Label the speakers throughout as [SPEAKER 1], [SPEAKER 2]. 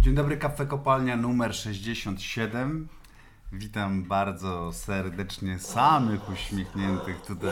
[SPEAKER 1] Dzień dobry, Kafe Kopalnia numer 67. Witam bardzo serdecznie samych uśmiechniętych tutaj.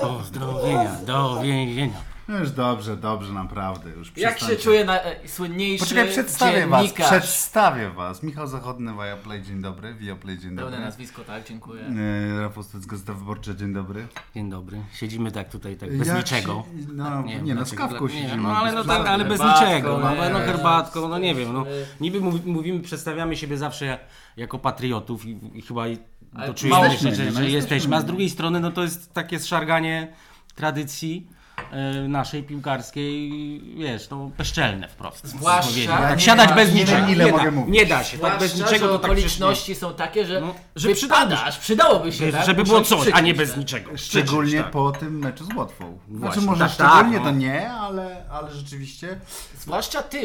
[SPEAKER 2] Pozdrowienia, do więzienia.
[SPEAKER 1] No już dobrze, dobrze, naprawdę. Już
[SPEAKER 3] Jak się
[SPEAKER 1] przestańcie.
[SPEAKER 3] czuje na, e, słynniejszy
[SPEAKER 1] Poczekaj, przedstawię was,
[SPEAKER 3] dziennikarz?
[SPEAKER 1] przedstawię was. Michał Zachodny, Viaplay, dzień dobry. Viaplay, dzień dobry.
[SPEAKER 3] Pełne nazwisko, tak, dziękuję.
[SPEAKER 1] Yy, Rafał Stec, Gazeta Wyborcza, dzień dobry.
[SPEAKER 2] Dzień dobry. Siedzimy tak tutaj, tak bez
[SPEAKER 1] Jak
[SPEAKER 2] niczego.
[SPEAKER 1] się- No, nie,
[SPEAKER 2] wiem,
[SPEAKER 1] nie no, z
[SPEAKER 2] dlaczego
[SPEAKER 1] kawką
[SPEAKER 2] tak- nie,
[SPEAKER 1] siedzimy.
[SPEAKER 2] No ale, no, tak, ale bez
[SPEAKER 3] Herbatką,
[SPEAKER 2] niczego. No,
[SPEAKER 3] nie,
[SPEAKER 2] no
[SPEAKER 3] nie,
[SPEAKER 2] herbatką,
[SPEAKER 3] no,
[SPEAKER 2] no nie wiem. No,
[SPEAKER 3] jesteśmy-
[SPEAKER 2] niby mów- mówimy, przedstawiamy siebie zawsze jak- jako patriotów i, i chyba i
[SPEAKER 3] Ale
[SPEAKER 2] do czujemy
[SPEAKER 3] jesteśmy,
[SPEAKER 2] rzeczy, że
[SPEAKER 1] nie, no,
[SPEAKER 2] jesteśmy.
[SPEAKER 1] jesteśmy.
[SPEAKER 2] A z drugiej strony no to jest takie zszarganie tradycji e, naszej piłkarskiej, wiesz, no bezczelne wprost.
[SPEAKER 3] Zwłaszcza-
[SPEAKER 2] powiedzieć.
[SPEAKER 3] ja
[SPEAKER 2] tak
[SPEAKER 3] nie
[SPEAKER 2] siadać
[SPEAKER 3] ma-
[SPEAKER 2] bez
[SPEAKER 3] nie
[SPEAKER 2] niczego.
[SPEAKER 3] wiem,
[SPEAKER 1] ile
[SPEAKER 2] nie,
[SPEAKER 1] mogę
[SPEAKER 2] da,
[SPEAKER 1] mówić.
[SPEAKER 2] nie da się, tak bez
[SPEAKER 3] Zwłaszcza,
[SPEAKER 2] niczego
[SPEAKER 3] że
[SPEAKER 2] to tak przecież nie-
[SPEAKER 3] okoliczności są takie, że,
[SPEAKER 2] No, że
[SPEAKER 3] że wypadasz, przydałoby się, tak?
[SPEAKER 2] żeby było
[SPEAKER 3] Musiałeś
[SPEAKER 2] coś, a nie
[SPEAKER 3] krzyknąć,
[SPEAKER 2] bez
[SPEAKER 3] tak.
[SPEAKER 2] niczego.
[SPEAKER 1] Szczególnie
[SPEAKER 2] Krzyczeć, tak.
[SPEAKER 1] po tym meczu z Łotwą. Znaczy
[SPEAKER 2] Właśnie,
[SPEAKER 1] może
[SPEAKER 2] tak, tak,
[SPEAKER 1] szczególnie
[SPEAKER 2] no.
[SPEAKER 1] to nie, ale, ale rzeczywiście
[SPEAKER 3] Zwłaszcza ty,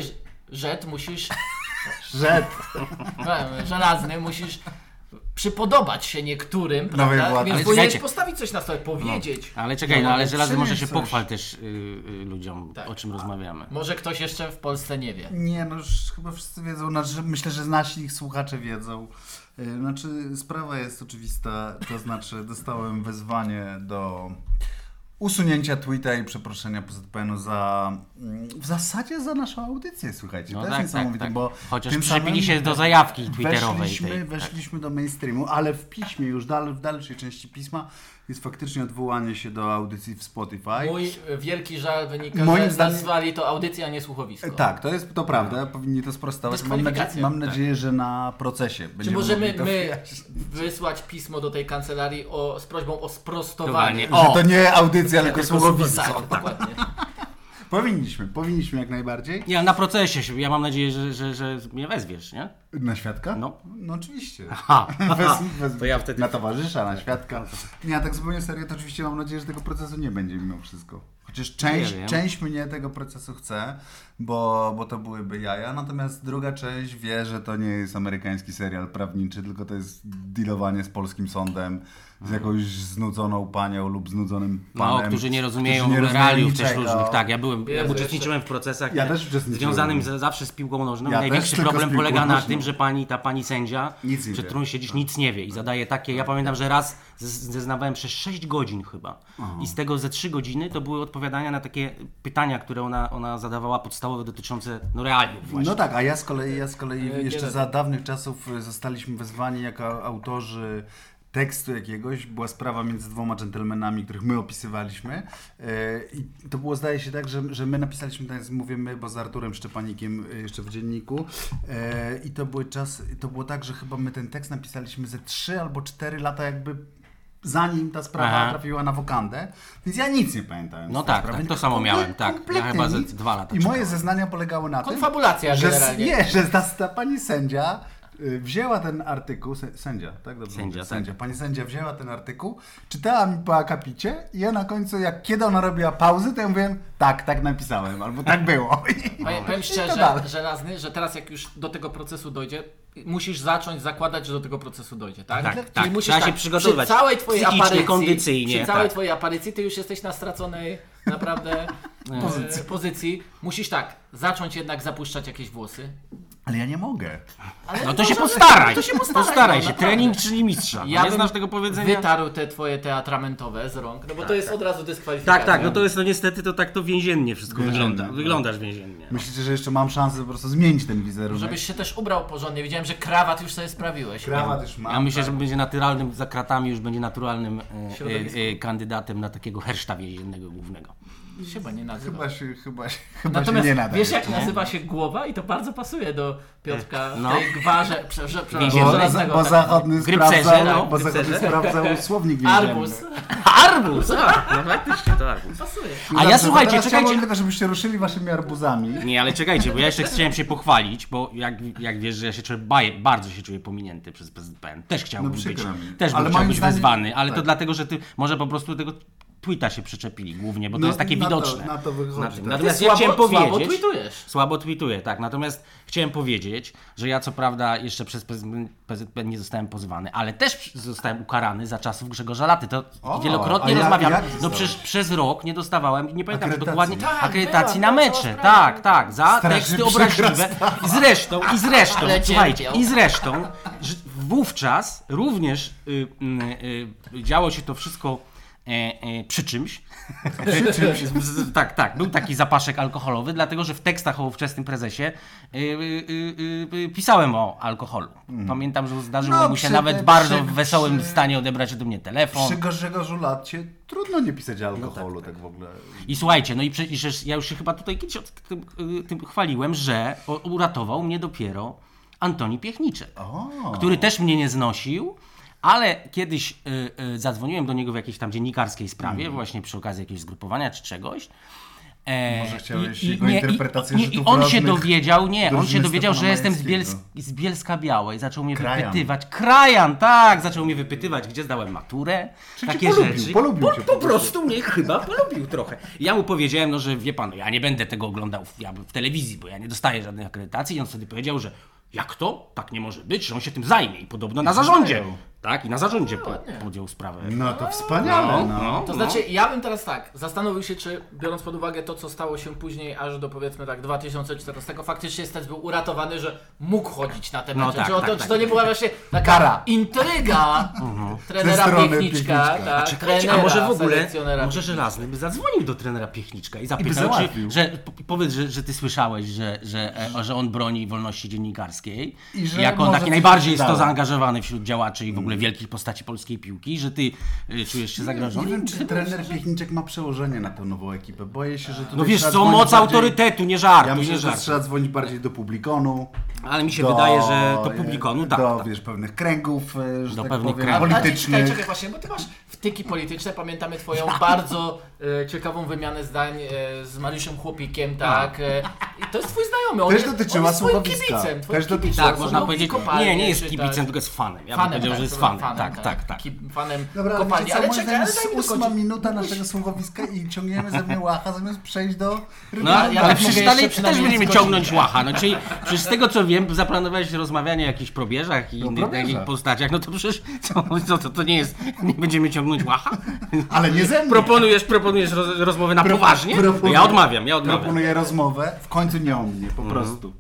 [SPEAKER 3] Żed, musisz,
[SPEAKER 1] rzet.
[SPEAKER 3] e, żelazny, musisz przypodobać się niektórym,
[SPEAKER 1] No wiem,
[SPEAKER 3] prawda?
[SPEAKER 1] Władek.
[SPEAKER 3] Więc
[SPEAKER 1] Ale
[SPEAKER 3] powinieneś
[SPEAKER 2] czekajcie.
[SPEAKER 3] postawić coś na stole, powiedzieć.
[SPEAKER 2] Ale czekaj, no ale żelazo może się
[SPEAKER 1] przynieść coś.
[SPEAKER 2] pochwal też y, y, ludziom,
[SPEAKER 3] Tak.
[SPEAKER 2] o czym rozmawiamy.
[SPEAKER 3] Może ktoś jeszcze w Polsce nie wie.
[SPEAKER 1] Nie, no już chyba wszyscy wiedzą, znaczy, myślę, że nasi słuchacze wiedzą. Yy, Znaczy, sprawa jest oczywista, to znaczy dostałem wezwanie do usunięcia tweeta i przeproszenia PZPN-u za, mm, w zasadzie za naszą audycję, słuchajcie,
[SPEAKER 2] No
[SPEAKER 1] to
[SPEAKER 2] tak,
[SPEAKER 1] jest niesamowite,
[SPEAKER 2] tak, tak.
[SPEAKER 1] bo
[SPEAKER 2] Chociaż
[SPEAKER 1] tym samym
[SPEAKER 2] przybili się do zajawki twitterowej
[SPEAKER 1] weszliśmy,
[SPEAKER 2] tej. tak.
[SPEAKER 1] weszliśmy do mainstreamu, ale w piśmie, już dal, w dalszej części pisma jest faktycznie odwołanie się do audycji w Spotify.
[SPEAKER 3] Mój e, wielki żal wynika,
[SPEAKER 1] Moim
[SPEAKER 3] że
[SPEAKER 1] zdaniem-
[SPEAKER 3] nazwali to audycja, a nie słuchowisko.
[SPEAKER 1] Tak, to jest to prawda, powinni to sprostować. Mam, nadzie-
[SPEAKER 3] Dyskwalifikacja.
[SPEAKER 1] mam nadzieję, że na procesie
[SPEAKER 3] tak. Czy
[SPEAKER 1] będziemy
[SPEAKER 3] możemy
[SPEAKER 1] mogli to
[SPEAKER 3] my
[SPEAKER 1] wyjaśnić.
[SPEAKER 3] wysłać pismo do tej kancelarii o, z prośbą o sprostowanie?
[SPEAKER 2] Towanie. O!
[SPEAKER 1] Że to nie audycja, tylko
[SPEAKER 3] Tak,
[SPEAKER 1] słowowisko.
[SPEAKER 3] dokładnie.
[SPEAKER 1] Powinniśmy, powinniśmy jak najbardziej.
[SPEAKER 2] Nie, ale na procesie, się- ja mam nadzieję, że, że, że mnie wezwiesz, nie?
[SPEAKER 1] Na świadka?
[SPEAKER 2] No.
[SPEAKER 1] oczywiście.
[SPEAKER 2] Ha!
[SPEAKER 1] Bez, bez,
[SPEAKER 2] To ja wtedy-
[SPEAKER 1] Na towarzysza, na świadka. Nie, a tak zupełnie serio, to oczywiście mam nadzieję, że tego procesu nie będzie mimo wszystko. Chociaż część,
[SPEAKER 2] Nie wiem.
[SPEAKER 1] część mnie tego procesu chce, bo, bo to byłyby jaja, natomiast druga część wie, że to nie jest amerykański serial prawniczy, tylko to jest dealowanie z polskim sądem, z jakąś znudzoną panią lub znudzonym
[SPEAKER 2] Mhm. No,
[SPEAKER 1] panem.
[SPEAKER 2] którzy nie rozumieją
[SPEAKER 1] którzy nie rozumieją
[SPEAKER 2] realiów też
[SPEAKER 1] niczego.
[SPEAKER 2] różnych. Tak, ja byłem, ja
[SPEAKER 3] Jezu,
[SPEAKER 2] uczestniczyłem w procesach
[SPEAKER 1] Ja
[SPEAKER 2] e,
[SPEAKER 1] też uczestniczyłem.
[SPEAKER 2] związanym z, zawsze z piłką nożną.
[SPEAKER 1] Ja też
[SPEAKER 2] Największy
[SPEAKER 1] tylko z
[SPEAKER 2] problem
[SPEAKER 1] piłką
[SPEAKER 2] polega na
[SPEAKER 1] nożną.
[SPEAKER 2] tym, że pani, ta pani sędzia,
[SPEAKER 1] Nic nie
[SPEAKER 2] przed
[SPEAKER 1] wie.
[SPEAKER 2] którą siedzisz, nic nie wie i zadaje takie. Ja pamiętam, że raz z- zeznawałem przez 6 godzin chyba. I z tego ze 3 godziny to były odpowiadania na takie pytania, które ona, ona zadawała podstawowe dotyczące no, realiów właśnie.
[SPEAKER 1] No tak, a ja z kolei, ja z kolei
[SPEAKER 3] E,
[SPEAKER 1] jeszcze
[SPEAKER 3] nie
[SPEAKER 1] za dawnych czasów e, zostaliśmy wezwani jako autorzy tekstu jakiegoś. Była sprawa między dwoma dżentelmenami, których my opisywaliśmy. E, I to było, zdaje się, tak, że, że my napisaliśmy, tak mówię my, bo z Arturem Szczepanikiem e, jeszcze w dzienniku. E, I to były czas, to było tak, że chyba my ten tekst napisaliśmy ze 3 albo 4 lata jakby zanim ta sprawa
[SPEAKER 2] Aha.
[SPEAKER 1] trafiła na wokandę, więc ja nic nie pamiętałem. z
[SPEAKER 2] No
[SPEAKER 1] tej
[SPEAKER 2] tak,
[SPEAKER 1] sprawy.
[SPEAKER 2] tak, to samo miałem, tak. Ja
[SPEAKER 1] Kompletnie
[SPEAKER 2] chyba ze
[SPEAKER 1] nic.
[SPEAKER 2] dwa lata
[SPEAKER 1] I moje
[SPEAKER 2] czekałem.
[SPEAKER 1] zeznania polegały na tym,
[SPEAKER 3] Konfabulacja
[SPEAKER 1] że, s-
[SPEAKER 3] generalnie.
[SPEAKER 1] nie, że ta, ta pani sędzia y, wzięła ten artykuł, sę- sędzia, tak? Dobrze
[SPEAKER 2] Sędzia,
[SPEAKER 1] mówię,
[SPEAKER 2] tak.
[SPEAKER 1] sędzia. Pani sędzia wzięła ten artykuł, czytała mi po akapicie i ja na końcu, jak kiedy ona robiła pauzy, to ja mówiłem, tak, tak napisałem, albo tak było. I,
[SPEAKER 3] Powiem, powiem
[SPEAKER 1] i to
[SPEAKER 3] szczerze,
[SPEAKER 1] dalej.
[SPEAKER 3] żelazny, że teraz jak już do tego procesu dojdzie, musisz zacząć zakładać, że do tego procesu dojdzie, tak?
[SPEAKER 2] Tak,
[SPEAKER 3] Czyli
[SPEAKER 2] tak.
[SPEAKER 3] musisz
[SPEAKER 2] Trzeba się przygotowywać
[SPEAKER 3] Przy całej twojej
[SPEAKER 2] psychicznie,
[SPEAKER 3] aparycji,
[SPEAKER 2] kondycyjnie,
[SPEAKER 3] przy całej
[SPEAKER 2] tak.
[SPEAKER 3] twojej aparycji, ty już jesteś na straconej naprawdę e, pozycji. Musisz tak, zacząć jednak zapuszczać jakieś włosy.
[SPEAKER 1] Ale ja nie mogę.
[SPEAKER 3] Ale
[SPEAKER 2] No to się
[SPEAKER 3] może-
[SPEAKER 2] postaraj.
[SPEAKER 3] to się postaraj,
[SPEAKER 2] postaraj,
[SPEAKER 3] no,
[SPEAKER 2] się.
[SPEAKER 3] naprawdę.
[SPEAKER 2] Trening czyli mistrza. Ja
[SPEAKER 3] Ja
[SPEAKER 2] nie
[SPEAKER 3] bym
[SPEAKER 2] znasz tego powiedzenia?
[SPEAKER 3] Wytarł te twoje teatramentowe z rąk, no bo to jest od razu dyskwalifikacja.
[SPEAKER 2] Tak, tak, no to jest, no niestety to tak to więziennie wszystko
[SPEAKER 1] Więziennie,
[SPEAKER 2] wygląda.
[SPEAKER 1] no.
[SPEAKER 2] Wyglądasz więziennie.
[SPEAKER 1] Myślicie, że jeszcze mam szansę po prostu zmienić ten wizerunek?
[SPEAKER 3] Żebyś się też ubrał porządnie, widziałem, że krawat już sobie sprawiłeś.
[SPEAKER 1] Krawat już mam.
[SPEAKER 2] Ja myślę, że będzie naturalnym, za kratami już będzie naturalnym e,
[SPEAKER 3] Środowisko.
[SPEAKER 2] e, e, kandydatem na takiego herszta więziennego głównego.
[SPEAKER 3] Chyba nie nazywa.
[SPEAKER 1] Chyba się, chyba się, chyba
[SPEAKER 2] Znaczy,
[SPEAKER 3] Natomiast
[SPEAKER 1] się nie nada.
[SPEAKER 3] wiesz jak nazywa się głowa i to bardzo pasuje do Piotrka w
[SPEAKER 2] No.
[SPEAKER 3] tej gwarze, prze, prze, prze,
[SPEAKER 2] Więziennej.
[SPEAKER 1] bo, za,
[SPEAKER 3] żelaznego,
[SPEAKER 1] bo
[SPEAKER 3] tak.
[SPEAKER 1] zachodny
[SPEAKER 2] Grypcerze,
[SPEAKER 1] sprawdzał,
[SPEAKER 2] no,
[SPEAKER 1] bo zachodny
[SPEAKER 2] grypcerze.
[SPEAKER 1] sprawdzał słownik więzienny.
[SPEAKER 3] Arbus.
[SPEAKER 2] Arbuz! A, no faktycznie to arbuz.
[SPEAKER 3] Pasuje.
[SPEAKER 2] A ja
[SPEAKER 1] Dobrze, to
[SPEAKER 2] słuchajcie,
[SPEAKER 1] teraz
[SPEAKER 2] czekajcie.
[SPEAKER 1] Chciałbym tylko, żebyście ruszyli waszymi arbuzami.
[SPEAKER 2] Nie, ale czekajcie, bo ja jeszcze chciałem się pochwalić, bo jak, jak wiesz, że ja się czuję, baj, bardzo się czuję pominięty przez PZPN. Też chciałbym
[SPEAKER 1] No
[SPEAKER 2] być,
[SPEAKER 1] przykro mi.
[SPEAKER 2] też bym
[SPEAKER 1] Ale
[SPEAKER 2] chciał
[SPEAKER 1] moim
[SPEAKER 2] być
[SPEAKER 1] zdaniem-
[SPEAKER 2] wezwany, ale
[SPEAKER 1] tak.
[SPEAKER 2] to dlatego, że ty może po prostu tego tweeta się przyczepili głównie, bo to
[SPEAKER 1] No,
[SPEAKER 2] jest takie
[SPEAKER 1] na to-
[SPEAKER 2] widoczne.
[SPEAKER 1] na to wychodzi,
[SPEAKER 2] Na tym.
[SPEAKER 1] tak.
[SPEAKER 2] Natomiast
[SPEAKER 3] Ty
[SPEAKER 2] ja
[SPEAKER 3] słabo-
[SPEAKER 2] chciałem
[SPEAKER 3] słabo
[SPEAKER 2] powiedzieć...
[SPEAKER 3] tweetujesz.
[SPEAKER 2] Słabo tweetuję, tak. Natomiast chciałem powiedzieć, że ja co prawda jeszcze przez PZP PZP nie zostałem pozwany, ale też zostałem ukarany za czasów Grzegorza Laty. To
[SPEAKER 1] O, a
[SPEAKER 2] wielokrotnie
[SPEAKER 1] jak-
[SPEAKER 2] rozmawiam.
[SPEAKER 1] jak
[SPEAKER 2] no
[SPEAKER 1] zostałeś?
[SPEAKER 2] przecież przez rok nie dostawałem, nie pamiętam
[SPEAKER 1] Akredytacji.
[SPEAKER 2] dokładnie,
[SPEAKER 1] Tak,
[SPEAKER 2] akredytacji
[SPEAKER 3] była,
[SPEAKER 2] na
[SPEAKER 3] była cała
[SPEAKER 2] mecze.
[SPEAKER 3] sprawa.
[SPEAKER 2] Tak, tak. Za
[SPEAKER 1] Strasznie
[SPEAKER 2] teksty
[SPEAKER 1] przykra
[SPEAKER 2] obraźliwe. I zresztą, i zresztą,
[SPEAKER 3] Ale
[SPEAKER 2] słuchajcie,
[SPEAKER 3] cierpiał.
[SPEAKER 2] i zresztą, że wówczas również y, y, y, działo się to wszystko e, e, przy czymś. Przy czymś. tak, tak. Był taki zapaszek alkoholowy, dlatego że w tekstach o ówczesnym prezesie y, y, y, y, pisałem o alkoholu. Pamiętam, że zdarzyło
[SPEAKER 1] Mhm. No,
[SPEAKER 2] mu się
[SPEAKER 1] przy-
[SPEAKER 2] nawet
[SPEAKER 1] przy-
[SPEAKER 2] bardzo
[SPEAKER 1] przy-
[SPEAKER 2] w wesołym stanie odebrać do mnie telefon.
[SPEAKER 1] Przy Grzegorzu Żulacie trudno nie pisać
[SPEAKER 3] No
[SPEAKER 1] alkoholu, tak, w ogóle.
[SPEAKER 2] I słuchajcie, no i przecież ja już się chyba tutaj kiedyś od tym, y, tym chwaliłem, że o- uratował mnie dopiero Antoni Piechniczek, który też mnie nie znosił. Ale kiedyś y, y, zadzwoniłem do niego w jakiejś tam dziennikarskiej sprawie,
[SPEAKER 1] Mhm.
[SPEAKER 2] właśnie przy okazji jakiegoś zgrupowania czy czegoś. E,
[SPEAKER 1] Może chciałeś
[SPEAKER 2] i- i-
[SPEAKER 1] jego
[SPEAKER 2] nie, i-
[SPEAKER 1] interpretację
[SPEAKER 2] nie, I
[SPEAKER 1] Żydów
[SPEAKER 2] on się
[SPEAKER 1] rodnych
[SPEAKER 2] dowiedział, nie, on się
[SPEAKER 1] drużyny
[SPEAKER 2] dowiedział, że jestem z, Biels,
[SPEAKER 1] Stefanowiejskiego.
[SPEAKER 2] z Bielska Białej. Zaczął mnie
[SPEAKER 1] Krajan.
[SPEAKER 2] wypytywać. Krajan, tak! Zaczął mnie wypytywać, gdzie zdałem maturę.
[SPEAKER 1] Czyli cię
[SPEAKER 2] takie
[SPEAKER 1] polubił,
[SPEAKER 2] rzeczy.
[SPEAKER 1] polubił
[SPEAKER 2] po,
[SPEAKER 1] cię
[SPEAKER 2] po
[SPEAKER 1] po prostu.
[SPEAKER 2] prostu prostu mnie chyba polubił trochę. Ja mu powiedziałem, no że wie pan, no, ja nie będę tego oglądał w, ja, w telewizji, bo ja nie dostaję żadnych akredytacji. I on wtedy powiedział, że jak to? Tak nie może być, że on się tym zajmie. I podobno na zarządzie.
[SPEAKER 1] zajął.
[SPEAKER 2] Tak, i na zarządzie po, podjął sprawę.
[SPEAKER 1] No to wspaniale, no.
[SPEAKER 3] To znaczy, ja bym teraz tak, zastanowił się, czy biorąc pod uwagę to, co stało się później, aż do powiedzmy tak 2014, faktycznie Stec był uratowany, że mógł chodzić na te
[SPEAKER 2] No
[SPEAKER 3] mecze.
[SPEAKER 2] tak,
[SPEAKER 3] czy, o to,
[SPEAKER 2] tak,
[SPEAKER 3] czy
[SPEAKER 2] tak. Mhm.
[SPEAKER 3] to nie była właśnie taka
[SPEAKER 1] Kara.
[SPEAKER 3] intryga trenera
[SPEAKER 1] Ze strony
[SPEAKER 3] Piechniczka,
[SPEAKER 1] Piechniczka.
[SPEAKER 3] tak,
[SPEAKER 2] Czekajcie,
[SPEAKER 3] trenera,
[SPEAKER 2] a może w ogóle,
[SPEAKER 3] selekcjonera
[SPEAKER 2] może Żelazny by zadzwonił do trenera Piechniczka i zapytał,
[SPEAKER 1] załatwił.
[SPEAKER 2] czy, że po- powiedz, że, że ty słyszałeś, że, że, e, że on broni wolności dziennikarskiej
[SPEAKER 1] I
[SPEAKER 2] i
[SPEAKER 1] że
[SPEAKER 2] że jako
[SPEAKER 1] może
[SPEAKER 2] taki
[SPEAKER 1] coś
[SPEAKER 2] najbardziej jest to
[SPEAKER 1] dałem.
[SPEAKER 2] zaangażowany wśród działaczy i w ogóle wielkich postaci polskiej piłki, że ty y, czujesz się
[SPEAKER 1] Nie
[SPEAKER 2] zagrożony. No
[SPEAKER 1] wiem, czy trener Piechniczek ma przełożenie na tą nową ekipę. Boję się, że tutaj
[SPEAKER 2] No wiesz
[SPEAKER 1] trzeba
[SPEAKER 2] co,
[SPEAKER 1] dzwonić
[SPEAKER 2] moc
[SPEAKER 1] bardziej-
[SPEAKER 2] autorytetu, nie żartu,
[SPEAKER 1] Ja
[SPEAKER 2] nie
[SPEAKER 1] myślę, że
[SPEAKER 2] żartu.
[SPEAKER 1] trzeba dzwonić bardziej do publikonu.
[SPEAKER 2] Ale mi się
[SPEAKER 1] do- e,
[SPEAKER 2] wydaje, że do publikonu, tak.
[SPEAKER 1] Do,
[SPEAKER 2] tak.
[SPEAKER 1] wiesz, pewnych kręgów, e, że
[SPEAKER 2] Do
[SPEAKER 1] tak
[SPEAKER 2] pewnych
[SPEAKER 1] powiem,
[SPEAKER 2] kręgów.
[SPEAKER 3] Czekaj,
[SPEAKER 1] politycznych.
[SPEAKER 3] czekaj, właśnie, bo ty masz wtyki polityczne. Pamiętamy twoją bardzo e, ciekawą wymianę zdań e, z Mariuszem Chłopikiem, tak. E, I to jest twój znajomy. On
[SPEAKER 1] Też
[SPEAKER 3] jest-
[SPEAKER 1] dotyczyła
[SPEAKER 3] on jest twoim
[SPEAKER 1] słuchowiska.
[SPEAKER 3] kibicem. Twoim
[SPEAKER 1] Też dotyczyła
[SPEAKER 3] kibicem.
[SPEAKER 2] Tak,
[SPEAKER 1] są
[SPEAKER 2] można
[SPEAKER 3] Lubi
[SPEAKER 2] powiedzieć,
[SPEAKER 3] kopalnie,
[SPEAKER 2] nie, nie jest
[SPEAKER 3] czy
[SPEAKER 2] kibicem,
[SPEAKER 3] tak.
[SPEAKER 2] tylko jest fanem. Ja bym
[SPEAKER 3] Fanem,
[SPEAKER 2] powiedział,
[SPEAKER 3] tak,
[SPEAKER 2] że jest
[SPEAKER 3] przepraszam,
[SPEAKER 2] fanem. Tak, tak, tak.
[SPEAKER 3] Ki- Fanem
[SPEAKER 1] Dobra, ale
[SPEAKER 3] kopalni.
[SPEAKER 1] wiecie co,
[SPEAKER 3] Ale
[SPEAKER 1] moim
[SPEAKER 3] czekaj,
[SPEAKER 1] zdaniem
[SPEAKER 3] ale
[SPEAKER 1] jest
[SPEAKER 3] daj mi
[SPEAKER 1] ósma
[SPEAKER 3] dokończyć.
[SPEAKER 1] minuta naszego słuchowiska i ciągniemy ze mnie łacha, zamiast przejść do
[SPEAKER 2] No,
[SPEAKER 1] rywala.
[SPEAKER 2] ale,
[SPEAKER 3] ja
[SPEAKER 2] ale
[SPEAKER 3] tak
[SPEAKER 2] przecież
[SPEAKER 3] mówię
[SPEAKER 2] dalej
[SPEAKER 3] jeszcze
[SPEAKER 2] też
[SPEAKER 3] przynajmniej
[SPEAKER 2] będziemy
[SPEAKER 3] z godzinę.
[SPEAKER 2] ciągnąć łacha. No, czyli, przecież z tego co wiem, zaplanowałeś rozmawianie o jakichś probierzach i innych
[SPEAKER 1] probierzach.
[SPEAKER 2] takich postaciach. No to przecież co, co, to, to nie jest. Nie będziemy ciągnąć łacha?
[SPEAKER 1] Ale nie ze mnie.
[SPEAKER 2] Proponujesz, proponujesz roz, rozmowę na
[SPEAKER 1] Pro-
[SPEAKER 2] poważnie? No,
[SPEAKER 1] proponuję-
[SPEAKER 2] Ja odmawiam, ja odmawiam.
[SPEAKER 1] Proponuję rozmowę, w końcu nie o mnie, po prostu.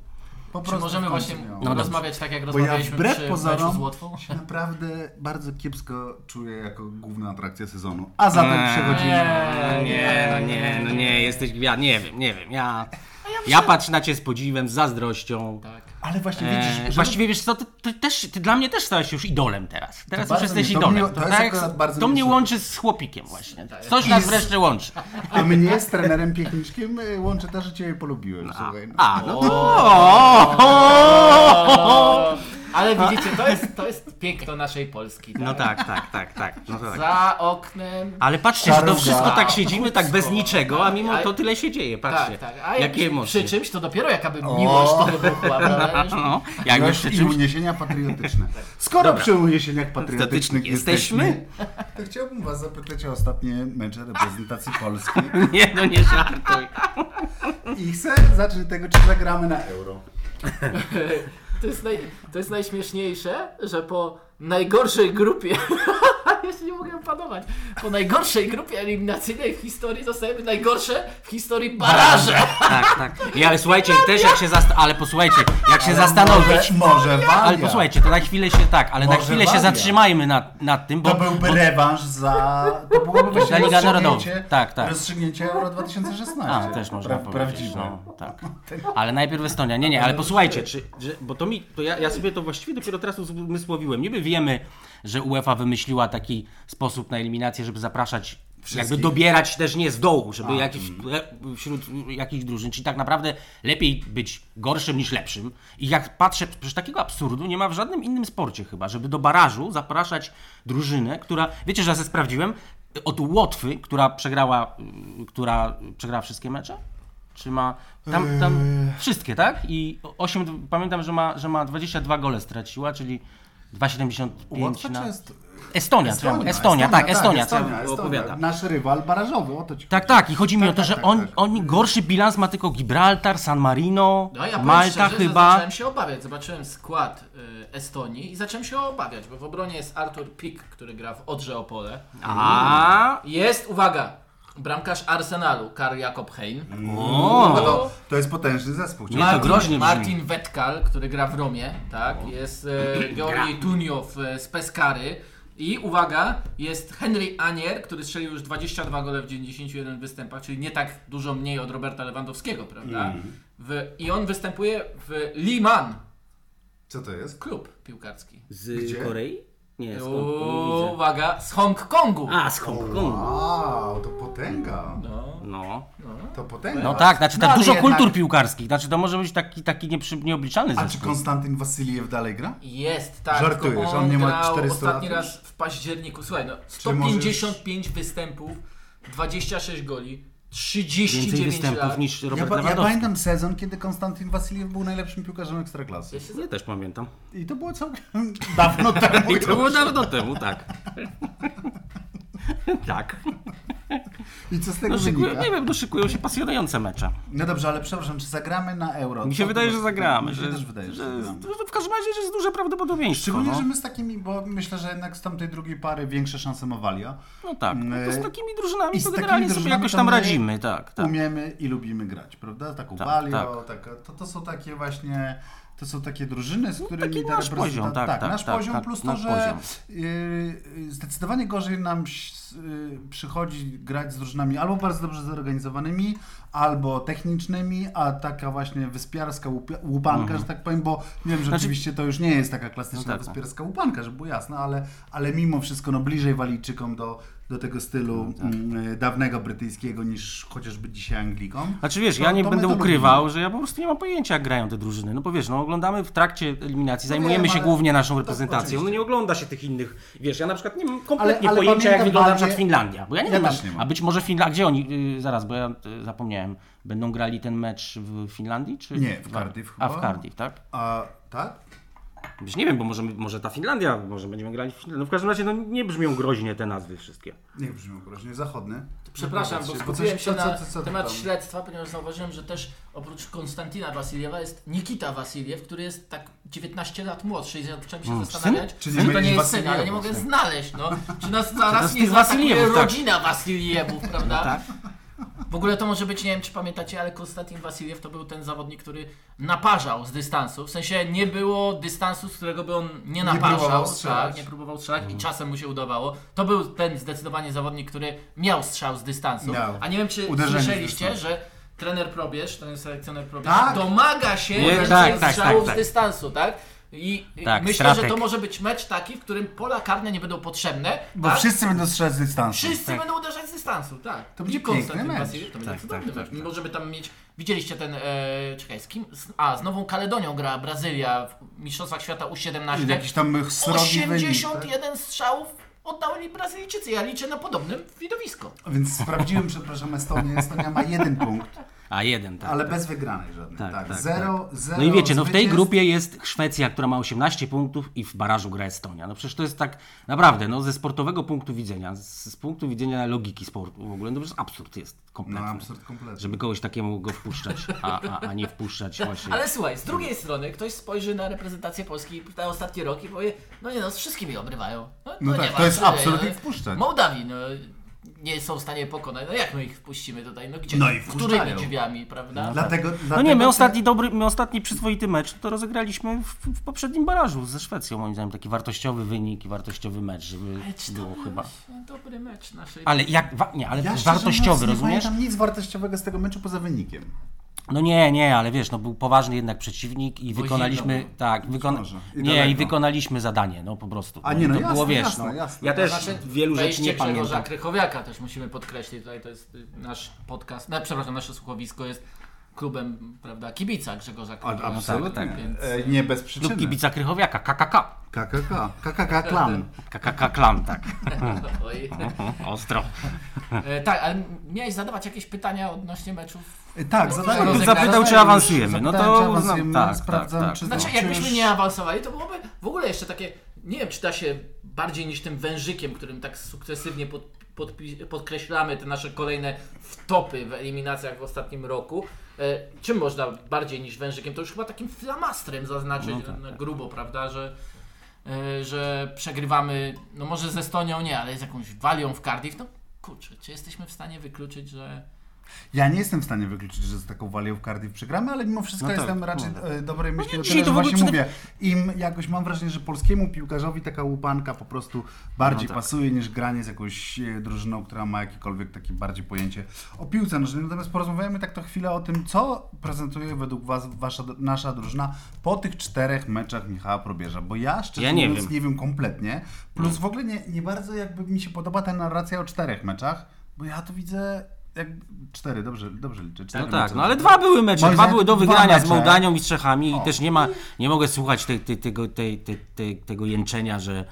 [SPEAKER 1] Po
[SPEAKER 3] Czy
[SPEAKER 1] prostu
[SPEAKER 3] możemy
[SPEAKER 1] w końcu nie o
[SPEAKER 3] właśnie
[SPEAKER 1] mnie.
[SPEAKER 2] Mhm. No dobrze.
[SPEAKER 3] rozmawiać tak,
[SPEAKER 1] Bo ja
[SPEAKER 3] jak rozmawialiśmy przy
[SPEAKER 1] wbrew
[SPEAKER 3] meczu z
[SPEAKER 1] pozorom
[SPEAKER 3] Łotwą?
[SPEAKER 1] się naprawdę bardzo kiepsko czuję jako główna atrakcja sezonu. A zatem
[SPEAKER 2] Eee.
[SPEAKER 1] przechodzimy.
[SPEAKER 3] Eee,
[SPEAKER 2] Nie, no nie, no nie, jesteś gwiazd. Nie wiem, nie wiem. Ja, ja
[SPEAKER 3] myślę-
[SPEAKER 2] patrzę na cię z podziwem, z zazdrością.
[SPEAKER 3] Tak.
[SPEAKER 1] Ale właśnie widzisz,
[SPEAKER 2] Eee,
[SPEAKER 1] żeby-
[SPEAKER 2] właściwie wiesz co, ty, ty, też, ty dla mnie też stałeś się już idolem teraz. Teraz już
[SPEAKER 1] bardzo
[SPEAKER 2] jesteś
[SPEAKER 1] mnie- to
[SPEAKER 2] idolem. tak?
[SPEAKER 1] mnie- to jest akurat bardzo
[SPEAKER 2] to
[SPEAKER 1] mnie
[SPEAKER 2] mnie
[SPEAKER 1] szoku.
[SPEAKER 2] łączy z chłopikiem właśnie.
[SPEAKER 3] Tak.
[SPEAKER 2] Coś nas wreszcie łączy.
[SPEAKER 1] a mnie z trenerem piechniczkiem y, łączy to, że Ciebie polubiłem, słuchaj. No.
[SPEAKER 2] A, no to...
[SPEAKER 3] No.
[SPEAKER 1] no.
[SPEAKER 3] Ale widzicie, to jest, to jest piękno naszej Polski. Tak?
[SPEAKER 2] No tak, tak, tak, tak. No to tak.
[SPEAKER 3] Za oknem.
[SPEAKER 2] Ale patrzcie, że to
[SPEAKER 1] Czarownia.
[SPEAKER 2] wszystko tak siedzimy, tak bez niczego, a mimo to tyle się dzieje, patrzcie.
[SPEAKER 3] Tak, tak. A
[SPEAKER 2] Jakie
[SPEAKER 3] jak
[SPEAKER 2] emocje.
[SPEAKER 3] przy czymś to dopiero jakaby miłość to wybuchła, prawda? Już-
[SPEAKER 2] No, jakby
[SPEAKER 1] Miłość
[SPEAKER 2] przy
[SPEAKER 1] i
[SPEAKER 2] czymś...
[SPEAKER 1] uniesienia patriotyczne. Skoro przy uniesieniach patriotycznych
[SPEAKER 2] Jesteśmy?
[SPEAKER 1] jesteśmy, to chciałbym Was zapytać o ostatnie mecze reprezentacji Polski
[SPEAKER 2] Nie, no nie żartuj.
[SPEAKER 1] i chcę zacząć od tego, czy zagramy na euro.
[SPEAKER 3] To jest, naj, to jest najśmieszniejsze, że po najgorszej grupie, jeszcze nie mogę panować, po najgorszej grupie eliminacyjnej w historii dostajemy najgorsze w historii baraże.
[SPEAKER 2] Tak, tak. I, ale słuchajcie, też jak się zast... Ale posłuchajcie, jak się zastanowić...
[SPEAKER 1] Może, może Walia.
[SPEAKER 2] Ale posłuchajcie, to na chwilę się tak, ale na
[SPEAKER 1] Może
[SPEAKER 2] chwilę się
[SPEAKER 1] Walia.
[SPEAKER 2] zatrzymajmy nad, nad tym, bo...
[SPEAKER 1] To byłby rewanż za. To byłoby właśnie
[SPEAKER 2] Liga
[SPEAKER 1] rozstrzygnięcie,
[SPEAKER 2] Narodowa. Tak, tak.
[SPEAKER 1] rozstrzygnięcie Euro 2016.
[SPEAKER 2] A, też można powiedzieć.
[SPEAKER 1] Znaczy, Prawdziwe.
[SPEAKER 2] No, tak. Ale najpierw Estonia. Nie, nie, ale posłuchajcie, czy, że, bo to mi, to ja, ja sobie to właściwie dopiero teraz uzmysłowiłem. Niby wiemy, że UEFA wymyśliła taki sposób na eliminację, żeby zapraszać,
[SPEAKER 1] Wszystkich.
[SPEAKER 2] jakby dobierać też nie z dołu, żeby jakiś, e, wśród jakichś drużyn, czyli tak naprawdę lepiej być gorszym niż lepszym. I jak patrzę, przecież takiego absurdu nie ma w żadnym innym sporcie chyba, żeby do barażu zapraszać drużynę, która, wiecie, że ja sobie sprawdziłem, od Łotwy, która przegrała, y, która przegrała wszystkie mecze? Czy ma. Tam, tam wszystkie, tak? I 8, pamiętam, że ma, że ma 22 gole straciła, czyli 2,75
[SPEAKER 1] Łatwa
[SPEAKER 2] na.
[SPEAKER 1] często.
[SPEAKER 2] Estonia, Estonia, Estonia, tak, Estonia, co opowiada.
[SPEAKER 1] Nasz rywal barażowy, o to ci
[SPEAKER 2] Tak,
[SPEAKER 1] chodzi.
[SPEAKER 2] tak, i chodzi mi
[SPEAKER 1] Tak,
[SPEAKER 2] o to,
[SPEAKER 1] tak,
[SPEAKER 2] że
[SPEAKER 1] tak,
[SPEAKER 2] on,
[SPEAKER 1] tak.
[SPEAKER 2] oni gorszy bilans ma tylko Gibraltar, San Marino,
[SPEAKER 3] No ja powiem
[SPEAKER 2] Malta
[SPEAKER 3] szczerze, że
[SPEAKER 2] chyba.
[SPEAKER 3] zacząłem się obawiać. Zobaczyłem skład y, Estonii i zacząłem się obawiać, bo w obronie jest Artur Pik, który gra w Odrze Opole.
[SPEAKER 2] A,
[SPEAKER 3] Jest, uwaga, bramkarz Arsenalu, Karl Jakob Hein.
[SPEAKER 1] No to, to jest potężny zespół.
[SPEAKER 2] Nie, to groźnie brzmi.
[SPEAKER 3] Martin Wetkal, który gra w Romie, tak, jest e, Georgi Tuniow e, z Peskary. I uwaga, jest Henry Anier, który strzelił już 22 gole w 91 występach, czyli nie tak dużo mniej od Roberta Lewandowskiego, prawda?
[SPEAKER 2] Mhm.
[SPEAKER 3] W, I on występuje w Liman,
[SPEAKER 1] Co to jest?
[SPEAKER 3] klub piłkarski.
[SPEAKER 2] z
[SPEAKER 1] Gdzie?
[SPEAKER 2] Korei? Nie, z
[SPEAKER 3] Uuu,
[SPEAKER 2] Hongkongu. widzę.
[SPEAKER 3] Uwaga, z Hongkongu!
[SPEAKER 2] A, z Hongkongu.
[SPEAKER 1] Wow, to potęga.
[SPEAKER 3] No.
[SPEAKER 2] No.
[SPEAKER 1] To potęga.
[SPEAKER 2] No tak, znaczy
[SPEAKER 1] No,
[SPEAKER 2] tam
[SPEAKER 1] ale
[SPEAKER 2] dużo
[SPEAKER 1] jednak-
[SPEAKER 2] kultur piłkarskich, znaczy to może być taki, taki nieprzy, nieobliczalny
[SPEAKER 1] A czy
[SPEAKER 2] zespół.
[SPEAKER 1] Konstantin Wasiliew dalej gra?
[SPEAKER 3] Jest, tak.
[SPEAKER 1] Żartujesz,
[SPEAKER 3] tylko
[SPEAKER 1] on nie ma
[SPEAKER 3] grał
[SPEAKER 1] 400
[SPEAKER 3] ostatni
[SPEAKER 1] lat
[SPEAKER 3] raz w październiku. Słuchaj, no,
[SPEAKER 1] Czy może już-
[SPEAKER 3] 155 występów, 26 goli,
[SPEAKER 2] Więcej
[SPEAKER 3] 39
[SPEAKER 2] występów
[SPEAKER 3] lat.
[SPEAKER 2] niż
[SPEAKER 1] Ja,
[SPEAKER 2] Robert
[SPEAKER 1] pa- ja
[SPEAKER 2] Lewandowski.
[SPEAKER 1] pamiętam sezon, kiedy Konstantin Wasiliew był najlepszym piłkarzem Ekstraklasy.
[SPEAKER 3] Ja się
[SPEAKER 2] Ja też pamiętam.
[SPEAKER 1] I to było całkiem dawno temu.
[SPEAKER 2] I to było dawno temu, tak. tak.
[SPEAKER 1] I co z tego
[SPEAKER 2] No, szykują,
[SPEAKER 1] wynika?
[SPEAKER 2] nie wiem, no szykują się pasjonujące mecze.
[SPEAKER 1] No dobrze, ale przepraszam, czy zagramy na euro?
[SPEAKER 2] Mi się
[SPEAKER 1] Co-
[SPEAKER 2] wydaje, że zagramy.
[SPEAKER 1] No Mi się
[SPEAKER 2] że,
[SPEAKER 1] też wydaje, że,
[SPEAKER 2] że,
[SPEAKER 1] zagramy.
[SPEAKER 2] że W każdym razie, że jest duże prawdopodobieństwo.
[SPEAKER 1] Szczególnie,
[SPEAKER 2] no.
[SPEAKER 1] że my z takimi, bo myślę, że jednak z tamtej drugiej pary większe szanse ma Walia.
[SPEAKER 2] no tak, no to z takimi drużynami
[SPEAKER 1] I z
[SPEAKER 2] to
[SPEAKER 1] takimi
[SPEAKER 2] generalnie sobie
[SPEAKER 1] drużynami
[SPEAKER 2] jakoś
[SPEAKER 1] to
[SPEAKER 2] tam
[SPEAKER 1] my
[SPEAKER 2] radzimy, tak, tak.
[SPEAKER 1] Umiemy i lubimy grać, prawda? Taką
[SPEAKER 2] Tak,
[SPEAKER 1] Walio, tak. to, to są takie właśnie... To są takie drużyny, z którymi
[SPEAKER 2] No, taki
[SPEAKER 1] ta
[SPEAKER 2] nasz
[SPEAKER 1] reprezenta-
[SPEAKER 2] poziom, tak, tak,
[SPEAKER 1] nasz
[SPEAKER 2] tak,
[SPEAKER 1] poziom
[SPEAKER 2] tak,
[SPEAKER 1] plus to,
[SPEAKER 2] nasz
[SPEAKER 1] że yy, zdecydowanie gorzej nam ś- yy, przychodzi grać z drużynami albo bardzo dobrze zorganizowanymi, albo technicznymi, a taka właśnie wyspiarska łup- łupanka, że tak powiem, bo wiem, że
[SPEAKER 2] Mhm. Znaczy-
[SPEAKER 1] oczywiście to już nie jest taka klasyczna
[SPEAKER 2] No tak,
[SPEAKER 1] wyspiarska
[SPEAKER 2] tak.
[SPEAKER 1] Polska łupanka, żeby było jasne, ale, ale mimo wszystko no, bliżej Walijczykom do, do tego stylu
[SPEAKER 2] No tak.
[SPEAKER 1] mm, dawnego brytyjskiego niż chociażby dzisiaj Anglikom.
[SPEAKER 2] Znaczy wiesz,
[SPEAKER 1] To-
[SPEAKER 2] ja nie
[SPEAKER 1] to my
[SPEAKER 2] będę
[SPEAKER 1] to
[SPEAKER 2] ukrywał, że ja po prostu nie mam pojęcia, jak grają te drużyny. No bo wiesz, no oglądamy w trakcie eliminacji, zajmujemy
[SPEAKER 1] No wiem,
[SPEAKER 2] się
[SPEAKER 1] ale-
[SPEAKER 2] głównie naszą
[SPEAKER 1] to
[SPEAKER 2] reprezentacją. No
[SPEAKER 1] oczywiście.
[SPEAKER 2] nie ogląda się tych innych. Wiesz, ja na przykład nie mam kompletnie
[SPEAKER 1] ale
[SPEAKER 2] pojęcia, jak
[SPEAKER 1] pamiętam
[SPEAKER 2] wygląda na przykład
[SPEAKER 1] bardziej-
[SPEAKER 2] Finlandia. Bo ja nie
[SPEAKER 1] Ja
[SPEAKER 2] wiem.
[SPEAKER 1] też nie mam.
[SPEAKER 2] a być może Finlandia. Gdzie oni? y, zaraz, bo ja y, zapomniałem. Będą grali ten mecz w Finlandii? Czy
[SPEAKER 1] Nie, w Cardiff
[SPEAKER 2] A
[SPEAKER 1] chyba.
[SPEAKER 2] w Cardiff, tak?
[SPEAKER 1] A tak?
[SPEAKER 2] Wiesz, nie wiem, bo może, może ta Finlandia, może będziemy grali w Finlandii. No w każdym razie no, nie brzmią groźnie te nazwy wszystkie.
[SPEAKER 1] Niech brzmi groźnie, zachodny.
[SPEAKER 3] Przepraszam,
[SPEAKER 1] Zobaczcie,
[SPEAKER 3] bo
[SPEAKER 1] coś-
[SPEAKER 3] skupiłem się
[SPEAKER 1] co- co-
[SPEAKER 3] na
[SPEAKER 1] co- co ty
[SPEAKER 3] temat
[SPEAKER 1] tam?
[SPEAKER 3] śledztwa, ponieważ zauważyłem, że też oprócz Konstantina Wasiliewa jest Nikita Wasiliew, który jest tak 19 lat młodszy i zacząłem się
[SPEAKER 2] Mm,
[SPEAKER 3] zastanawiać,
[SPEAKER 1] Czy
[SPEAKER 3] czy
[SPEAKER 1] nie
[SPEAKER 3] to
[SPEAKER 1] mylisz
[SPEAKER 3] nie jest syn,
[SPEAKER 1] Wasiliewów,
[SPEAKER 3] ale nie mogę
[SPEAKER 1] tak?
[SPEAKER 3] znaleźć, no. Czy nas
[SPEAKER 2] to
[SPEAKER 3] zaraz
[SPEAKER 2] z
[SPEAKER 3] nie
[SPEAKER 2] tych
[SPEAKER 3] zaatakuje
[SPEAKER 2] Wasiliewów, tak. No
[SPEAKER 3] rodzina Wasiliewów, prawda?
[SPEAKER 1] Tak?
[SPEAKER 3] W ogóle to może być, nie wiem czy pamiętacie, ale Konstantin Wasiliew to był ten zawodnik, który naparzał z dystansu. W sensie nie było dystansu, z którego by on nie naparzał.
[SPEAKER 1] próbował strzelać. Mhm.
[SPEAKER 3] tak, nie próbował strzelać i czasem mu się udawało. To był ten zdecydowanie zawodnik, który miał strzał z dystansu.
[SPEAKER 1] Miał.
[SPEAKER 3] A nie wiem czy
[SPEAKER 1] Uderzenie z
[SPEAKER 3] słyszeliście,
[SPEAKER 1] dystansu.
[SPEAKER 3] że trener Probierz, ten selekcjoner Probierz,
[SPEAKER 1] Tak.
[SPEAKER 3] domaga się
[SPEAKER 2] Nie,
[SPEAKER 3] więcej
[SPEAKER 2] tak, tak,
[SPEAKER 3] strzałów
[SPEAKER 2] tak, tak.
[SPEAKER 3] z dystansu, tak? I i
[SPEAKER 2] Tak,
[SPEAKER 3] myślę, że
[SPEAKER 2] strateg.
[SPEAKER 3] to może być mecz taki, w którym pola karne nie będą potrzebne, tak?
[SPEAKER 1] Bo
[SPEAKER 3] a
[SPEAKER 1] wszyscy będą strzelać z dystansu.
[SPEAKER 3] Wszyscy
[SPEAKER 2] Tak.
[SPEAKER 3] będą uderzać z dystansu, tak.
[SPEAKER 1] To będzie
[SPEAKER 3] I Konstantin
[SPEAKER 1] piękny mecz.
[SPEAKER 3] Wasiliew, To będzie
[SPEAKER 2] Tak,
[SPEAKER 3] cudowny
[SPEAKER 2] tak,
[SPEAKER 3] mecz.
[SPEAKER 2] tak,
[SPEAKER 3] Mimo, żeby tam mieć... Widzieliście ten... E, czekaj, z kim? Z, a, z Nową Kaledonią gra Brazylia w Mistrzostwach Świata U17.
[SPEAKER 1] Jakiś tam srogi wynik. tak?
[SPEAKER 3] 81 strzałów oddali Brazylijczycy. Ja liczę na podobne widowisko.
[SPEAKER 1] Więc sprawdziłem, przepraszam, Estonię. Estonia ma jeden punkt,
[SPEAKER 2] A jeden, tak.
[SPEAKER 1] ale bez wygranej żadnej.
[SPEAKER 2] Tak,
[SPEAKER 1] Tak,
[SPEAKER 2] tak,
[SPEAKER 1] zero, zero
[SPEAKER 2] No i wiecie, no w tej
[SPEAKER 1] zwycięstw.
[SPEAKER 2] grupie jest Szwecja, która ma 18 punktów i w barażu gra Estonia. No przecież to jest tak naprawdę, no ze sportowego punktu widzenia, z, z punktu widzenia logiki sportu w ogóle, no przecież absurd jest
[SPEAKER 1] No
[SPEAKER 2] kompletny.
[SPEAKER 1] absurd kompletny.
[SPEAKER 2] Żeby kogoś takiemu go wpuszczać, a, a, a nie wpuszczać właśnie.
[SPEAKER 3] Ale słuchaj, z drugiej strony ktoś spojrzy na reprezentację Polski te ostatnie roki i powie, no nie no, z wszystkimi obrywają. No,
[SPEAKER 1] No
[SPEAKER 3] nie
[SPEAKER 1] tak,
[SPEAKER 3] ma,
[SPEAKER 1] to jest
[SPEAKER 3] tyle,
[SPEAKER 1] absurd
[SPEAKER 3] no.
[SPEAKER 1] ich wpuszczać.
[SPEAKER 3] Mołdawii, no nie są w stanie pokonać. No jak my ich wpuścimy tutaj? No gdzie?
[SPEAKER 1] No i
[SPEAKER 3] Którymi
[SPEAKER 1] wpuszczają.
[SPEAKER 3] drzwiami, prawda?
[SPEAKER 1] Dlatego, dlatego
[SPEAKER 2] No nie, my ostatni dobry, my ostatni przyzwoity mecz no to rozegraliśmy w, w poprzednim barażu ze Szwecją, moim zdaniem taki wartościowy wynik i wartościowy mecz, żeby
[SPEAKER 3] Ale czy to
[SPEAKER 2] było
[SPEAKER 3] był
[SPEAKER 2] chyba.
[SPEAKER 3] Dobry mecz naszej.
[SPEAKER 2] Ale jak, wa, nie,
[SPEAKER 1] Ja
[SPEAKER 2] ale
[SPEAKER 1] szczerze mówiąc,
[SPEAKER 2] wartościowy,
[SPEAKER 1] nie
[SPEAKER 2] rozumiesz?
[SPEAKER 1] pamiętam nic wartościowego z tego meczu poza wynikiem.
[SPEAKER 2] No nie, nie, ale wiesz, no był poważny jednak przeciwnik i wykonaliśmy,
[SPEAKER 3] zimno.
[SPEAKER 2] tak, wykona...
[SPEAKER 1] może. I
[SPEAKER 2] nie, i
[SPEAKER 1] daleko.
[SPEAKER 2] wykonaliśmy zadanie, no po prostu.
[SPEAKER 1] A nie, no
[SPEAKER 2] to
[SPEAKER 1] jasne,
[SPEAKER 2] było, wiesz,
[SPEAKER 1] jasne,
[SPEAKER 2] no,
[SPEAKER 1] jasne.
[SPEAKER 2] ja
[SPEAKER 1] To
[SPEAKER 2] też
[SPEAKER 3] Znaczy,
[SPEAKER 2] wielu rzeczy
[SPEAKER 3] wejście
[SPEAKER 2] nie
[SPEAKER 3] Grzegorza
[SPEAKER 2] pamiętam.
[SPEAKER 3] Krychowiaka też musimy podkreślić. Tutaj to jest y, nasz podcast, no, przepraszam, nasze słuchowisko jest klubem, prawda, kibica Grzegorza
[SPEAKER 2] Tak,
[SPEAKER 3] Krychowiaka.
[SPEAKER 1] Absolutnie.
[SPEAKER 3] Więc...
[SPEAKER 1] E, Nie bez przyczyny.
[SPEAKER 2] Klub kibica Krychowiaka, KKK.
[SPEAKER 1] KKK. KKK klan.
[SPEAKER 2] KKK klan, tak.
[SPEAKER 3] Oj.
[SPEAKER 2] Ostro.
[SPEAKER 3] E, tak, ale miałeś zadawać jakieś pytania odnośnie meczów.
[SPEAKER 1] E, Tak, zadałem.
[SPEAKER 3] Zapytał,
[SPEAKER 1] zadałem
[SPEAKER 3] czy
[SPEAKER 1] już.
[SPEAKER 2] awansujemy. No
[SPEAKER 1] Zapytałem,
[SPEAKER 2] to
[SPEAKER 1] czy awansujemy.
[SPEAKER 2] uznam- tak,
[SPEAKER 1] Sprawdzam,
[SPEAKER 2] tak, tak.
[SPEAKER 1] czy
[SPEAKER 3] Znaczy,
[SPEAKER 1] czy
[SPEAKER 3] jakbyśmy
[SPEAKER 1] już-
[SPEAKER 3] nie awansowali, to byłoby w ogóle jeszcze takie, nie wiem, czy da się bardziej niż tym wężykiem, którym tak sukcesywnie pod, podpi- podkreślamy te nasze kolejne wtopy w eliminacjach w ostatnim roku. E, czym można bardziej niż wężykiem? To już chyba takim flamastrem zaznaczyć
[SPEAKER 2] No tak,
[SPEAKER 3] na grubo, prawda, że, e, że przegrywamy, no może z Estonią nie, ale z jakąś Walią w Cardiff, no kurczę, czy jesteśmy w stanie wykluczyć, że...
[SPEAKER 1] Ja nie jestem w stanie wykluczyć, że z taką walią w Cardiff przegramy, ale mimo wszystko
[SPEAKER 2] No tak,
[SPEAKER 1] jestem raczej
[SPEAKER 2] no.
[SPEAKER 1] e, dobrej myśli o
[SPEAKER 2] dzisiaj
[SPEAKER 1] tym, że
[SPEAKER 2] to w ogóle
[SPEAKER 1] właśnie mówię. Im jakoś mam wrażenie, że polskiemu piłkarzowi taka łupanka po prostu bardziej
[SPEAKER 2] No tak.
[SPEAKER 1] pasuje niż granie z jakąś e, drużyną, która ma jakiekolwiek takie bardziej pojęcie o piłce nożnej. Natomiast porozmawiamy tak to chwilę o tym, co prezentuje według Was wasza, nasza drużyna po tych czterech meczach Michała Probierza, bo ja szczerze
[SPEAKER 2] Ja nie
[SPEAKER 1] mówiąc
[SPEAKER 2] wiem. No.
[SPEAKER 1] nie wiem kompletnie, plus w ogóle nie, nie bardzo jakby mi się podoba ta narracja o czterech meczach, bo ja tu widzę jak cztery, dobrze, dobrze liczę, cztery
[SPEAKER 2] No tak,
[SPEAKER 1] mecze.
[SPEAKER 2] no ale dwa były mecze,
[SPEAKER 1] Moim
[SPEAKER 2] dwa
[SPEAKER 1] zdaniem
[SPEAKER 2] były do
[SPEAKER 1] dwa
[SPEAKER 2] wygrania z
[SPEAKER 1] mecze.
[SPEAKER 2] Mołdanią i z Czechami i
[SPEAKER 1] O.
[SPEAKER 2] też nie ma, nie mogę słuchać tej, tej, tego, tej, tej, tej, tego jęczenia, że,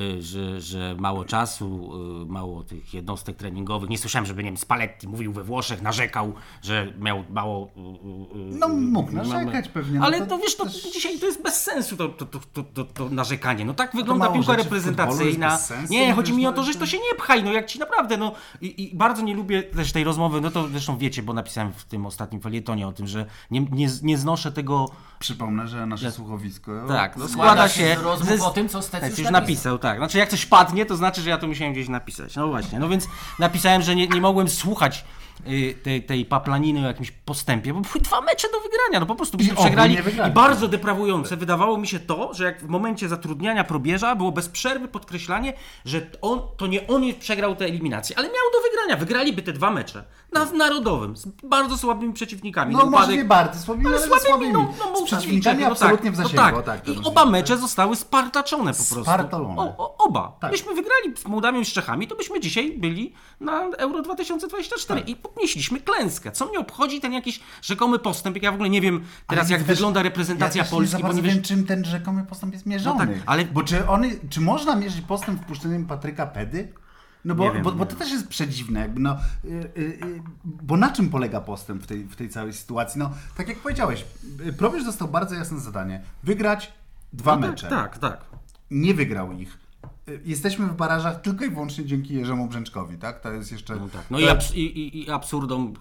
[SPEAKER 2] y, że, że mało czasu, y, mało tych jednostek treningowych. Nie słyszałem, żeby nie wiem, Spalletti mówił we Włoszech, narzekał, że miał mało... y, y, y,
[SPEAKER 1] No mógł
[SPEAKER 2] y,
[SPEAKER 1] narzekać pewnie, no
[SPEAKER 2] Ale
[SPEAKER 1] to
[SPEAKER 2] no wiesz, to
[SPEAKER 1] też-
[SPEAKER 2] dzisiaj to jest bez sensu to, to, to, to, to, to narzekanie. No tak wygląda
[SPEAKER 1] mało
[SPEAKER 2] piłka
[SPEAKER 1] rzeczy w futbolu jest
[SPEAKER 2] reprezentacyjna.
[SPEAKER 1] bez sensu,
[SPEAKER 2] Nie,
[SPEAKER 1] no
[SPEAKER 2] chodzi
[SPEAKER 1] wiesz,
[SPEAKER 2] mi
[SPEAKER 1] no
[SPEAKER 2] o to,
[SPEAKER 1] i
[SPEAKER 2] że
[SPEAKER 1] to-
[SPEAKER 2] to się nie pchaj, no jak ci naprawdę, no i, i bardzo nie lubię też tej rozmowy, no to zresztą wiecie, bo napisałem w tym ostatnim felietonie o tym, że nie, nie, nie znoszę tego,
[SPEAKER 1] Przypomnę, że nasze słuchowisko
[SPEAKER 2] tak, no
[SPEAKER 3] Składa
[SPEAKER 2] składa
[SPEAKER 3] się
[SPEAKER 2] się
[SPEAKER 3] z rozmów
[SPEAKER 2] z-
[SPEAKER 3] o tym, co Stec
[SPEAKER 2] Stec
[SPEAKER 3] już
[SPEAKER 2] już napisał, tak. Znaczy jak coś padnie, to znaczy, że ja to musiałem gdzieś napisać. No właśnie, no więc napisałem, że nie, nie mogłem słuchać y, tej, tej paplaniny o jakimś postępie, bo były dwa mecze do wygrania, no po prostu byśmy
[SPEAKER 1] I obu
[SPEAKER 2] przegrali
[SPEAKER 1] nie wygrali.
[SPEAKER 2] i bardzo deprawujące wydawało mi się to, że jak w momencie zatrudniania probierza było bez przerwy podkreślanie, że on, to nie on przegrał te eliminacje, ale miał do wygrania, wygraliby te dwa mecze na w narodowym, z bardzo słabymi przeciwnikami.
[SPEAKER 1] No może
[SPEAKER 2] Upadek-
[SPEAKER 1] nie bardzo słabymi, ale,
[SPEAKER 2] ale
[SPEAKER 1] ale słabymi.
[SPEAKER 2] słabymi, no, no
[SPEAKER 1] Z
[SPEAKER 2] Mołdawii,
[SPEAKER 1] przeciwnikami
[SPEAKER 2] czego, no
[SPEAKER 1] absolutnie
[SPEAKER 2] tak,
[SPEAKER 1] w zasięgu.
[SPEAKER 2] No
[SPEAKER 1] o,
[SPEAKER 2] tak.
[SPEAKER 1] to
[SPEAKER 2] I
[SPEAKER 1] myślę,
[SPEAKER 2] oba
[SPEAKER 1] że-
[SPEAKER 2] mecze zostały spartaczone po prostu.
[SPEAKER 1] Spartalone.
[SPEAKER 2] O, o, oba.
[SPEAKER 1] Tak.
[SPEAKER 2] Byśmy wygrali z Mołdawią i z Czechami, to byśmy dzisiaj byli na Euro 2024
[SPEAKER 1] Tak.
[SPEAKER 2] i podnieśliśmy klęskę. Co mnie obchodzi ten jakiś rzekomy postęp, jak ja w ogóle nie wiem teraz
[SPEAKER 1] Ale
[SPEAKER 2] jak
[SPEAKER 1] wiesz,
[SPEAKER 2] wygląda reprezentacja
[SPEAKER 1] ja też
[SPEAKER 2] Polski,
[SPEAKER 1] nie za
[SPEAKER 2] bo
[SPEAKER 1] bardzo
[SPEAKER 2] nie wiesz...
[SPEAKER 1] wiem, czym ten rzekomy postęp jest mierzony.
[SPEAKER 2] No tak, ale-
[SPEAKER 1] Bo czy, on, czy można mierzyć postęp wpuszczeniem Patryka Pedy? No bo,
[SPEAKER 2] Nie wiem,
[SPEAKER 1] bo,
[SPEAKER 2] nie
[SPEAKER 1] bo to
[SPEAKER 2] wiem.
[SPEAKER 1] też jest przedziwne, jakby no, y, y, y, bo na czym polega postęp w tej, w tej całej sytuacji? No, tak jak powiedziałeś, y, Probierz dostał bardzo jasne zadanie, wygrać dwa
[SPEAKER 2] No
[SPEAKER 1] mecze.
[SPEAKER 2] Tak, tak.
[SPEAKER 1] nie wygrał ich. Y, Jesteśmy w barażach tylko i wyłącznie dzięki Jerzemu Brzęczkowi, tak? To jest jeszcze...
[SPEAKER 2] No, tak. no
[SPEAKER 1] to-
[SPEAKER 2] i, abs- i, i, i absurdom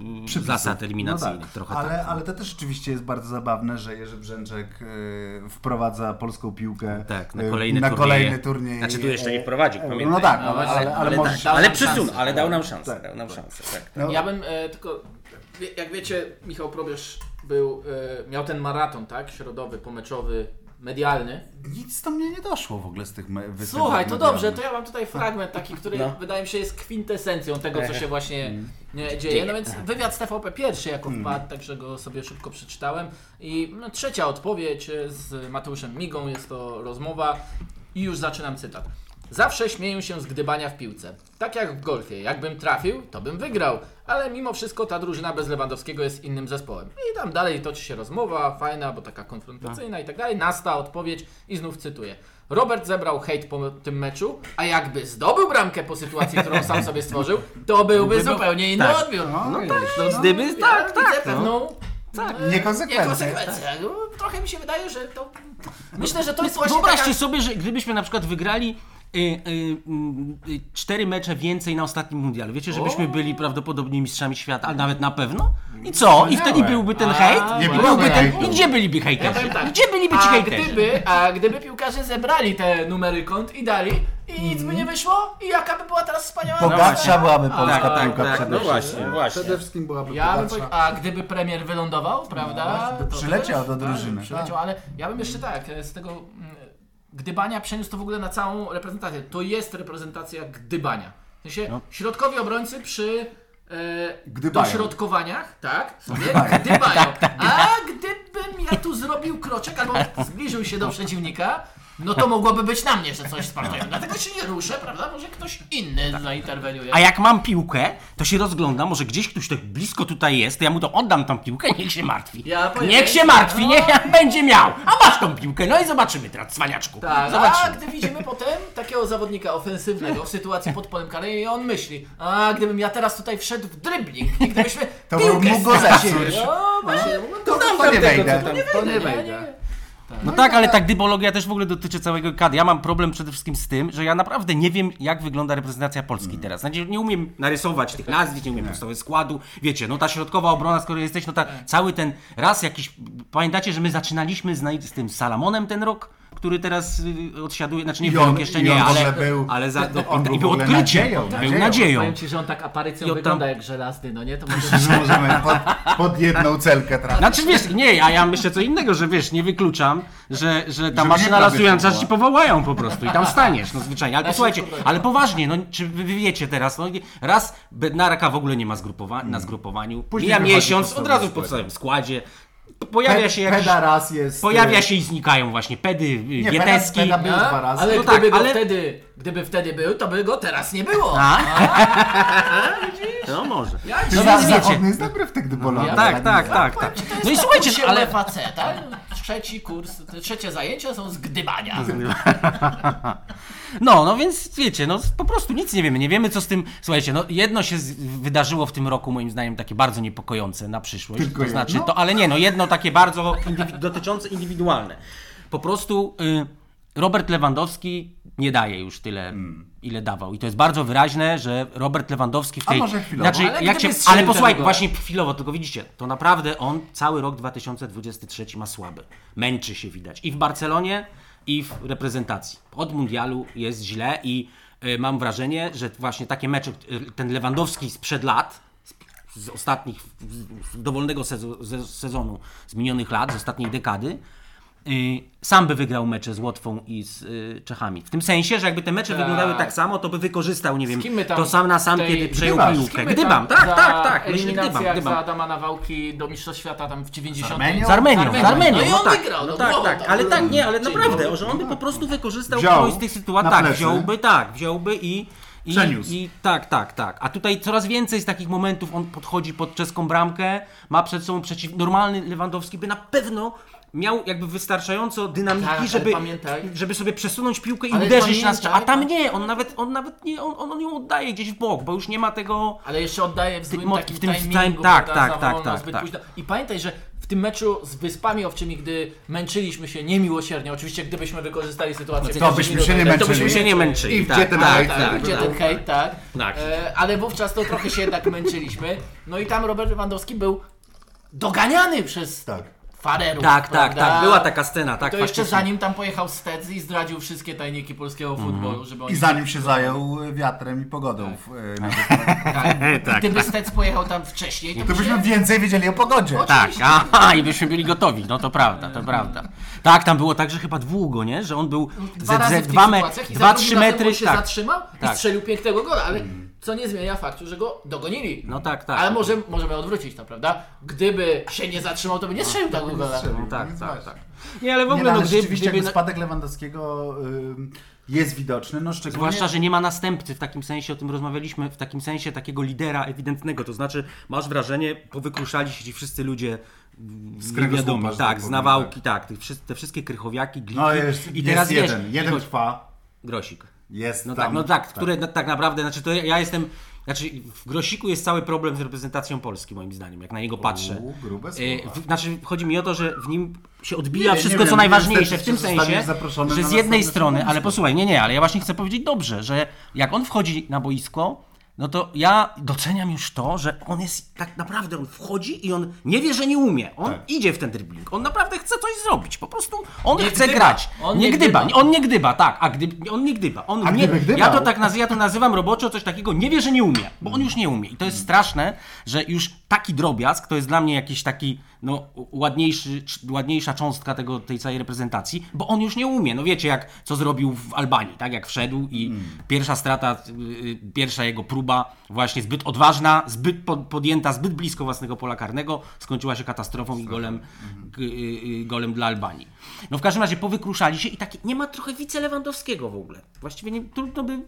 [SPEAKER 2] mm,
[SPEAKER 1] przypisów.
[SPEAKER 2] zasad eliminacyjnych
[SPEAKER 1] E, No tak,
[SPEAKER 2] trochę
[SPEAKER 1] ale,
[SPEAKER 2] tak.
[SPEAKER 1] ale to też rzeczywiście jest bardzo zabawne, że Jerzy Brzęczek y, wprowadza polską piłkę
[SPEAKER 2] Tak, na
[SPEAKER 1] y,
[SPEAKER 2] kolejny
[SPEAKER 1] na
[SPEAKER 2] turniej.
[SPEAKER 1] kolejny turniej.
[SPEAKER 2] Znaczy tu jeszcze
[SPEAKER 1] e,
[SPEAKER 2] nie wprowadził,
[SPEAKER 1] e,
[SPEAKER 2] pamiętaj.
[SPEAKER 1] No tak,
[SPEAKER 3] No,
[SPEAKER 1] ale,
[SPEAKER 3] ale-
[SPEAKER 1] ale, ale,
[SPEAKER 3] ale
[SPEAKER 1] możesz...
[SPEAKER 3] tak,
[SPEAKER 1] Tak,
[SPEAKER 3] dał
[SPEAKER 2] Ale
[SPEAKER 3] nam
[SPEAKER 2] przysunął,
[SPEAKER 3] szansę.
[SPEAKER 2] ale dał nam szansę,
[SPEAKER 1] Tak,
[SPEAKER 2] dał nam szansę. Tak, tak.
[SPEAKER 1] no,
[SPEAKER 3] Ja bym e, tylko, wie- jak wiecie, Michał Probierz był, e, miał ten maraton, tak? Środowy, pomeczowy, medialny.
[SPEAKER 1] Nic do mnie nie doszło w ogóle z tych me- wysyłek.
[SPEAKER 3] Słuchaj, to
[SPEAKER 1] medialnych.
[SPEAKER 3] dobrze, to ja mam tutaj fragment taki, który
[SPEAKER 2] No.
[SPEAKER 3] wydaje mi się jest kwintesencją tego, co się właśnie e, dzieje. No więc wywiad z TVP pierwszy jako wpadł, także go sobie szybko przeczytałem. I no, trzecia odpowiedź e, z Mateuszem Migą, jest to rozmowa i już zaczynam cytat. Zawsze śmieję się z gdybania w piłce. Tak jak w golfie. Jakbym trafił, to bym wygrał. Ale mimo wszystko ta drużyna bez Lewandowskiego jest innym zespołem. I tam dalej toczy się rozmowa, fajna, bo taka konfrontacyjna i tak dalej. Nasta odpowiedź i znów cytuję. Robert zebrał hejt po tym meczu, a jakby zdobył bramkę po sytuacji, którą sam sobie stworzył, to byłby
[SPEAKER 2] Byłby-
[SPEAKER 3] zupełnie inny
[SPEAKER 2] tak.
[SPEAKER 3] odbiór.
[SPEAKER 1] No, no
[SPEAKER 2] No,
[SPEAKER 1] tak,
[SPEAKER 2] gdyby, tak,
[SPEAKER 3] Ja
[SPEAKER 2] tak.
[SPEAKER 3] widzę pewną... Tak,
[SPEAKER 1] niekonsekwencję.
[SPEAKER 3] Trochę mi się wydaje, że to... Myślę, że to jest właśnie
[SPEAKER 2] Wyobraźcie
[SPEAKER 3] taka...
[SPEAKER 2] sobie, że gdybyśmy na przykład wygrali y, y, y, cztery mecze więcej na ostatnim mundialu. Wiecie, żebyśmy byli prawdopodobnie mistrzami świata, ale nawet na pewno. I co?
[SPEAKER 1] Wspaniałe.
[SPEAKER 2] I wtedy byłby ten
[SPEAKER 3] A,
[SPEAKER 2] hejt?
[SPEAKER 1] nie
[SPEAKER 2] byłby
[SPEAKER 1] byłoby
[SPEAKER 2] ten...
[SPEAKER 1] hejtu.
[SPEAKER 2] I gdzie byliby hejterzy?
[SPEAKER 3] powiem tak,
[SPEAKER 2] Gdzie byliby ci
[SPEAKER 3] A
[SPEAKER 2] hejterzy?
[SPEAKER 3] gdyby, a gdyby piłkarze zebrali te numery kont i dali i nic by nie wyszło i jaka by była teraz wspaniała
[SPEAKER 2] Mhm. Bogatsza
[SPEAKER 3] atmosfera?
[SPEAKER 1] byłaby polska
[SPEAKER 2] tak,
[SPEAKER 1] piłka
[SPEAKER 2] tak,
[SPEAKER 1] przede
[SPEAKER 2] no
[SPEAKER 1] wszystkim.
[SPEAKER 2] właśnie, właśnie.
[SPEAKER 1] Przede wszystkim byłaby
[SPEAKER 3] Ja bym
[SPEAKER 1] bogatsza.
[SPEAKER 3] powie- a gdyby premier wylądował, prawda?
[SPEAKER 1] No właśnie, by
[SPEAKER 3] to
[SPEAKER 1] przyleciał
[SPEAKER 3] też-
[SPEAKER 1] do drużyny,
[SPEAKER 3] tak, Przyleciał, ale ja bym jeszcze tak, e, z tego mm, gdybania przeniósł to w ogóle na całą reprezentację. To jest reprezentacja gdybania. W sensie
[SPEAKER 1] No.
[SPEAKER 3] środkowi obrońcy przy e,
[SPEAKER 1] Gdybają.
[SPEAKER 3] dośrodkowaniach, tak, sobie gdybają.
[SPEAKER 1] tak,
[SPEAKER 3] A gdybym ja tu zrobił kroczek albo zbliżył się do przeciwnika, no to mogłoby być na mnie, że coś spartują. Dlatego się nie ruszę, prawda? Może ktoś inny zainterweniuje.
[SPEAKER 2] A jak mam piłkę, to się rozglądam, może gdzieś ktoś tak blisko tutaj jest, to ja mu to oddam tą piłkę, niech się martwi.
[SPEAKER 3] Ja powiem- No.
[SPEAKER 2] niech się martwi, niech ja będzie miał. A masz tą piłkę, no i zobaczymy teraz, cwaniaczku.
[SPEAKER 3] Tak,
[SPEAKER 2] zobaczymy.
[SPEAKER 3] a gdy widzimy potem takiego zawodnika ofensywnego w sytuacji pod polem karnym i on myśli, a gdybym ja teraz tutaj wszedł w dribbling i gdybyśmy
[SPEAKER 1] To
[SPEAKER 3] piłkę
[SPEAKER 1] mógł go
[SPEAKER 3] stracili,
[SPEAKER 1] zepsuć.
[SPEAKER 3] no, właśnie,
[SPEAKER 1] To,
[SPEAKER 3] to
[SPEAKER 1] to nie wejdę.
[SPEAKER 3] nie
[SPEAKER 1] To
[SPEAKER 3] wejdę,
[SPEAKER 1] nie
[SPEAKER 3] nie, nie.
[SPEAKER 1] wejdę.
[SPEAKER 2] No tak, ale tak dybologia też w ogóle dotyczy całego kad. Ja mam problem przede wszystkim z tym, że ja naprawdę nie wiem, jak wygląda reprezentacja Polski
[SPEAKER 1] Mm.
[SPEAKER 2] teraz. Znaczy, nie umiem narysować tych nazwisk, nie umiem podstawowych składu. Wiecie, no ta środkowa obrona, skoro jesteś, no ta cały ten raz jakiś. Pamiętacie, że my zaczynaliśmy z, naj- z tym Salamonem ten rok? Który teraz y, odsiaduje, znaczy nie
[SPEAKER 1] I
[SPEAKER 2] wiem,
[SPEAKER 1] on-
[SPEAKER 2] jeszcze
[SPEAKER 1] i
[SPEAKER 2] nie,
[SPEAKER 1] on w ogóle
[SPEAKER 2] ale,
[SPEAKER 1] był-
[SPEAKER 2] ale za, no,
[SPEAKER 1] on
[SPEAKER 2] i
[SPEAKER 1] był w
[SPEAKER 2] był
[SPEAKER 1] ogóle
[SPEAKER 2] odkryciem,
[SPEAKER 1] nadzieją,
[SPEAKER 2] był
[SPEAKER 1] nadzieją.
[SPEAKER 2] nadzieją.
[SPEAKER 3] Powiem ci, że on tak aparycją
[SPEAKER 2] I od tam-
[SPEAKER 3] wygląda jak żelazny, no nie? To może
[SPEAKER 1] Że możemy pod, pod jedną celkę trafić.
[SPEAKER 2] Znaczy wiesz, nie, a ja myślę co innego, że wiesz, nie wykluczam, że, że ta
[SPEAKER 1] Że
[SPEAKER 2] maszyna
[SPEAKER 1] nie
[SPEAKER 2] lasująca, że
[SPEAKER 1] wyszła.
[SPEAKER 2] ci powołają po prostu i tam staniesz, no zwyczajnie. Ale
[SPEAKER 3] Ja się
[SPEAKER 2] posłuchajcie,
[SPEAKER 3] zgadzam.
[SPEAKER 2] ale poważnie, no czy wy wy wiecie teraz, no raz Bednaraka w ogóle nie ma zgrupowa- na zgrupowaniu,
[SPEAKER 1] Hmm. Później
[SPEAKER 2] mija
[SPEAKER 1] wychodzi
[SPEAKER 2] miesiąc,
[SPEAKER 1] podstawowy
[SPEAKER 2] od razu w
[SPEAKER 1] skład.
[SPEAKER 2] podstawowym składzie, P- pojawia się jakiś...
[SPEAKER 1] Peda raz jest... y,
[SPEAKER 2] Pojawia się i znikają właśnie pedy, y,
[SPEAKER 1] Nie,
[SPEAKER 2] nie,
[SPEAKER 1] Peda-
[SPEAKER 2] wieteski.
[SPEAKER 1] Peda był
[SPEAKER 3] A?
[SPEAKER 1] dwa razy.
[SPEAKER 3] Ale
[SPEAKER 2] No
[SPEAKER 3] gdyby,
[SPEAKER 2] tak,
[SPEAKER 3] go
[SPEAKER 2] ale-
[SPEAKER 3] Wtedy, gdyby wtedy był, to by go teraz nie było.
[SPEAKER 2] A? No może.
[SPEAKER 3] Ja
[SPEAKER 1] No,
[SPEAKER 3] dzisiaj
[SPEAKER 2] więc wiecie.
[SPEAKER 1] zachodny jest dobry w tych dybologach.
[SPEAKER 3] No,
[SPEAKER 2] Tak, tak, tak, tak. No i słuchajcie,
[SPEAKER 3] kursie
[SPEAKER 2] no, ale
[SPEAKER 3] faceta. tak? Trzeci kurs, te trzecie zajęcia są z gdybania.
[SPEAKER 2] No, no więc wiecie, no po prostu nic nie wiemy. Nie wiemy, co z tym. Słuchajcie, no jedno się z... wydarzyło w tym roku, moim zdaniem, takie bardzo niepokojące na przyszłość.
[SPEAKER 1] Tylko
[SPEAKER 2] to znaczy,
[SPEAKER 1] jedno?
[SPEAKER 2] to, ale nie, no jedno takie bardzo indywi- dotyczące indywidualne. Po prostu y, Robert Lewandowski nie daje już tyle.
[SPEAKER 1] Mm.
[SPEAKER 2] Ile dawał. I to jest bardzo wyraźne, że Robert Lewandowski w
[SPEAKER 1] A
[SPEAKER 2] tej.
[SPEAKER 1] może chwilowo.
[SPEAKER 2] Znaczy,
[SPEAKER 3] Ale
[SPEAKER 2] ale, jak
[SPEAKER 3] gdyby
[SPEAKER 2] się,
[SPEAKER 3] strzelił
[SPEAKER 2] ale posłuchaj,
[SPEAKER 3] tego gola.
[SPEAKER 2] właśnie chwilowo, tylko widzicie, to naprawdę on cały rok 2023 ma słaby. Męczy się widać. I w Barcelonie, i w reprezentacji. Od mundialu jest źle i y, mam wrażenie, że właśnie takie mecze, y, ten Lewandowski sprzed lat, z ostatnich, z- z dowolnego sezo- ze- sezonu, z minionych lat, z ostatniej dekady, y, sam by wygrał mecze z Łotwą i z y, Czechami. W tym sensie, że jakby te mecze
[SPEAKER 3] Tak.
[SPEAKER 2] wyglądały tak samo, to by wykorzystał, nie wiem,
[SPEAKER 3] kim my tam
[SPEAKER 2] to sam na sam,
[SPEAKER 3] tej-
[SPEAKER 2] kiedy przejął
[SPEAKER 1] Gdybasz.
[SPEAKER 2] piłkę.
[SPEAKER 3] my
[SPEAKER 2] Gdybam,
[SPEAKER 3] tam
[SPEAKER 2] tak,
[SPEAKER 3] za
[SPEAKER 2] tak, tak, myślę, gdybam,
[SPEAKER 3] Eliminacjach za
[SPEAKER 2] gdybam.
[SPEAKER 3] Adama Nawałki do Mistrzostw Świata tam w 90.
[SPEAKER 1] Armenią?
[SPEAKER 2] Z Armenią, z Armenią,
[SPEAKER 3] No i
[SPEAKER 2] no
[SPEAKER 3] on
[SPEAKER 2] tak,
[SPEAKER 3] wygrał,
[SPEAKER 2] no
[SPEAKER 3] no
[SPEAKER 2] tak,
[SPEAKER 3] było
[SPEAKER 2] tak,
[SPEAKER 3] tam.
[SPEAKER 2] ale tak, nie, ale
[SPEAKER 3] Dzień
[SPEAKER 2] naprawdę,
[SPEAKER 3] dobry.
[SPEAKER 2] że on by po prostu wykorzystał
[SPEAKER 1] Wziął
[SPEAKER 2] którąś z tych sytuacji,
[SPEAKER 1] na
[SPEAKER 2] tak,
[SPEAKER 1] plecy.
[SPEAKER 2] wziąłby, tak, wziąłby i... I,
[SPEAKER 1] Przeniósł.
[SPEAKER 2] I tak, tak, tak. A tutaj coraz więcej z takich momentów on podchodzi pod czeską bramkę, ma przed sobą przeciw... Normalny Lewandowski by na pewno miał jakby wystarczająco dynamiki,
[SPEAKER 3] Tak, ale
[SPEAKER 2] żeby,
[SPEAKER 3] pamiętaj-
[SPEAKER 2] żeby sobie przesunąć piłkę i
[SPEAKER 3] Ale
[SPEAKER 2] uderzyć na strzał. A
[SPEAKER 3] pamiętaj-
[SPEAKER 2] tam nie, on nawet, on nawet nie, on, on, on ją oddaje gdzieś w bok, bo już nie ma tego...
[SPEAKER 3] Ale jeszcze oddaje w
[SPEAKER 2] Ty-
[SPEAKER 3] złym
[SPEAKER 2] mo-
[SPEAKER 3] takim
[SPEAKER 2] w tym
[SPEAKER 3] timingu,
[SPEAKER 2] time- tak,
[SPEAKER 3] prawda,
[SPEAKER 2] tak,
[SPEAKER 3] za
[SPEAKER 2] tak,
[SPEAKER 3] wolno,
[SPEAKER 2] tak,
[SPEAKER 3] zbyt
[SPEAKER 2] tak.
[SPEAKER 3] późno. I pamiętaj, że w tym meczu z Wyspami Owczymi, gdy męczyliśmy się niemiłosiernie, oczywiście gdybyśmy wykorzystali sytuację...
[SPEAKER 1] To byśmy się nie
[SPEAKER 3] To
[SPEAKER 2] To
[SPEAKER 1] męczyli.
[SPEAKER 2] byśmy się nie męczyli.
[SPEAKER 1] I gdzie ten
[SPEAKER 2] tak,
[SPEAKER 1] hejt?
[SPEAKER 2] tak,
[SPEAKER 3] tak,
[SPEAKER 2] tak,
[SPEAKER 3] gdzie
[SPEAKER 2] tak.
[SPEAKER 3] ten hejt, tak.
[SPEAKER 2] Tak.
[SPEAKER 3] E, ale wówczas to trochę się jednak męczyliśmy. No i tam Robert Lewandowski był doganiany przez
[SPEAKER 1] Tak.
[SPEAKER 3] farerów.
[SPEAKER 2] Tak, tak,
[SPEAKER 3] prawda?
[SPEAKER 2] tak. Była taka scena, tak.
[SPEAKER 3] To jeszcze
[SPEAKER 2] faktycznie. Mhm.
[SPEAKER 3] zanim tam pojechał Stec i zdradził wszystkie tajniki polskiego futbolu, żeby oni...
[SPEAKER 1] I zanim się zajął e, wiatrem i pogodą. W, e, na
[SPEAKER 3] tak.
[SPEAKER 2] tak, No
[SPEAKER 3] Gdyby Stec pojechał tam wcześniej, to,
[SPEAKER 1] to byśmy więcej wiedzieli o pogodzie.
[SPEAKER 2] Tak, aha, i byśmy byli gotowi, no to prawda, to prawda. Tak, tam było tak, że chyba długo, nie? Że on był
[SPEAKER 3] No, dwa
[SPEAKER 2] ze,
[SPEAKER 3] razy
[SPEAKER 2] ze
[SPEAKER 3] w tych
[SPEAKER 2] dwa, me,
[SPEAKER 3] sytuacjach i za
[SPEAKER 2] dwa
[SPEAKER 3] drugim
[SPEAKER 2] trzy
[SPEAKER 3] razem
[SPEAKER 2] metry,
[SPEAKER 3] on się
[SPEAKER 2] tak.
[SPEAKER 3] zatrzymał i
[SPEAKER 2] Tak. Mm.
[SPEAKER 3] strzelił pięknego gola, ale co nie zmienia faktu, że go dogonili.
[SPEAKER 2] No tak, tak.
[SPEAKER 3] Ale może, możemy odwrócić to, prawda? Gdyby się nie zatrzymał, to by nie strzelił tego gola.
[SPEAKER 1] Strzelił,
[SPEAKER 2] Tak,
[SPEAKER 3] No
[SPEAKER 1] więc
[SPEAKER 2] tak,
[SPEAKER 1] właśnie.
[SPEAKER 2] tak. Nie, ale w
[SPEAKER 1] Nie,
[SPEAKER 2] ogóle,
[SPEAKER 1] no,
[SPEAKER 2] no
[SPEAKER 1] ale
[SPEAKER 2] gdyby,
[SPEAKER 1] rzeczywiście
[SPEAKER 2] gdyby
[SPEAKER 1] jakby spadek Lewandowskiego ym, jest widoczny, no szczególnie...
[SPEAKER 2] Zwłaszcza, że nie ma następcy w takim sensie, o tym rozmawialiśmy, w takim sensie takiego lidera ewidentnego, to znaczy masz wrażenie, powykruszali się ci wszyscy ludzie mm,
[SPEAKER 1] Z kręgosłupa,
[SPEAKER 2] niewiadomi,
[SPEAKER 1] że tak
[SPEAKER 2] tak, z
[SPEAKER 1] powiem,
[SPEAKER 2] nawałki, tak, tych wszy- te wszystkie krychowiaki, gliki
[SPEAKER 1] No jest,
[SPEAKER 2] i teraz
[SPEAKER 1] jest
[SPEAKER 2] wiesz,
[SPEAKER 1] jeden, jeden trwa,
[SPEAKER 2] Grosik.
[SPEAKER 1] jest
[SPEAKER 2] No
[SPEAKER 1] tam.
[SPEAKER 2] tak, no tak, które na- tak naprawdę, znaczy to ja- ja jestem, znaczy w Grosiku jest cały problem z reprezentacją Polski moim zdaniem, jak na niego patrzę.
[SPEAKER 1] U, grube
[SPEAKER 2] E,
[SPEAKER 1] słowa.
[SPEAKER 2] w, znaczy chodzi mi o to, że w nim się
[SPEAKER 1] Nie,
[SPEAKER 2] odbija
[SPEAKER 1] nie
[SPEAKER 2] wszystko
[SPEAKER 1] wiem,
[SPEAKER 2] co
[SPEAKER 1] nie
[SPEAKER 2] najważniejsze
[SPEAKER 1] wystarczy,
[SPEAKER 2] w tym
[SPEAKER 1] że zostaniesz
[SPEAKER 2] sensie,
[SPEAKER 1] zaproszony
[SPEAKER 2] że
[SPEAKER 1] na
[SPEAKER 2] z jednej
[SPEAKER 1] następne
[SPEAKER 2] strony, ale
[SPEAKER 1] stanowisko.
[SPEAKER 2] posłuchaj, nie, nie, ale ja właśnie chcę powiedzieć dobrze, że jak on wchodzi na boisko, no to ja doceniam już to, że on jest tak naprawdę, on wchodzi i on nie wie, że nie umie. On
[SPEAKER 1] Tak.
[SPEAKER 2] idzie w ten dribbling, on naprawdę chce coś zrobić, po prostu on
[SPEAKER 3] Nie
[SPEAKER 2] chce
[SPEAKER 3] gdyba,
[SPEAKER 2] grać.
[SPEAKER 3] on
[SPEAKER 2] nie
[SPEAKER 3] nie
[SPEAKER 2] gdyba,
[SPEAKER 3] gdyba.
[SPEAKER 2] on nie gdyba, tak, a gdy, on nie gdyba. On
[SPEAKER 1] A
[SPEAKER 2] nie,
[SPEAKER 1] gdyby gdybał.
[SPEAKER 2] ja to tak naz, ja to nazywam roboczo coś takiego, nie wie, że nie umie, bo on już nie umie. I to jest straszne, że już taki drobiazg, to jest dla mnie jakiś taki no, ładniejszy, cz- ładniejsza cząstka tego, tej całej reprezentacji, bo on już nie umie. No wiecie, jak co zrobił w Albanii, tak? Jak wszedł i pierwsza strata, y, y, pierwsza jego próba, właśnie zbyt odważna, zbyt pod, podjęta, zbyt blisko własnego pola karnego, skończyła się katastrofą i golem, g- y, y, golem dla Albanii. No w każdym razie powykruszali się i taki, nie ma trochę wice Lewandowskiego w ogóle. Właściwie nie, trudno by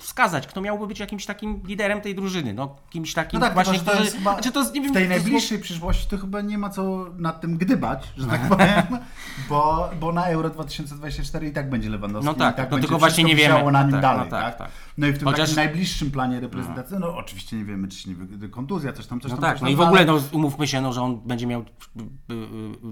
[SPEAKER 2] wskazać, kto miałby być jakimś takim liderem tej drużyny, no kimś takim
[SPEAKER 1] No tak,
[SPEAKER 2] właśnie,
[SPEAKER 1] tylko, że to
[SPEAKER 2] który-
[SPEAKER 1] jest chyba
[SPEAKER 2] znaczy, to jest, nie wiem,
[SPEAKER 1] w tej
[SPEAKER 2] to jest-
[SPEAKER 1] najbliższej przyszłości to chyba nie ma co nad tym gdybać, że tak powiem, bo, bo na Euro 2024 i tak będzie Lewandowski,
[SPEAKER 2] No tak,
[SPEAKER 1] i tak
[SPEAKER 2] no
[SPEAKER 1] będzie
[SPEAKER 2] tylko właśnie
[SPEAKER 1] wszystko
[SPEAKER 2] nie wiemy.
[SPEAKER 1] wisiało na
[SPEAKER 2] No
[SPEAKER 1] nim
[SPEAKER 2] tak,
[SPEAKER 1] dalej,
[SPEAKER 2] no tak,
[SPEAKER 1] tak,
[SPEAKER 2] tak.
[SPEAKER 1] No i w tym
[SPEAKER 2] Chociaż-
[SPEAKER 1] takim najbliższym planie reprezentacji, no oczywiście nie wiemy, czy się nie wy... kontuzja, coś tam, coś
[SPEAKER 2] No
[SPEAKER 1] tam.
[SPEAKER 2] tak,
[SPEAKER 1] coś
[SPEAKER 2] no
[SPEAKER 1] tam,
[SPEAKER 2] i w ogóle
[SPEAKER 1] ale-
[SPEAKER 2] no, umówmy się, no, że on będzie miał y, y, y,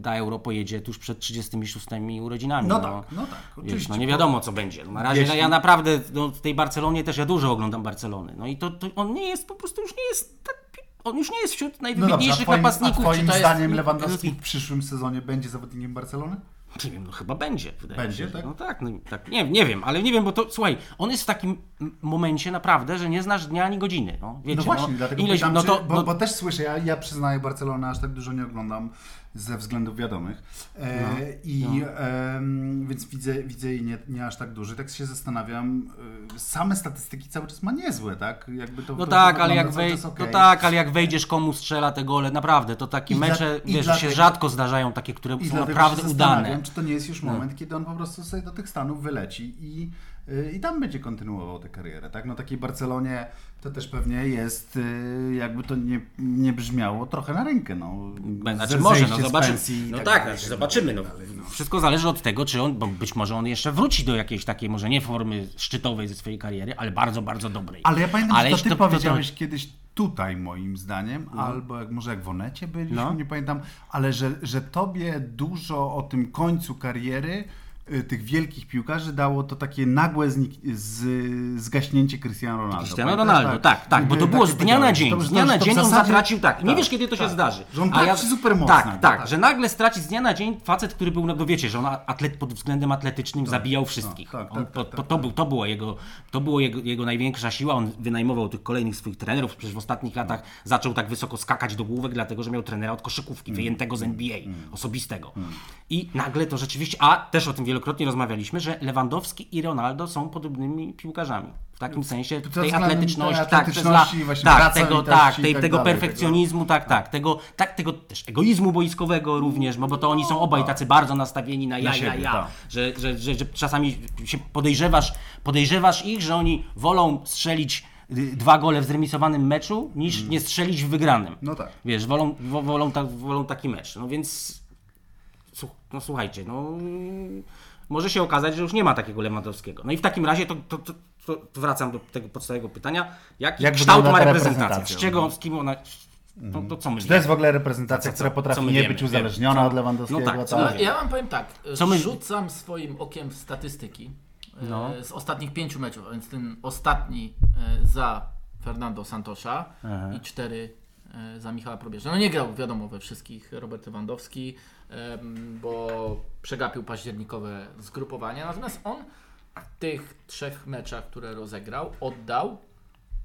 [SPEAKER 2] na euro pojedzie tuż przed 36 urodzinami.
[SPEAKER 1] No tak, no tak,
[SPEAKER 2] Wiesz,
[SPEAKER 1] oczywiście.
[SPEAKER 2] no nie wiadomo co będzie. No, na razie
[SPEAKER 1] Jeśli-
[SPEAKER 2] ja naprawdę no, w tej Barcelonie też ja dużo oglądam Barcelony. No i to, to on nie jest po prostu już nie jest tak, on już nie jest wśród
[SPEAKER 1] No dobrze, a
[SPEAKER 2] najwybitniejszych
[SPEAKER 1] twoim, a
[SPEAKER 2] napastników.
[SPEAKER 1] twoim
[SPEAKER 2] czy to jest-
[SPEAKER 1] zdaniem Lewandowski w przyszłym sezonie będzie zawodnikiem Barcelony?
[SPEAKER 2] Nie wiem, no chyba będzie. Wydaje
[SPEAKER 1] Będzie,
[SPEAKER 2] mi się, że-
[SPEAKER 1] tak?
[SPEAKER 2] No tak, no, tak. Nie, nie wiem, ale nie wiem, bo to słuchaj, on jest w takim m- momencie naprawdę, że nie znasz dnia ani godziny. No, wiecie,
[SPEAKER 1] no właśnie, dlatego
[SPEAKER 2] ileś-
[SPEAKER 1] pytam,
[SPEAKER 2] no
[SPEAKER 1] czy,
[SPEAKER 2] to,
[SPEAKER 1] bo,
[SPEAKER 2] no,
[SPEAKER 1] bo też słyszę, ja, ja przyznaję Barcelonę, aż tak dużo nie oglądam ze względów wiadomych.
[SPEAKER 2] No,
[SPEAKER 1] E, I em, więc widzę, widzę jej nie, nie aż tak dużo. Tak się zastanawiam, e, same statystyki cały czas ma niezłe, tak? Jakby to,
[SPEAKER 2] No
[SPEAKER 1] to
[SPEAKER 2] tak,
[SPEAKER 1] wygląda
[SPEAKER 2] ale jak
[SPEAKER 1] cały
[SPEAKER 2] wej-
[SPEAKER 1] czas okej.
[SPEAKER 2] no tak, ale jak wejdziesz komu strzela te gole, naprawdę, to takie
[SPEAKER 1] I dla-
[SPEAKER 2] mecze,
[SPEAKER 1] i
[SPEAKER 2] wiesz,
[SPEAKER 1] dlatego-
[SPEAKER 2] się rzadko zdarzają takie, które
[SPEAKER 1] I
[SPEAKER 2] są
[SPEAKER 1] dlatego
[SPEAKER 2] naprawdę
[SPEAKER 1] się
[SPEAKER 2] udane. No.
[SPEAKER 1] zastanawiam, Czy to nie jest już moment, kiedy on po prostu sobie do tych Stanów wyleci i, y, i tam będzie kontynuował tę karierę, tak? No takiej Barcelonie to też pewnie jest, y, jakby to nie, nie brzmiało, trochę na rękę, no.
[SPEAKER 2] Znaczy
[SPEAKER 1] Ze-
[SPEAKER 2] może,
[SPEAKER 1] zejście
[SPEAKER 2] no
[SPEAKER 1] z
[SPEAKER 2] zobaczymy.
[SPEAKER 1] pensji i
[SPEAKER 2] No tak,
[SPEAKER 1] dalej,
[SPEAKER 2] znaczy,
[SPEAKER 1] i
[SPEAKER 2] zobaczymy. No.
[SPEAKER 1] dalej, no.
[SPEAKER 2] Wszystko zależy od tego, czy on, bo być może on jeszcze wróci do jakiejś takiej, może nie formy szczytowej ze swojej kariery, ale bardzo, bardzo dobrej.
[SPEAKER 1] Ale ja pamiętam,
[SPEAKER 2] Ale
[SPEAKER 1] że to
[SPEAKER 2] jeśli
[SPEAKER 1] ty
[SPEAKER 2] to- to- to-
[SPEAKER 1] powiedziałeś kiedyś tutaj moim zdaniem, albo jak, może jak w Onecie byliśmy,
[SPEAKER 2] No.
[SPEAKER 1] nie pamiętam, ale że, że tobie dużo o tym końcu kariery y, tych wielkich piłkarzy dało to takie nagłe znik- z, zgaśnięcie Cristiano Ronaldo.
[SPEAKER 2] Cristiano
[SPEAKER 1] Pamiętasz?
[SPEAKER 2] Ronaldo, tak, tak, bo
[SPEAKER 1] Y,
[SPEAKER 2] to było z
[SPEAKER 1] takie
[SPEAKER 2] dnia na
[SPEAKER 1] powiedziałeś.
[SPEAKER 2] dzień.
[SPEAKER 1] To-
[SPEAKER 2] Z
[SPEAKER 1] to-
[SPEAKER 2] dnia na
[SPEAKER 1] to w
[SPEAKER 2] dzień on
[SPEAKER 1] zasadzie-
[SPEAKER 2] zatracił, tak, i nie wiesz kiedy to się zdarzy.
[SPEAKER 1] Że on
[SPEAKER 2] A
[SPEAKER 1] traci supermoc nagle,
[SPEAKER 2] Tak,
[SPEAKER 1] tak.
[SPEAKER 2] tak, że nagle straci z dnia na dzień facet, który był, no no wiecie, że on atlet pod względem atletycznym zabijał wszystkich.
[SPEAKER 1] tak, tak,
[SPEAKER 2] On-
[SPEAKER 1] tak,
[SPEAKER 2] to-
[SPEAKER 1] tak,
[SPEAKER 2] to- To był- to była jego- to było jego, jego największa siła, on wynajmował tych kolejnych swoich trenerów, przecież w ostatnich
[SPEAKER 1] No.
[SPEAKER 2] latach zaczął tak wysoko skakać do główek, dlatego że miał trenera od
[SPEAKER 1] Mm,
[SPEAKER 2] koszykówki, wyjętego z NBA, osobistego. I nagle to rzeczywiście, a też o tym wielokrotnie rozmawialiśmy, że Lewandowski i Ronaldo są podobnymi piłkarzami. W takim sensie
[SPEAKER 1] Pod
[SPEAKER 2] tej
[SPEAKER 1] względem tej
[SPEAKER 2] atletyczności, tak, przez
[SPEAKER 1] atletyczności
[SPEAKER 2] lat-
[SPEAKER 1] właśnie
[SPEAKER 2] tak,
[SPEAKER 1] wracam
[SPEAKER 2] tego,
[SPEAKER 1] i też
[SPEAKER 2] tak,
[SPEAKER 1] i
[SPEAKER 2] tej,
[SPEAKER 1] tak
[SPEAKER 2] tego
[SPEAKER 1] dalej, tego-
[SPEAKER 2] perfekcjonizmu, tak, tak, tego, tak, tego też egoizmu boiskowego również, no bo to oni są obaj tacy bardzo nastawieni na ja, ja,
[SPEAKER 1] tak. siebie,
[SPEAKER 2] ja,
[SPEAKER 1] tak.
[SPEAKER 2] że, że, że, że czasami się podejrzewasz, podejrzewasz ich, że oni wolą strzelić y, dwa gole w zremisowanym meczu, niż nie strzelić w wygranym.
[SPEAKER 1] Mm. No tak.
[SPEAKER 2] Wiesz, wolą, wo- wolą, ta, wolą taki mecz, no więc Słuch- no słuchajcie, no może się okazać, że już nie ma takiego Lewandowskiego. No i w takim razie to, to, to, to wracam do tego podstawowego pytania. Jaki
[SPEAKER 1] Jak
[SPEAKER 2] kształt
[SPEAKER 1] wygląda
[SPEAKER 2] ma
[SPEAKER 1] ta
[SPEAKER 2] reprezentacja?
[SPEAKER 1] reprezentacja? Mhm.
[SPEAKER 2] Z czego, z kim ona... To, to co my
[SPEAKER 1] Czy to jest w
[SPEAKER 2] wiemy?
[SPEAKER 1] ogóle reprezentacja, która
[SPEAKER 2] co
[SPEAKER 1] potrafi
[SPEAKER 2] my
[SPEAKER 1] nie
[SPEAKER 2] wiemy?
[SPEAKER 1] być uzależniona
[SPEAKER 2] Co-
[SPEAKER 1] od Lewandowskiego?
[SPEAKER 2] no tak, co
[SPEAKER 1] tak?
[SPEAKER 2] my
[SPEAKER 3] Ja wam powiem tak,
[SPEAKER 2] Co my-
[SPEAKER 3] rzucam swoim okiem w statystyki e,
[SPEAKER 2] No.
[SPEAKER 3] z ostatnich pięciu meczów, a więc ten ostatni e, za Fernando Santosza i cztery e, za Michała Probierza. No nie grał wiadomo we wszystkich Robert Lewandowski, em, bo przegapił październikowe zgrupowania, natomiast on w tych trzech meczach, które rozegrał, oddał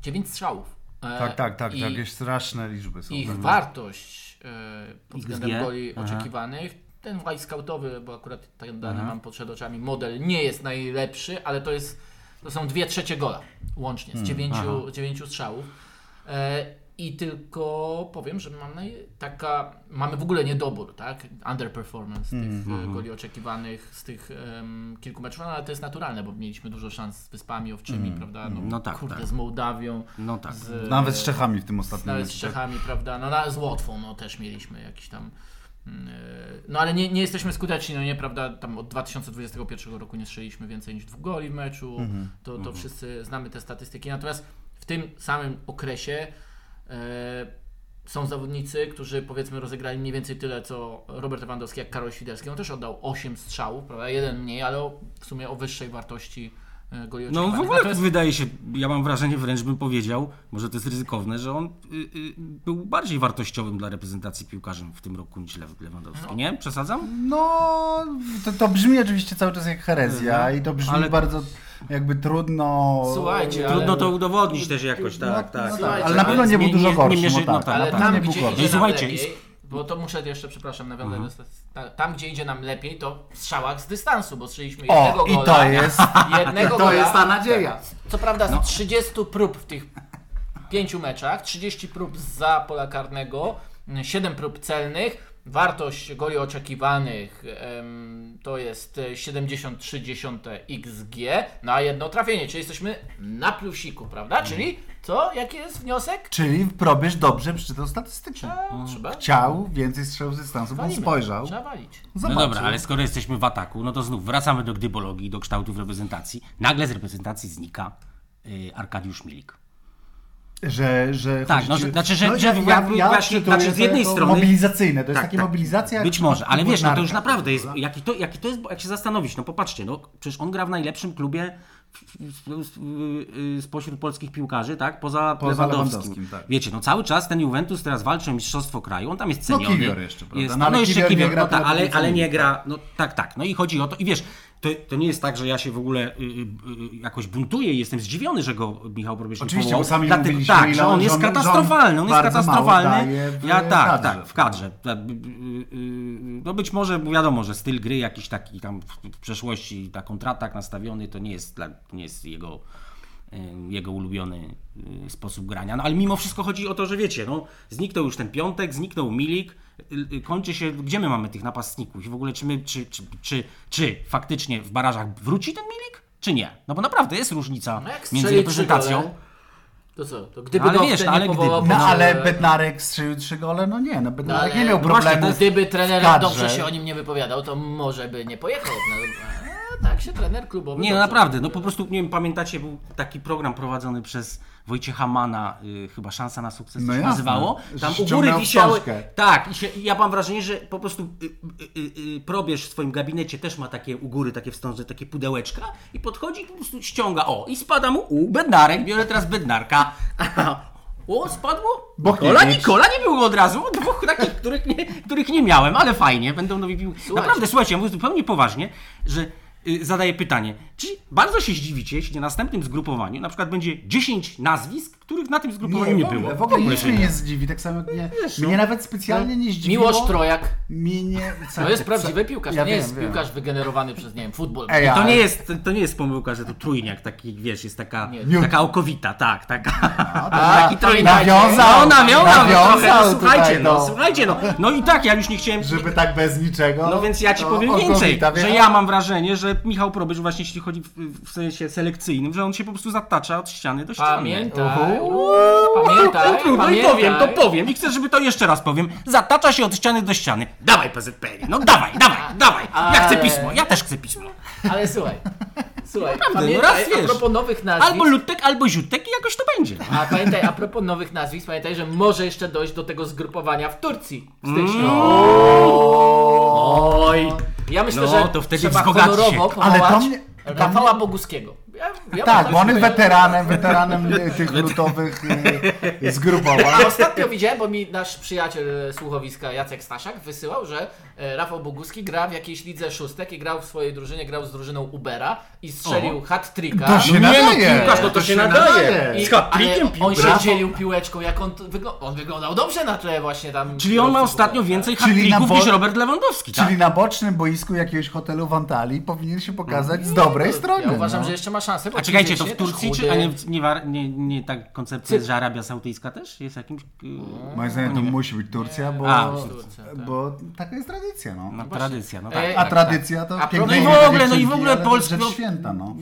[SPEAKER 3] dziewięć strzałów. E,
[SPEAKER 1] Tak, tak, tak,
[SPEAKER 3] i-
[SPEAKER 1] tak, jakieś straszne liczby są.
[SPEAKER 3] ich wartość e, pod
[SPEAKER 2] XG?
[SPEAKER 3] względem goli
[SPEAKER 2] Aha.
[SPEAKER 3] oczekiwanych. Ten wajskautowy, bo akurat ten dany mam przed oczami, model nie jest najlepszy, ale to jest to są dwie trzecie gola łącznie
[SPEAKER 2] Hmm,
[SPEAKER 3] z dziewięciu, dziewięciu strzałów. E, I tylko powiem, że mam naj... taka, mamy w ogóle niedobór, tak? Underperformance
[SPEAKER 2] Hmm,
[SPEAKER 3] tych
[SPEAKER 2] mhm.
[SPEAKER 3] e, goli oczekiwanych z tych em, kilku meczów, no, ale to jest naturalne, bo mieliśmy dużo szans z Wyspami Owczymi, prawda? No,
[SPEAKER 2] No tak,
[SPEAKER 3] kurde,
[SPEAKER 2] tak.
[SPEAKER 3] z Mołdawią.
[SPEAKER 2] No tak.
[SPEAKER 3] z-
[SPEAKER 1] Nawet z Czechami w tym ostatnim
[SPEAKER 3] nawet z
[SPEAKER 1] meczu. tak?
[SPEAKER 3] Czechami, prawda? No, na, z Łotwą no, też mieliśmy jakiś tam. yy, No ale nie, nie jesteśmy skuteczni, no nie, prawda? Tam od 2021 roku nie strzeliśmy więcej niż dwóch goli w meczu. To, to wszyscy znamy te statystyki. Natomiast w tym samym okresie yy, są zawodnicy, którzy powiedzmy rozegrali mniej więcej tyle, co Robert Lewandowski, jak Karol Świderski. On też oddał 8 strzałów, prawda? Jeden mniej, ale o, w sumie o wyższej wartości yy, goli
[SPEAKER 2] No w
[SPEAKER 3] oczekiwanych.
[SPEAKER 2] ogóle
[SPEAKER 3] Natomiast-
[SPEAKER 2] wydaje się, ja mam wrażenie wręcz bym powiedział, może to jest ryzykowne, że on y, y, był bardziej wartościowym dla reprezentacji piłkarzem w tym roku niż Lew- Lewandowski, nie? Przesadzam?
[SPEAKER 1] No, to, to brzmi oczywiście cały czas jak herezja
[SPEAKER 3] Mhm.
[SPEAKER 1] i to brzmi
[SPEAKER 2] Ale-
[SPEAKER 1] bardzo jakby trudno.
[SPEAKER 3] Słuchajcie, ale-
[SPEAKER 2] Trudno to udowodnić też jakoś, tak, tak.
[SPEAKER 1] No,
[SPEAKER 3] Słuchajcie,
[SPEAKER 1] tak, ale na pewno nie był
[SPEAKER 2] nie-
[SPEAKER 1] dużo
[SPEAKER 2] nie-
[SPEAKER 1] gorszy.
[SPEAKER 2] nie mierzy-
[SPEAKER 1] no
[SPEAKER 2] no
[SPEAKER 1] tak,
[SPEAKER 2] tak,
[SPEAKER 1] na
[SPEAKER 3] Ale
[SPEAKER 1] pewno
[SPEAKER 3] tam,
[SPEAKER 1] nie
[SPEAKER 3] gdzie
[SPEAKER 1] był
[SPEAKER 3] idzie
[SPEAKER 1] gorszy.
[SPEAKER 2] No i
[SPEAKER 3] nam
[SPEAKER 2] słuchajcie,
[SPEAKER 3] lepiej, bo to muszę jeszcze, przepraszam, nawiązać
[SPEAKER 1] Mhm.
[SPEAKER 3] do staty- tam, gdzie idzie nam lepiej, to w strzałach z dystansu, bo strzeliśmy jednego
[SPEAKER 1] O, i
[SPEAKER 3] gola.
[SPEAKER 1] to jest.
[SPEAKER 3] Jednego
[SPEAKER 1] To
[SPEAKER 3] gola.
[SPEAKER 1] jest ta nadzieja. No.
[SPEAKER 3] Co prawda z 30 prób w tych pięciu meczach, 30 prób za pola karnego, 7 prób celnych, Wartość goli oczekiwanych em, to jest 73,10xg na no jedno trafienie, czyli jesteśmy na plusiku, prawda? Czyli to jaki jest wniosek?
[SPEAKER 1] Czyli probierz dobrze przeczytał statystyki.
[SPEAKER 3] A, Trzeba
[SPEAKER 1] Chciał więcej strzałów z dystansu, bo
[SPEAKER 3] walimy.
[SPEAKER 1] spojrzał.
[SPEAKER 3] Trzeba walić.
[SPEAKER 2] No
[SPEAKER 1] Zobaczył.
[SPEAKER 2] dobra, ale skoro jesteśmy w ataku, no to znów wracamy do gdybologii, do kształtów reprezentacji. Nagle z reprezentacji znika y, Arkadiusz Milik.
[SPEAKER 1] Że, że
[SPEAKER 2] Tak,
[SPEAKER 1] chodzi
[SPEAKER 2] no,
[SPEAKER 1] ci-
[SPEAKER 2] że- znaczy, że- że jakby właśnie-
[SPEAKER 1] czytuję
[SPEAKER 2] znaczy, z
[SPEAKER 1] to
[SPEAKER 2] jednej
[SPEAKER 1] jako
[SPEAKER 2] strony-
[SPEAKER 1] Mobilizacyjne, to jest
[SPEAKER 2] Tak,
[SPEAKER 1] takie
[SPEAKER 2] tak.
[SPEAKER 1] mobilizacja.
[SPEAKER 2] Być może, ale wiesz, no to już
[SPEAKER 1] Bodnarka.
[SPEAKER 2] naprawdę jest, jaki to, jaki to jest, bo jak się zastanowić, no popatrzcie, no przecież on gra w najlepszym klubie w- w- w- y, spośród polskich piłkarzy, tak, poza,
[SPEAKER 1] Poza
[SPEAKER 2] Lewandowskim.
[SPEAKER 1] Lewandowskim, tak.
[SPEAKER 2] Wiecie, no cały czas ten Juventus teraz walczy o mistrzostwo kraju, on tam jest
[SPEAKER 1] No,
[SPEAKER 2] ceniony.
[SPEAKER 1] Kiwior jeszcze, prawda?
[SPEAKER 2] Jest,
[SPEAKER 1] No,
[SPEAKER 2] no,
[SPEAKER 1] ale
[SPEAKER 2] jeszcze
[SPEAKER 1] Kiwior nie
[SPEAKER 2] Kiwior,
[SPEAKER 1] gra,
[SPEAKER 2] no, tak,
[SPEAKER 1] to
[SPEAKER 2] ale,
[SPEAKER 1] powiedzmy,
[SPEAKER 2] ale nie
[SPEAKER 1] tak.
[SPEAKER 2] gra, no tak, tak, no i chodzi o to, i wiesz, to, to nie jest tak, że ja się w ogóle y, y, y, jakoś buntuję i jestem zdziwiony, że go Michał Probierznik
[SPEAKER 1] Oczywiście,
[SPEAKER 2] powołał,
[SPEAKER 1] bo sami
[SPEAKER 2] dlatego-
[SPEAKER 1] mówiliśmy,
[SPEAKER 2] Tak,
[SPEAKER 1] ile
[SPEAKER 2] że
[SPEAKER 1] on-
[SPEAKER 2] on jest
[SPEAKER 1] że on- że on
[SPEAKER 2] katastrofalny, on jest
[SPEAKER 1] bardzo mało
[SPEAKER 2] katastrofalny.
[SPEAKER 1] daje w
[SPEAKER 2] Ja tak,
[SPEAKER 1] kadrze.
[SPEAKER 2] tak, w kadrze. Tak, y, y, y, No być może wiadomo, że styl gry jakiś taki tam w- w przeszłości, ta kontratak nastawiony, to nie jest, dla, nie jest jego, y, jego ulubiony y, sposób grania. No ale mimo wszystko chodzi o to, że wiecie, no, zniknął już ten piątek, zniknął Milik, y, y, kończy się, gdzie my mamy tych napastników i w ogóle czy my, czy, czy, czy, czy faktycznie w barażach wróci ten Milik, czy nie? No bo naprawdę jest różnica
[SPEAKER 3] No jak
[SPEAKER 2] między
[SPEAKER 3] strzeli trzy
[SPEAKER 2] reprezentacją.
[SPEAKER 3] gole, To co? To gdyby
[SPEAKER 2] No, ale
[SPEAKER 3] go
[SPEAKER 2] wiesz,
[SPEAKER 3] wiesz,
[SPEAKER 2] no, ale
[SPEAKER 3] ale
[SPEAKER 2] gdyby.
[SPEAKER 3] powołał,
[SPEAKER 1] No
[SPEAKER 3] może-
[SPEAKER 1] ale Bednarek strzelił trzy gole, no nie, no Bednarek
[SPEAKER 3] ale-
[SPEAKER 1] nie miał
[SPEAKER 3] no właśnie,
[SPEAKER 1] problemu.
[SPEAKER 3] Gdyby
[SPEAKER 1] kadrze.
[SPEAKER 3] trener dobrze się o nim nie wypowiadał, to może by nie pojechał. No, a tak się trener klubowy...
[SPEAKER 2] Nie, no
[SPEAKER 3] dobrze-
[SPEAKER 2] naprawdę, no po prostu, nie wiem, pamiętacie, był taki program prowadzony przez Wojciecha Mana, y, chyba Szansa na Sukces
[SPEAKER 1] No
[SPEAKER 2] to się
[SPEAKER 1] jasne.
[SPEAKER 2] nazywało. Tam u
[SPEAKER 1] Ściągnął
[SPEAKER 2] góry wisiały...
[SPEAKER 1] wstążkę.
[SPEAKER 2] Tak, i, się, i ja mam wrażenie, że po prostu y, y, y, y, probierz w swoim gabinecie też ma takie u góry, takie wstążne, takie pudełeczka i podchodzi i po prostu ściąga, o, i spada mu, u, bednarek, biorę teraz bednarka. O, spadło?
[SPEAKER 1] Bochniewicz.
[SPEAKER 2] Nikola, Nikola nie było od razu, dwóch takich, których nie, których nie miałem, ale fajnie, będą nowi pił. Naprawdę, słuchajcie, ja mówię zupełnie poważnie, że y, zadaję pytanie, czy bardzo się zdziwicie, jeśli na następnym zgrupowaniu na przykład będzie 10 nazwisk, których na tym zgrupowaniu nie,
[SPEAKER 1] w ogóle-
[SPEAKER 2] było.
[SPEAKER 1] W ogóle nic
[SPEAKER 2] się
[SPEAKER 1] mnie nie zdziwi, tak samo jak mnie,
[SPEAKER 3] no.
[SPEAKER 1] mnie nawet specjalnie nie zdziwiło.
[SPEAKER 3] Miłosz Trojak.
[SPEAKER 1] Minie...
[SPEAKER 3] To
[SPEAKER 2] Tak,
[SPEAKER 3] jest prawdziwy piłkarz, to nie
[SPEAKER 1] wiem,
[SPEAKER 3] jest
[SPEAKER 1] wiem.
[SPEAKER 3] piłkarz wygenerowany przez, nie wiem, futbol.
[SPEAKER 1] Ej,
[SPEAKER 2] To
[SPEAKER 1] ale-
[SPEAKER 2] nie, jest, to nie jest pomyłka, że to trójniak taki, wiesz, jest taka,
[SPEAKER 3] Nie. No,
[SPEAKER 2] taka okowita, tak, taka.
[SPEAKER 1] A,
[SPEAKER 2] taki trójniak.
[SPEAKER 1] Tak, nawiązał,
[SPEAKER 2] No, nawiązał,
[SPEAKER 1] nawiązał
[SPEAKER 2] trochę, no,
[SPEAKER 1] tutaj,
[SPEAKER 2] słuchajcie, no,
[SPEAKER 1] no.
[SPEAKER 2] słuchajcie, no. No i tak, ja już nie chciałem...
[SPEAKER 1] Żeby tak bez niczego.
[SPEAKER 2] No więc ja ci
[SPEAKER 1] to
[SPEAKER 2] powiem
[SPEAKER 1] okowita,
[SPEAKER 2] więcej,
[SPEAKER 1] wie-
[SPEAKER 2] że ja mam wrażenie, że Michał Probierz właśnie jeśli chodzi w, w sensie selekcyjnym, że on się po prostu zatacza od ściany do ściany.
[SPEAKER 3] Pamiętaj,
[SPEAKER 1] Uhu.
[SPEAKER 3] pamiętaj,
[SPEAKER 2] No trudno, i
[SPEAKER 3] pamiętaj.
[SPEAKER 2] powiem, to powiem i chcę, żeby to jeszcze raz powiem. Zatacza się od ściany do ściany. Dawaj PZPR, no dawaj, dawaj, dawaj. Ja chcę
[SPEAKER 3] Ale-
[SPEAKER 2] pismo, ja też chcę pismo.
[SPEAKER 3] Ale słuchaj, słuchaj,
[SPEAKER 2] no
[SPEAKER 3] pamiętaj,
[SPEAKER 2] raz wiesz.
[SPEAKER 3] a propos nowych nazwisk,
[SPEAKER 2] Albo Lutek, albo Ziutek i jakoś to będzie.
[SPEAKER 3] a pamiętaj, a propos nowych nazwisk, pamiętaj, że może jeszcze dojść do tego zgrupowania w Turcji w styczniu.
[SPEAKER 2] Mm.
[SPEAKER 3] Oj. Ja myślę,
[SPEAKER 2] No,
[SPEAKER 3] że
[SPEAKER 2] to wtedy
[SPEAKER 3] trzeba
[SPEAKER 2] wzbogaci się.
[SPEAKER 3] honorowo
[SPEAKER 1] Ale
[SPEAKER 3] powołać
[SPEAKER 1] to mnie-
[SPEAKER 3] Rafała Boguskiego. Ja, ja
[SPEAKER 1] Tak, bo on
[SPEAKER 3] myślę,
[SPEAKER 1] jest
[SPEAKER 3] że-
[SPEAKER 1] weteranem, weteranem y, tych lutowych y, zgrupowań.
[SPEAKER 2] No,
[SPEAKER 3] A ostatnio widziałem, bo mi nasz przyjaciel e, słuchowiska Jacek Staszak wysyłał, że e, Rafał Boguski gra w jakiejś lidze szóstek i grał w swojej drużynie, grał z drużyną Ubera i strzelił hat-tricka.
[SPEAKER 1] To się
[SPEAKER 2] no
[SPEAKER 1] nadaje.
[SPEAKER 2] piłkarz, no to się nadaje.
[SPEAKER 3] I,
[SPEAKER 2] Z hat-trickiem
[SPEAKER 3] ale on się
[SPEAKER 2] piłkarz.
[SPEAKER 3] dzielił piłeczką, jak on, tu wygl- on wyglądał dobrze na tle właśnie tam.
[SPEAKER 2] Czyli on ma ostatnio więcej
[SPEAKER 1] Czyli na
[SPEAKER 2] hat-tricków
[SPEAKER 1] wo-
[SPEAKER 2] niż Robert Lewandowski, tak?
[SPEAKER 1] Czyli na bocznym boisku jakiegoś hotelu w Antalii powinien się pokazać z dobrej strony.
[SPEAKER 3] Ja uważam,
[SPEAKER 1] no.
[SPEAKER 3] że jeszcze ma szansę. Bo
[SPEAKER 2] A czekajcie, to
[SPEAKER 3] fizycznie
[SPEAKER 2] w
[SPEAKER 3] też
[SPEAKER 2] Turcji,
[SPEAKER 3] chudy.
[SPEAKER 2] czy, a nie, nie, war- nie, nie tak koncepcja, że Arabia Saudyjska też jest jakimś...
[SPEAKER 1] No,
[SPEAKER 2] y,
[SPEAKER 1] Moim zdaniem to musi być Turcja, bo,
[SPEAKER 2] A,
[SPEAKER 3] Turcja, tak.
[SPEAKER 1] bo taka jest tradycja. No.
[SPEAKER 2] No, tradycja, no
[SPEAKER 3] E,
[SPEAKER 2] tak.
[SPEAKER 1] A
[SPEAKER 3] tak,
[SPEAKER 1] tradycja to
[SPEAKER 3] A
[SPEAKER 1] piękne
[SPEAKER 3] pro- no i
[SPEAKER 2] w
[SPEAKER 1] imię dla
[SPEAKER 2] ogóle, no i w
[SPEAKER 1] dziewczynki,
[SPEAKER 2] ogóle
[SPEAKER 1] ale to
[SPEAKER 2] Polsko-
[SPEAKER 1] rzecz święta, no.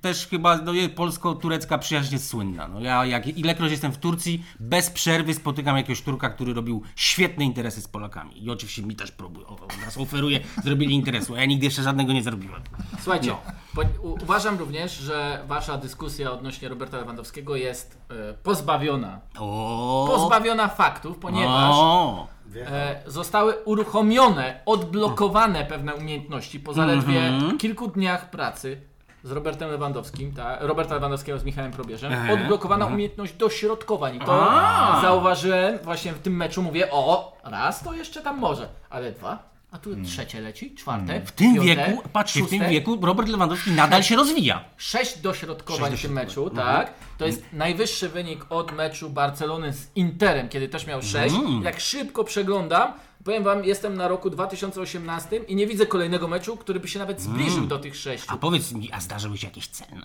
[SPEAKER 2] Też chyba no, je- polsko-turecka przyjaźń jest słynna. No, ja jak ilekroć jestem w Turcji, bez przerwy spotykam jakiegoś Turka, który robił świetne interesy z Polakami. I oczywiście mi też próbują, o- od nas oferuje, zrobili interesu, a ja nigdy jeszcze żadnego nie zrobiłem.
[SPEAKER 3] Słuchajcie,
[SPEAKER 2] No.
[SPEAKER 3] po, u, uważam również, że wasza dyskusja odnośnie Roberta Lewandowskiego jest e, pozbawiona.
[SPEAKER 2] O,
[SPEAKER 3] Pozbawiona faktów, ponieważ.
[SPEAKER 2] o.
[SPEAKER 3] e, zostały uruchomione, odblokowane pewne umiejętności po zaledwie
[SPEAKER 2] Mhm.
[SPEAKER 3] kilku dniach pracy z Robertem Lewandowskim, ta, Roberta Lewandowskiego z Michałem Probierzem,
[SPEAKER 2] Ehe. Mhm.
[SPEAKER 3] odblokowana umiejętność dośrodkowań. I to
[SPEAKER 2] A.
[SPEAKER 3] zauważyłem właśnie w tym meczu, mówię, o, raz to jeszcze tam może, ale dwa, a tu trzecie leci, czwarte,
[SPEAKER 2] Hmm. W tym
[SPEAKER 3] piąte,
[SPEAKER 2] wieku, patrzcie, w tym
[SPEAKER 3] szóste.
[SPEAKER 2] wieku Robert Lewandowski nadal się rozwija.
[SPEAKER 3] Sześć dośrodkowań
[SPEAKER 2] Sześć
[SPEAKER 3] w tym meczu,
[SPEAKER 2] dośrodkowań, Mhm.
[SPEAKER 3] tak? To jest najwyższy wynik od meczu Barcelony z Interem, kiedy też miał sześć.
[SPEAKER 2] Mhm.
[SPEAKER 3] Jak szybko przeglądam, powiem wam, jestem na roku 2018
[SPEAKER 2] Mhm.
[SPEAKER 3] i nie widzę kolejnego meczu, który by się nawet zbliżył do tych sześciu.
[SPEAKER 2] A powiedz mi, a zdarzyły się jakieś ceny?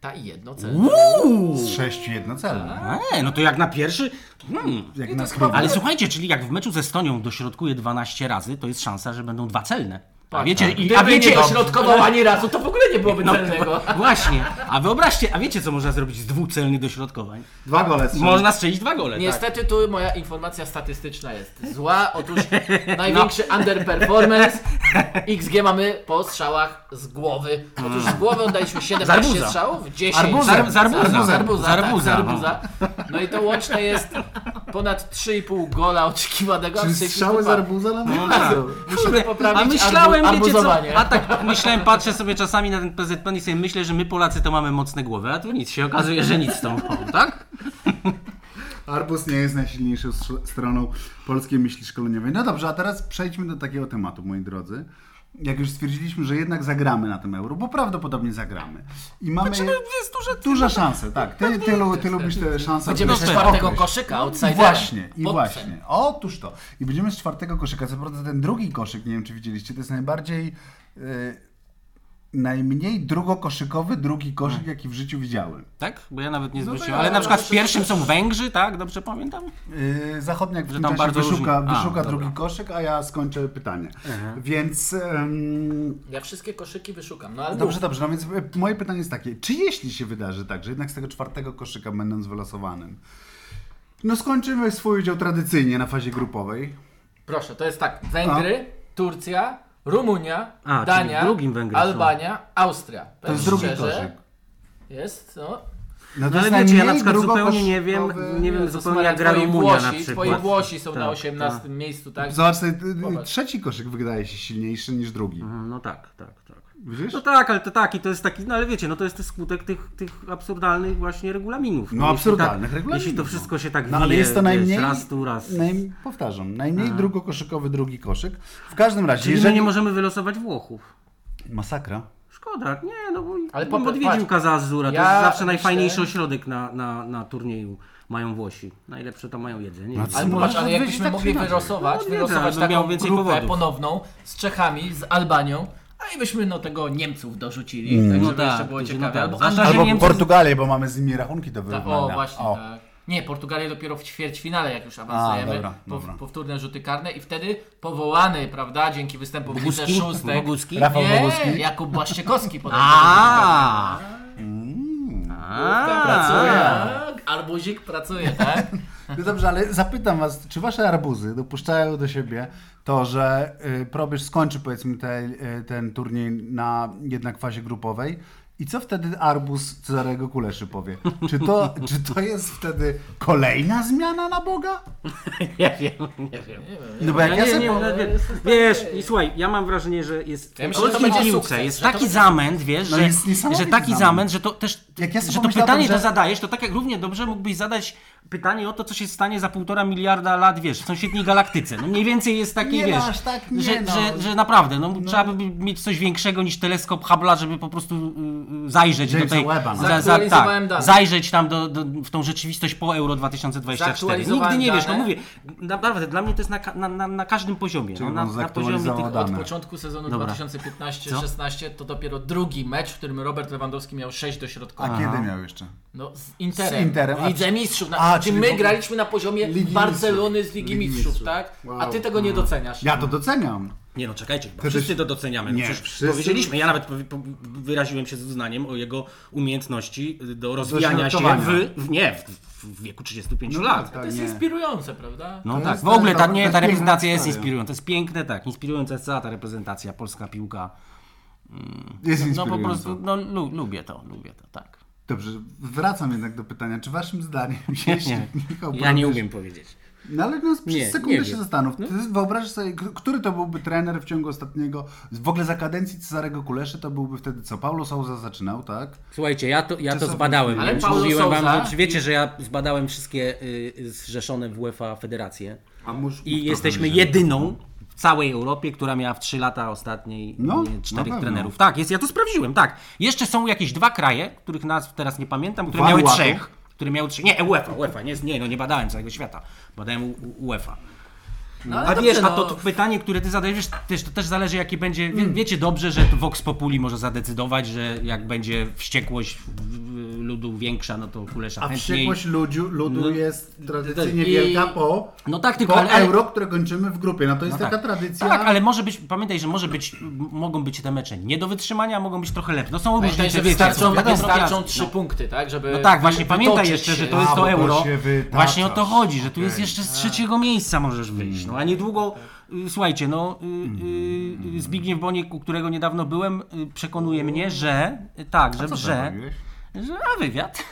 [SPEAKER 3] Ta i jedno cel.
[SPEAKER 2] Uuu!
[SPEAKER 1] Z sześciu jednocelnych.
[SPEAKER 2] E, no to jak na pierwszy. Hmm.
[SPEAKER 1] Jak
[SPEAKER 3] to
[SPEAKER 1] na
[SPEAKER 3] jest chyba
[SPEAKER 1] próbę.
[SPEAKER 2] Ale słuchajcie, czyli jak w meczu ze Estonią dośrodkuje 12 razy, to jest szansa, że będą dwa celne. A
[SPEAKER 3] Tak,
[SPEAKER 2] wiecie,
[SPEAKER 3] tak.
[SPEAKER 2] i,
[SPEAKER 3] Gdyby
[SPEAKER 2] a wiecie,
[SPEAKER 3] nie dośrodkował ani razu, to w ogóle nie byłoby
[SPEAKER 2] No,
[SPEAKER 3] celnego.
[SPEAKER 2] właśnie. A wyobraźcie, a wiecie co można zrobić z dwóch celnych dośrodkowań?
[SPEAKER 1] Dwa gole strzelone.
[SPEAKER 2] Można strzelić dwa gole. Tak.
[SPEAKER 3] Niestety tu moja informacja statystyczna jest zła. Otóż największy
[SPEAKER 1] No.
[SPEAKER 3] underperformance XG mamy po strzałach z głowy. Otóż z głowy oddaliśmy 17
[SPEAKER 2] Zarbuza.
[SPEAKER 3] strzałów, 10
[SPEAKER 1] Arbuza.
[SPEAKER 3] Zarb-
[SPEAKER 2] Z arbuza.
[SPEAKER 3] zarbuza, zarbuza,
[SPEAKER 2] Zarbuza,
[SPEAKER 3] tak, zarbuza. No i to łączne jest ponad 3,5 gola oczekiwanego. a
[SPEAKER 1] Czyli
[SPEAKER 3] Tak, w tej chwili
[SPEAKER 1] strzały z
[SPEAKER 3] dwa.
[SPEAKER 1] arbuza na
[SPEAKER 2] No tak.
[SPEAKER 3] Musimy poprawić
[SPEAKER 2] A myślałem,
[SPEAKER 3] arbu-
[SPEAKER 2] wiecie
[SPEAKER 3] arbuzowanie.
[SPEAKER 2] co, a tak myślałem, patrzę sobie czasami na ten PZPN i sobie myślę, że my Polacy to mamy mocne głowy, a tu nic, się okazuje, że nic z tą głową, tak?
[SPEAKER 1] Arbus nie jest najsilniejszą strz- stroną polskiej myśli szkoleniowej. No dobrze, a teraz przejdźmy do takiego tematu, moi drodzy. Jak już stwierdziliśmy, że jednak zagramy na tym euro, bo prawdopodobnie zagramy. I mamy
[SPEAKER 2] Znaczy, no, Jest duże...
[SPEAKER 1] duże szanse, tak. Ty, ty, lu- ty lubisz te szanse.
[SPEAKER 3] Będziemy z
[SPEAKER 1] określić.
[SPEAKER 3] czwartego
[SPEAKER 1] Określ.
[SPEAKER 3] koszyka
[SPEAKER 1] I
[SPEAKER 3] outsidera.
[SPEAKER 1] No właśnie, i
[SPEAKER 3] Pod-
[SPEAKER 1] właśnie. Otóż to. I będziemy z czwartego koszyka. Co prawda ten drugi koszyk, nie wiem czy widzieliście, to jest najbardziej... y, najmniej drugokoszykowy drugi koszyk, jaki w życiu widziałem.
[SPEAKER 2] Tak? Bo ja nawet nie
[SPEAKER 1] No to
[SPEAKER 2] zwróciłem.
[SPEAKER 1] ja-
[SPEAKER 2] ale na przykład w
[SPEAKER 1] ja-
[SPEAKER 2] pierwszym są Węgrzy, tak? Dobrze pamiętam?
[SPEAKER 1] Yy, Zachodniak w
[SPEAKER 2] Że
[SPEAKER 1] tym
[SPEAKER 2] tam
[SPEAKER 1] czasie
[SPEAKER 2] bardzo
[SPEAKER 1] wyszuka,
[SPEAKER 2] różni. A,
[SPEAKER 1] wyszuka
[SPEAKER 2] dobra.
[SPEAKER 1] drugi koszyk, a ja skończę pytanie. Więc em,
[SPEAKER 3] Ja wszystkie koszyki wyszukam, no ale
[SPEAKER 1] dobrze, dobrze. No więc e, moje pytanie jest takie: czy jeśli się wydarzy tak, że jednak z tego czwartego koszyka będąc wylosowanym, no skończymy swój udział tradycyjnie na fazie grupowej.
[SPEAKER 3] Proszę, to jest tak. Węgry, Turcja, Rumunia,
[SPEAKER 2] A, czyli
[SPEAKER 3] Dania,
[SPEAKER 2] w drugim Węgry są.
[SPEAKER 3] Albania, Austria.
[SPEAKER 1] To jest drugi
[SPEAKER 3] szczerze,
[SPEAKER 1] koszyk.
[SPEAKER 3] Jest, no.
[SPEAKER 1] No
[SPEAKER 2] No ale
[SPEAKER 1] jest
[SPEAKER 2] wiecie, ja na
[SPEAKER 1] najmniej
[SPEAKER 2] przykład zupełnie
[SPEAKER 1] drugokoszykowy-
[SPEAKER 2] nie wiem, nie wiem
[SPEAKER 3] To
[SPEAKER 2] zupełnie
[SPEAKER 3] Smolek,
[SPEAKER 2] jak gra
[SPEAKER 3] twoi
[SPEAKER 2] Rumunia na
[SPEAKER 3] Włosi,
[SPEAKER 2] przykład.
[SPEAKER 3] Twoi Włosi są na
[SPEAKER 2] Tak,
[SPEAKER 3] 18 miejscu, tak?
[SPEAKER 1] Zobacz, tutaj, y, y,
[SPEAKER 3] Popatrz.
[SPEAKER 1] trzeci koszyk wydaje się silniejszy niż drugi.
[SPEAKER 2] tak. No tak, tak, tak.
[SPEAKER 1] Widzisz?
[SPEAKER 2] No tak, ale to tak i to jest taki, no ale wiecie, no to jest też skutek tych, tych absurdalnych właśnie regulaminów.
[SPEAKER 1] No,
[SPEAKER 2] jeśli
[SPEAKER 1] absurdalnych
[SPEAKER 2] tak,
[SPEAKER 1] regulaminów,
[SPEAKER 2] Jeśli to
[SPEAKER 1] no.
[SPEAKER 2] wszystko się tak
[SPEAKER 1] No ale
[SPEAKER 2] wije,
[SPEAKER 1] jest to
[SPEAKER 2] wiesz,
[SPEAKER 1] najmniej.
[SPEAKER 2] raz tu, raz.
[SPEAKER 1] Naj, powtarzam, najmniej drugokoszykowy drugi koszyk. W każdym razie,
[SPEAKER 2] Czyli my
[SPEAKER 1] jeżeli.
[SPEAKER 2] nie możemy wylosować Włochów.
[SPEAKER 1] Masakra.
[SPEAKER 2] Szkoda, nie, no bo
[SPEAKER 3] Ale
[SPEAKER 2] ale
[SPEAKER 3] popatrz,
[SPEAKER 2] odwiedził
[SPEAKER 3] patrz.
[SPEAKER 2] Kazazura, to
[SPEAKER 3] Ja
[SPEAKER 2] jest zawsze
[SPEAKER 3] myślę-
[SPEAKER 2] najfajniejszy ośrodek na, na, na turnieju. Mają Włosi. Najlepsze to mają jedzenie.
[SPEAKER 1] No
[SPEAKER 2] więc-
[SPEAKER 3] Ale
[SPEAKER 1] Możesz
[SPEAKER 3] popatrz, ale
[SPEAKER 1] odwiedzić
[SPEAKER 3] jakbyśmy
[SPEAKER 1] tak
[SPEAKER 3] mogli
[SPEAKER 1] inaczej.
[SPEAKER 3] wyrosować,
[SPEAKER 2] No nie,
[SPEAKER 3] wyrosować
[SPEAKER 2] tak, bym
[SPEAKER 3] taką
[SPEAKER 2] miał więcej
[SPEAKER 3] grupę
[SPEAKER 2] powodów.
[SPEAKER 3] ponowną z Czechami, z Albanią, a i byśmy no tego Niemców dorzucili, tak żeby
[SPEAKER 2] No tak,
[SPEAKER 3] jeszcze było
[SPEAKER 2] to się
[SPEAKER 3] ciekawe.
[SPEAKER 2] nada.
[SPEAKER 3] Albo
[SPEAKER 2] Zwłaszcza,
[SPEAKER 3] Andorra-
[SPEAKER 2] że
[SPEAKER 1] Albo
[SPEAKER 2] Niemcy-
[SPEAKER 1] Portugalię, bo mamy z nimi rachunki do
[SPEAKER 3] Tak,
[SPEAKER 1] wyrównania.
[SPEAKER 3] o właśnie, tak. Nie, Portugalia dopiero w ćwierćfinale, jak już
[SPEAKER 1] A,
[SPEAKER 3] awansujemy,
[SPEAKER 1] dobra,
[SPEAKER 3] po,
[SPEAKER 1] dobra.
[SPEAKER 3] powtórne rzuty karne i wtedy powołany, prawda, dzięki występu w Lidze
[SPEAKER 2] Boguski?
[SPEAKER 3] Szóstek.
[SPEAKER 2] Boguski?
[SPEAKER 1] Rafał
[SPEAKER 3] Nie,
[SPEAKER 1] Boguski?
[SPEAKER 3] Jakub Błaszczykowski podobno.
[SPEAKER 2] A.
[SPEAKER 1] tak.
[SPEAKER 3] Główka pracuje. Arbuzik tak. pracuje, tak?
[SPEAKER 1] No dobrze, ale zapytam was, czy wasze arbuzy dopuszczają do siebie to, że y, Probierz skończy powiedzmy te, y, ten turniej na jednak fazie grupowej i co wtedy arbuz Cezarego Kuleszy powie? Czy to, czy to jest wtedy kolejna zmiana na Boga?
[SPEAKER 2] Nie wiem, nie wiem.
[SPEAKER 1] No bo jak ja
[SPEAKER 2] nie,
[SPEAKER 1] sobie...
[SPEAKER 2] nie,
[SPEAKER 1] po-
[SPEAKER 2] nie, wiesz, wiesz, i słuchaj, ja mam wrażenie, że jest
[SPEAKER 3] Ja myślę, że to
[SPEAKER 2] polskiej
[SPEAKER 3] będzie
[SPEAKER 2] piłce,
[SPEAKER 3] sukces,
[SPEAKER 2] jest
[SPEAKER 3] że to
[SPEAKER 2] taki
[SPEAKER 3] będzie-
[SPEAKER 2] zamęt, wiesz,
[SPEAKER 1] No
[SPEAKER 2] że,
[SPEAKER 1] jest niesamowity
[SPEAKER 2] że taki
[SPEAKER 1] zamęt.
[SPEAKER 2] zamęt, że to też,
[SPEAKER 1] Jak ja sobie
[SPEAKER 2] że to
[SPEAKER 1] pomyślałem,
[SPEAKER 2] pytanie
[SPEAKER 1] że-
[SPEAKER 2] to zadajesz, to tak jak równie dobrze mógłbyś zadać pytanie o to, co się stanie za półtora miliarda lat, wiesz, w sąsiedniej galaktyce. No mniej więcej jest taki,
[SPEAKER 1] Nie no,
[SPEAKER 2] wiesz,
[SPEAKER 1] aż tak nie
[SPEAKER 2] że,
[SPEAKER 1] no.
[SPEAKER 2] że, że naprawdę, no, trzeba by mieć coś większego niż teleskop Hubble'a, żeby po prostu y, y, zajrzeć
[SPEAKER 1] Jamesa
[SPEAKER 2] do tej...
[SPEAKER 1] Webba, no.
[SPEAKER 3] Zaktualizowałem dane.
[SPEAKER 2] tak, zajrzeć tam do, do, w tą rzeczywistość po Euro 2024. Nigdy
[SPEAKER 3] Zaktualizowałem
[SPEAKER 2] nie wiesz, no
[SPEAKER 3] dane.
[SPEAKER 2] mówię, naprawdę, dla mnie to jest na, ka- na, na, na każdym poziomie. No,
[SPEAKER 1] on
[SPEAKER 2] na, na poziomie
[SPEAKER 1] zaktualizował
[SPEAKER 2] tych
[SPEAKER 1] dane.
[SPEAKER 2] od...
[SPEAKER 3] Od
[SPEAKER 1] Damy.
[SPEAKER 3] początku sezonu
[SPEAKER 2] Dobra.
[SPEAKER 3] 2015-16 to dopiero drugi mecz, w którym Robert Lewandowski miał 6
[SPEAKER 1] A
[SPEAKER 3] dośrodkowych.
[SPEAKER 1] kiedy miał jeszcze?
[SPEAKER 3] No z Interem.
[SPEAKER 1] Z Interem, a-
[SPEAKER 3] Lidze Mistrzów. Na,
[SPEAKER 1] a,
[SPEAKER 3] czy
[SPEAKER 1] czyli w
[SPEAKER 3] my
[SPEAKER 1] ogóle-
[SPEAKER 3] graliśmy na poziomie
[SPEAKER 1] Ligi
[SPEAKER 3] Barcelony
[SPEAKER 1] Mistrzów.
[SPEAKER 3] z Ligi,
[SPEAKER 1] Ligi
[SPEAKER 3] Mistrzów,
[SPEAKER 1] Mistrzów.
[SPEAKER 3] tak? A
[SPEAKER 1] Wow. Mhm.
[SPEAKER 3] ty tego nie doceniasz.
[SPEAKER 1] Ja to doceniam.
[SPEAKER 2] Nie no, czekajcie, bo
[SPEAKER 1] Ty
[SPEAKER 2] wszyscy
[SPEAKER 1] byś-
[SPEAKER 2] to doceniamy.
[SPEAKER 1] Nie,
[SPEAKER 2] No, przecież
[SPEAKER 1] wszyscy-
[SPEAKER 2] powiedzieliśmy, ja nawet powi- po- wyraziłem się z uznaniem o jego umiejętności y, do rozwijania się
[SPEAKER 1] środkowania.
[SPEAKER 2] w, w, nie, w, w wieku 35 lat.
[SPEAKER 1] tak.
[SPEAKER 3] To jest
[SPEAKER 1] nie.
[SPEAKER 3] inspirujące, prawda?
[SPEAKER 2] No
[SPEAKER 1] To
[SPEAKER 2] tak,
[SPEAKER 1] jest-
[SPEAKER 2] w ogóle
[SPEAKER 1] to jest
[SPEAKER 2] ta, nie,
[SPEAKER 1] piękna
[SPEAKER 2] ta reprezentacja jest
[SPEAKER 1] historia.
[SPEAKER 2] inspirująca, to jest piękne, tak, inspirująca jest cała ta reprezentacja, polska piłka.
[SPEAKER 1] Jest
[SPEAKER 2] No po
[SPEAKER 1] inspirujące.
[SPEAKER 2] prostu, no lu, lubię to, lubię to, tak.
[SPEAKER 1] Dobrze, wracam jednak do pytania. Czy waszym zdaniem, jeśli
[SPEAKER 2] nie.
[SPEAKER 1] Michał
[SPEAKER 2] Ja nie
[SPEAKER 1] Probierz-
[SPEAKER 2] umiem powiedzieć.
[SPEAKER 1] No ale no, przez
[SPEAKER 2] Nie,
[SPEAKER 1] sekundę
[SPEAKER 2] nie
[SPEAKER 1] się
[SPEAKER 2] wiem. No.
[SPEAKER 1] zastanów. Ty Wyobraź sobie, k- który to byłby trener w ciągu ostatniego, w ogóle za kadencji Cezarego Kuleszy to byłby wtedy co? Paulo Souza zaczynał, tak?
[SPEAKER 2] Słuchajcie, ja to, ja
[SPEAKER 1] Czy
[SPEAKER 2] to
[SPEAKER 1] są-
[SPEAKER 2] zbadałem.
[SPEAKER 3] Ale
[SPEAKER 2] więc
[SPEAKER 3] Paulo
[SPEAKER 2] Mówiłem wam,
[SPEAKER 3] Sousa
[SPEAKER 2] no, czy wiecie, że ja zbadałem wszystkie y, y, zrzeszone w UEFA federacje.
[SPEAKER 1] A mów- mów
[SPEAKER 2] I
[SPEAKER 1] trochę
[SPEAKER 2] jesteśmy
[SPEAKER 1] bliżej.
[SPEAKER 2] jedyną w całej Europie, która miała w 3 lata ostatniej
[SPEAKER 1] No,
[SPEAKER 2] nie,
[SPEAKER 1] na
[SPEAKER 2] czterech
[SPEAKER 1] pewno.
[SPEAKER 2] trenerów. Tak, jest, ja to sprawdziłem, tak. Jeszcze są jakieś dwa kraje, których nazw teraz nie pamiętam, które
[SPEAKER 1] Vanuatu?
[SPEAKER 2] miały trzech. Które miały trzech. Nie, UEFA, UEFA, nie, nie, no nie badałem całego świata. Badałem u- u- UEFA.
[SPEAKER 3] No, ale
[SPEAKER 2] A
[SPEAKER 3] dobrze,
[SPEAKER 2] wiesz, a to,
[SPEAKER 3] no.
[SPEAKER 2] to pytanie, które ty zadajesz, wiesz, też, to też zależy jakie
[SPEAKER 1] Hmm.
[SPEAKER 2] będzie, wie, wiecie dobrze, że to Vox Populi może zadecydować, że jak będzie wściekłość w, w, ludu większa, no to Kulesza
[SPEAKER 1] A
[SPEAKER 2] chętniej.
[SPEAKER 1] wściekłość ludziu, ludu
[SPEAKER 2] No.
[SPEAKER 1] jest tradycyjnie
[SPEAKER 3] I-
[SPEAKER 1] wielka po,
[SPEAKER 2] No tak, tylko...
[SPEAKER 1] po
[SPEAKER 2] ale- ale-
[SPEAKER 1] euro, które kończymy w grupie. No to jest
[SPEAKER 2] No tak.
[SPEAKER 1] taka tradycja.
[SPEAKER 2] Tak, ale może być, pamiętaj, że może być, m- mogą być te mecze nie do wytrzymania, a mogą być trochę lepsze. No są różne
[SPEAKER 3] Pamiętaj, że
[SPEAKER 2] rzeczy, wiecie, są
[SPEAKER 3] wystarczą,
[SPEAKER 2] takie drobiazgi,
[SPEAKER 3] wystarczą
[SPEAKER 2] no.
[SPEAKER 3] trzy punkty, tak? Żeby
[SPEAKER 2] No tak, właśnie
[SPEAKER 3] wy-
[SPEAKER 2] pamiętaj
[SPEAKER 3] wytoczyć
[SPEAKER 2] jeszcze,
[SPEAKER 3] się.
[SPEAKER 2] że to jest
[SPEAKER 1] A,
[SPEAKER 2] to
[SPEAKER 1] bo to
[SPEAKER 2] euro.
[SPEAKER 1] się wytaczasz.
[SPEAKER 2] Właśnie o to chodzi, że tu jest
[SPEAKER 1] Okej.
[SPEAKER 2] jeszcze z trzeciego miejsca możesz wyjść. No a niedługo, y, słuchajcie, no y, y, y, Zbigniew Boniek, u którego niedawno byłem, y, przekonuje mnie, że y, tak, że,
[SPEAKER 1] Co
[SPEAKER 2] że,
[SPEAKER 1] zrobiłeś?
[SPEAKER 2] że a wywiad.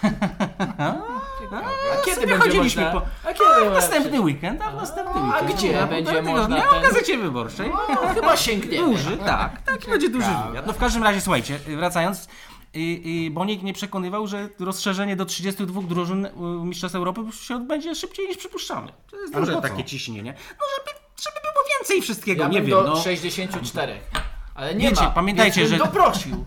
[SPEAKER 3] A kiedy
[SPEAKER 2] Sobie
[SPEAKER 3] będzie
[SPEAKER 2] chodziliśmy
[SPEAKER 3] można?
[SPEAKER 2] po-
[SPEAKER 3] A kiedy
[SPEAKER 2] A w
[SPEAKER 3] będzie?
[SPEAKER 2] następny weekend, a w następny
[SPEAKER 3] A
[SPEAKER 2] weekend.
[SPEAKER 3] gdzie
[SPEAKER 2] No,
[SPEAKER 3] będzie
[SPEAKER 2] dlatego,
[SPEAKER 3] można
[SPEAKER 2] no,
[SPEAKER 3] ten-
[SPEAKER 2] W Gazecie Wyborczej.
[SPEAKER 3] No, chyba sięgniemy.
[SPEAKER 2] Duży, tak. Taki będzie duży wywiad. No w każdym razie, słuchajcie, wracając, y, y, Boniek mnie przekonywał, że rozszerzenie do 32 drużyn y, Mistrzostw Europy się odbędzie szybciej niż przypuszczamy. To jest
[SPEAKER 1] Ale
[SPEAKER 2] duże
[SPEAKER 1] po co?
[SPEAKER 2] takie ciśnienie. No żeby, żeby było więcej wszystkiego,
[SPEAKER 3] Ja
[SPEAKER 2] nie
[SPEAKER 3] bym
[SPEAKER 2] wiem.
[SPEAKER 3] do
[SPEAKER 2] no.
[SPEAKER 3] 64. Ale nie
[SPEAKER 2] Wiecie,
[SPEAKER 3] ma,
[SPEAKER 2] pamiętajcie,
[SPEAKER 3] więc bym
[SPEAKER 2] że-
[SPEAKER 3] doprosił.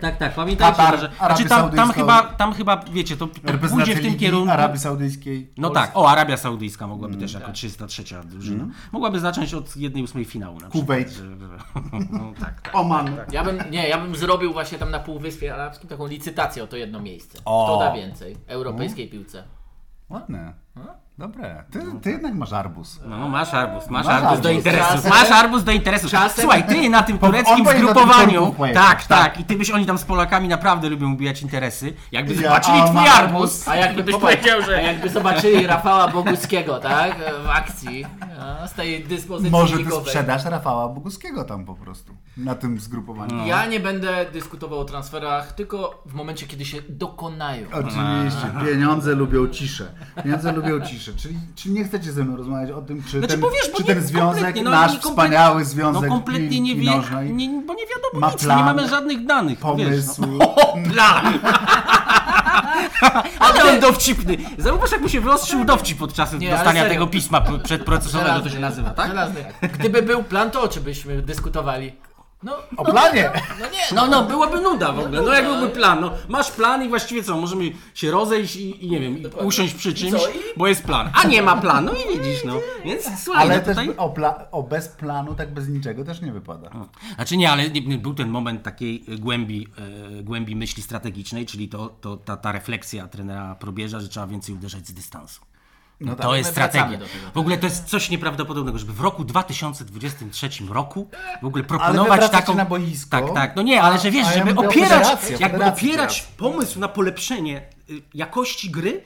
[SPEAKER 2] Tak, tak, pamiętajcie,
[SPEAKER 1] Katar,
[SPEAKER 2] że... Znaczy,
[SPEAKER 1] Arabii
[SPEAKER 2] tam, tam,
[SPEAKER 1] Saudyjskiej.
[SPEAKER 2] chyba, tam chyba, wiecie, to, to pójdzie
[SPEAKER 1] Reprezentacja
[SPEAKER 2] w tym
[SPEAKER 1] Ligi
[SPEAKER 2] kierunku.
[SPEAKER 1] Arabii Mm. Saudyjskiej.
[SPEAKER 2] No tak, o, Arabia Saudyjska mogłaby też jako 303 drużyna.
[SPEAKER 1] Mm.
[SPEAKER 2] Mogłaby zacząć od 1-8 finału na przykład.
[SPEAKER 1] Kuwait.
[SPEAKER 2] że- że- No, tak, tak.
[SPEAKER 1] Oman.
[SPEAKER 3] Ja bym, nie, ja bym zrobił właśnie tam na Półwyspie Arabskim taką licytację o to jedno miejsce.
[SPEAKER 1] O.
[SPEAKER 3] Kto da więcej?
[SPEAKER 2] No.
[SPEAKER 3] Europejskiej piłce.
[SPEAKER 1] Ładne. No, Dobre. Ty,
[SPEAKER 2] tak.
[SPEAKER 1] ty jednak masz arbuz.
[SPEAKER 2] No, masz arbuz, masz,
[SPEAKER 1] Masz
[SPEAKER 2] arbuz,
[SPEAKER 1] arbuz.
[SPEAKER 2] do interesów.
[SPEAKER 3] Czasem-
[SPEAKER 2] masz arbuz do interesów.
[SPEAKER 3] Czasem-
[SPEAKER 2] Słuchaj, ty na tym tureckim
[SPEAKER 1] on powinien na tym
[SPEAKER 2] zgrupowaniu.
[SPEAKER 1] turku pojechać,
[SPEAKER 2] Tak,
[SPEAKER 1] tak.
[SPEAKER 2] tak. I ty byś oni tam z Polakami naprawdę lubią ubijać interesy. Jakby
[SPEAKER 1] Ja,
[SPEAKER 2] zobaczyli
[SPEAKER 1] a
[SPEAKER 2] twój
[SPEAKER 1] mam
[SPEAKER 2] arbuz.
[SPEAKER 3] A jakby byś powiedział, że... A jakby zobaczyli Rafała Boguskiego, tak? W akcji. a, Z tej dyspozycji
[SPEAKER 1] Może ty
[SPEAKER 3] ligowej.
[SPEAKER 1] sprzedasz Rafała Boguskiego tam po prostu. Na tym zgrupowaniu.
[SPEAKER 2] No.
[SPEAKER 3] Ja nie będę dyskutował o transferach, tylko w momencie, kiedy się dokonają.
[SPEAKER 1] Oczywiście, pieniądze lubią ciszę. Pieniądze lubią ciszę. Czyli, czy nie chcecie ze mną rozmawiać o tym, czy
[SPEAKER 2] Znaczy
[SPEAKER 1] ten,
[SPEAKER 2] powiesz, bo
[SPEAKER 1] czy
[SPEAKER 2] nie,
[SPEAKER 1] ten związek,
[SPEAKER 2] kompletnie, no,
[SPEAKER 1] nasz
[SPEAKER 2] nie, kompletnie-
[SPEAKER 1] wspaniały związek
[SPEAKER 2] No kompletnie
[SPEAKER 1] piłki
[SPEAKER 2] nie wie,
[SPEAKER 1] nożnej,
[SPEAKER 2] nie, bo nie wiadomo
[SPEAKER 1] ma
[SPEAKER 2] nic, no,
[SPEAKER 1] plan,
[SPEAKER 2] nie mamy żadnych danych. Wiesz,
[SPEAKER 1] pomysł.
[SPEAKER 2] no. O, plan! ale on dowcipny. Zauważ, jak mu się wyostrzył dowcip podczas
[SPEAKER 3] Nie, ale
[SPEAKER 2] dostania
[SPEAKER 3] serio.
[SPEAKER 2] tego pisma p- przedprocesowego, to się
[SPEAKER 3] Żelazny,
[SPEAKER 2] nazywa, tak?
[SPEAKER 3] Żelazny. Gdyby był plan, to o czym byśmy dyskutowali? No,
[SPEAKER 1] O planie!
[SPEAKER 3] no nie,
[SPEAKER 2] No, no, byłaby nuda w ogóle. No, jak byłby plan? No, masz plan i właściwie co? Możemy się rozejść i, i nie wiem, i usiąść przy czymś,
[SPEAKER 3] co? I-
[SPEAKER 2] bo jest plan. A nie ma planu i widzisz, no. Więc słuchaj,
[SPEAKER 1] Ale
[SPEAKER 2] no
[SPEAKER 1] też
[SPEAKER 2] tutaj...
[SPEAKER 1] o, pla- o bez planu, tak bez niczego też nie wypada.
[SPEAKER 2] Znaczy nie, ale nie- nie, był ten moment takiej głębi, e, głębi myśli strategicznej, czyli to, to, ta, ta refleksja trenera Probierza, że trzeba więcej uderzać z dystansu.
[SPEAKER 1] No
[SPEAKER 2] to jest
[SPEAKER 3] My wracamy
[SPEAKER 2] strategia.
[SPEAKER 3] do tego.
[SPEAKER 2] W ogóle to jest coś nieprawdopodobnego, żeby w roku 2023 roku w ogóle
[SPEAKER 1] Ale wy
[SPEAKER 2] proponować
[SPEAKER 1] wracacie
[SPEAKER 2] taką...
[SPEAKER 1] na boisko.
[SPEAKER 2] Tak, tak. No nie, ale że wiesz,
[SPEAKER 1] A ja
[SPEAKER 2] żeby
[SPEAKER 1] mówię o
[SPEAKER 2] opierać,
[SPEAKER 1] federacji, o
[SPEAKER 2] jakby
[SPEAKER 1] federacji
[SPEAKER 2] opierać pomysł na polepszenie y, jakości gry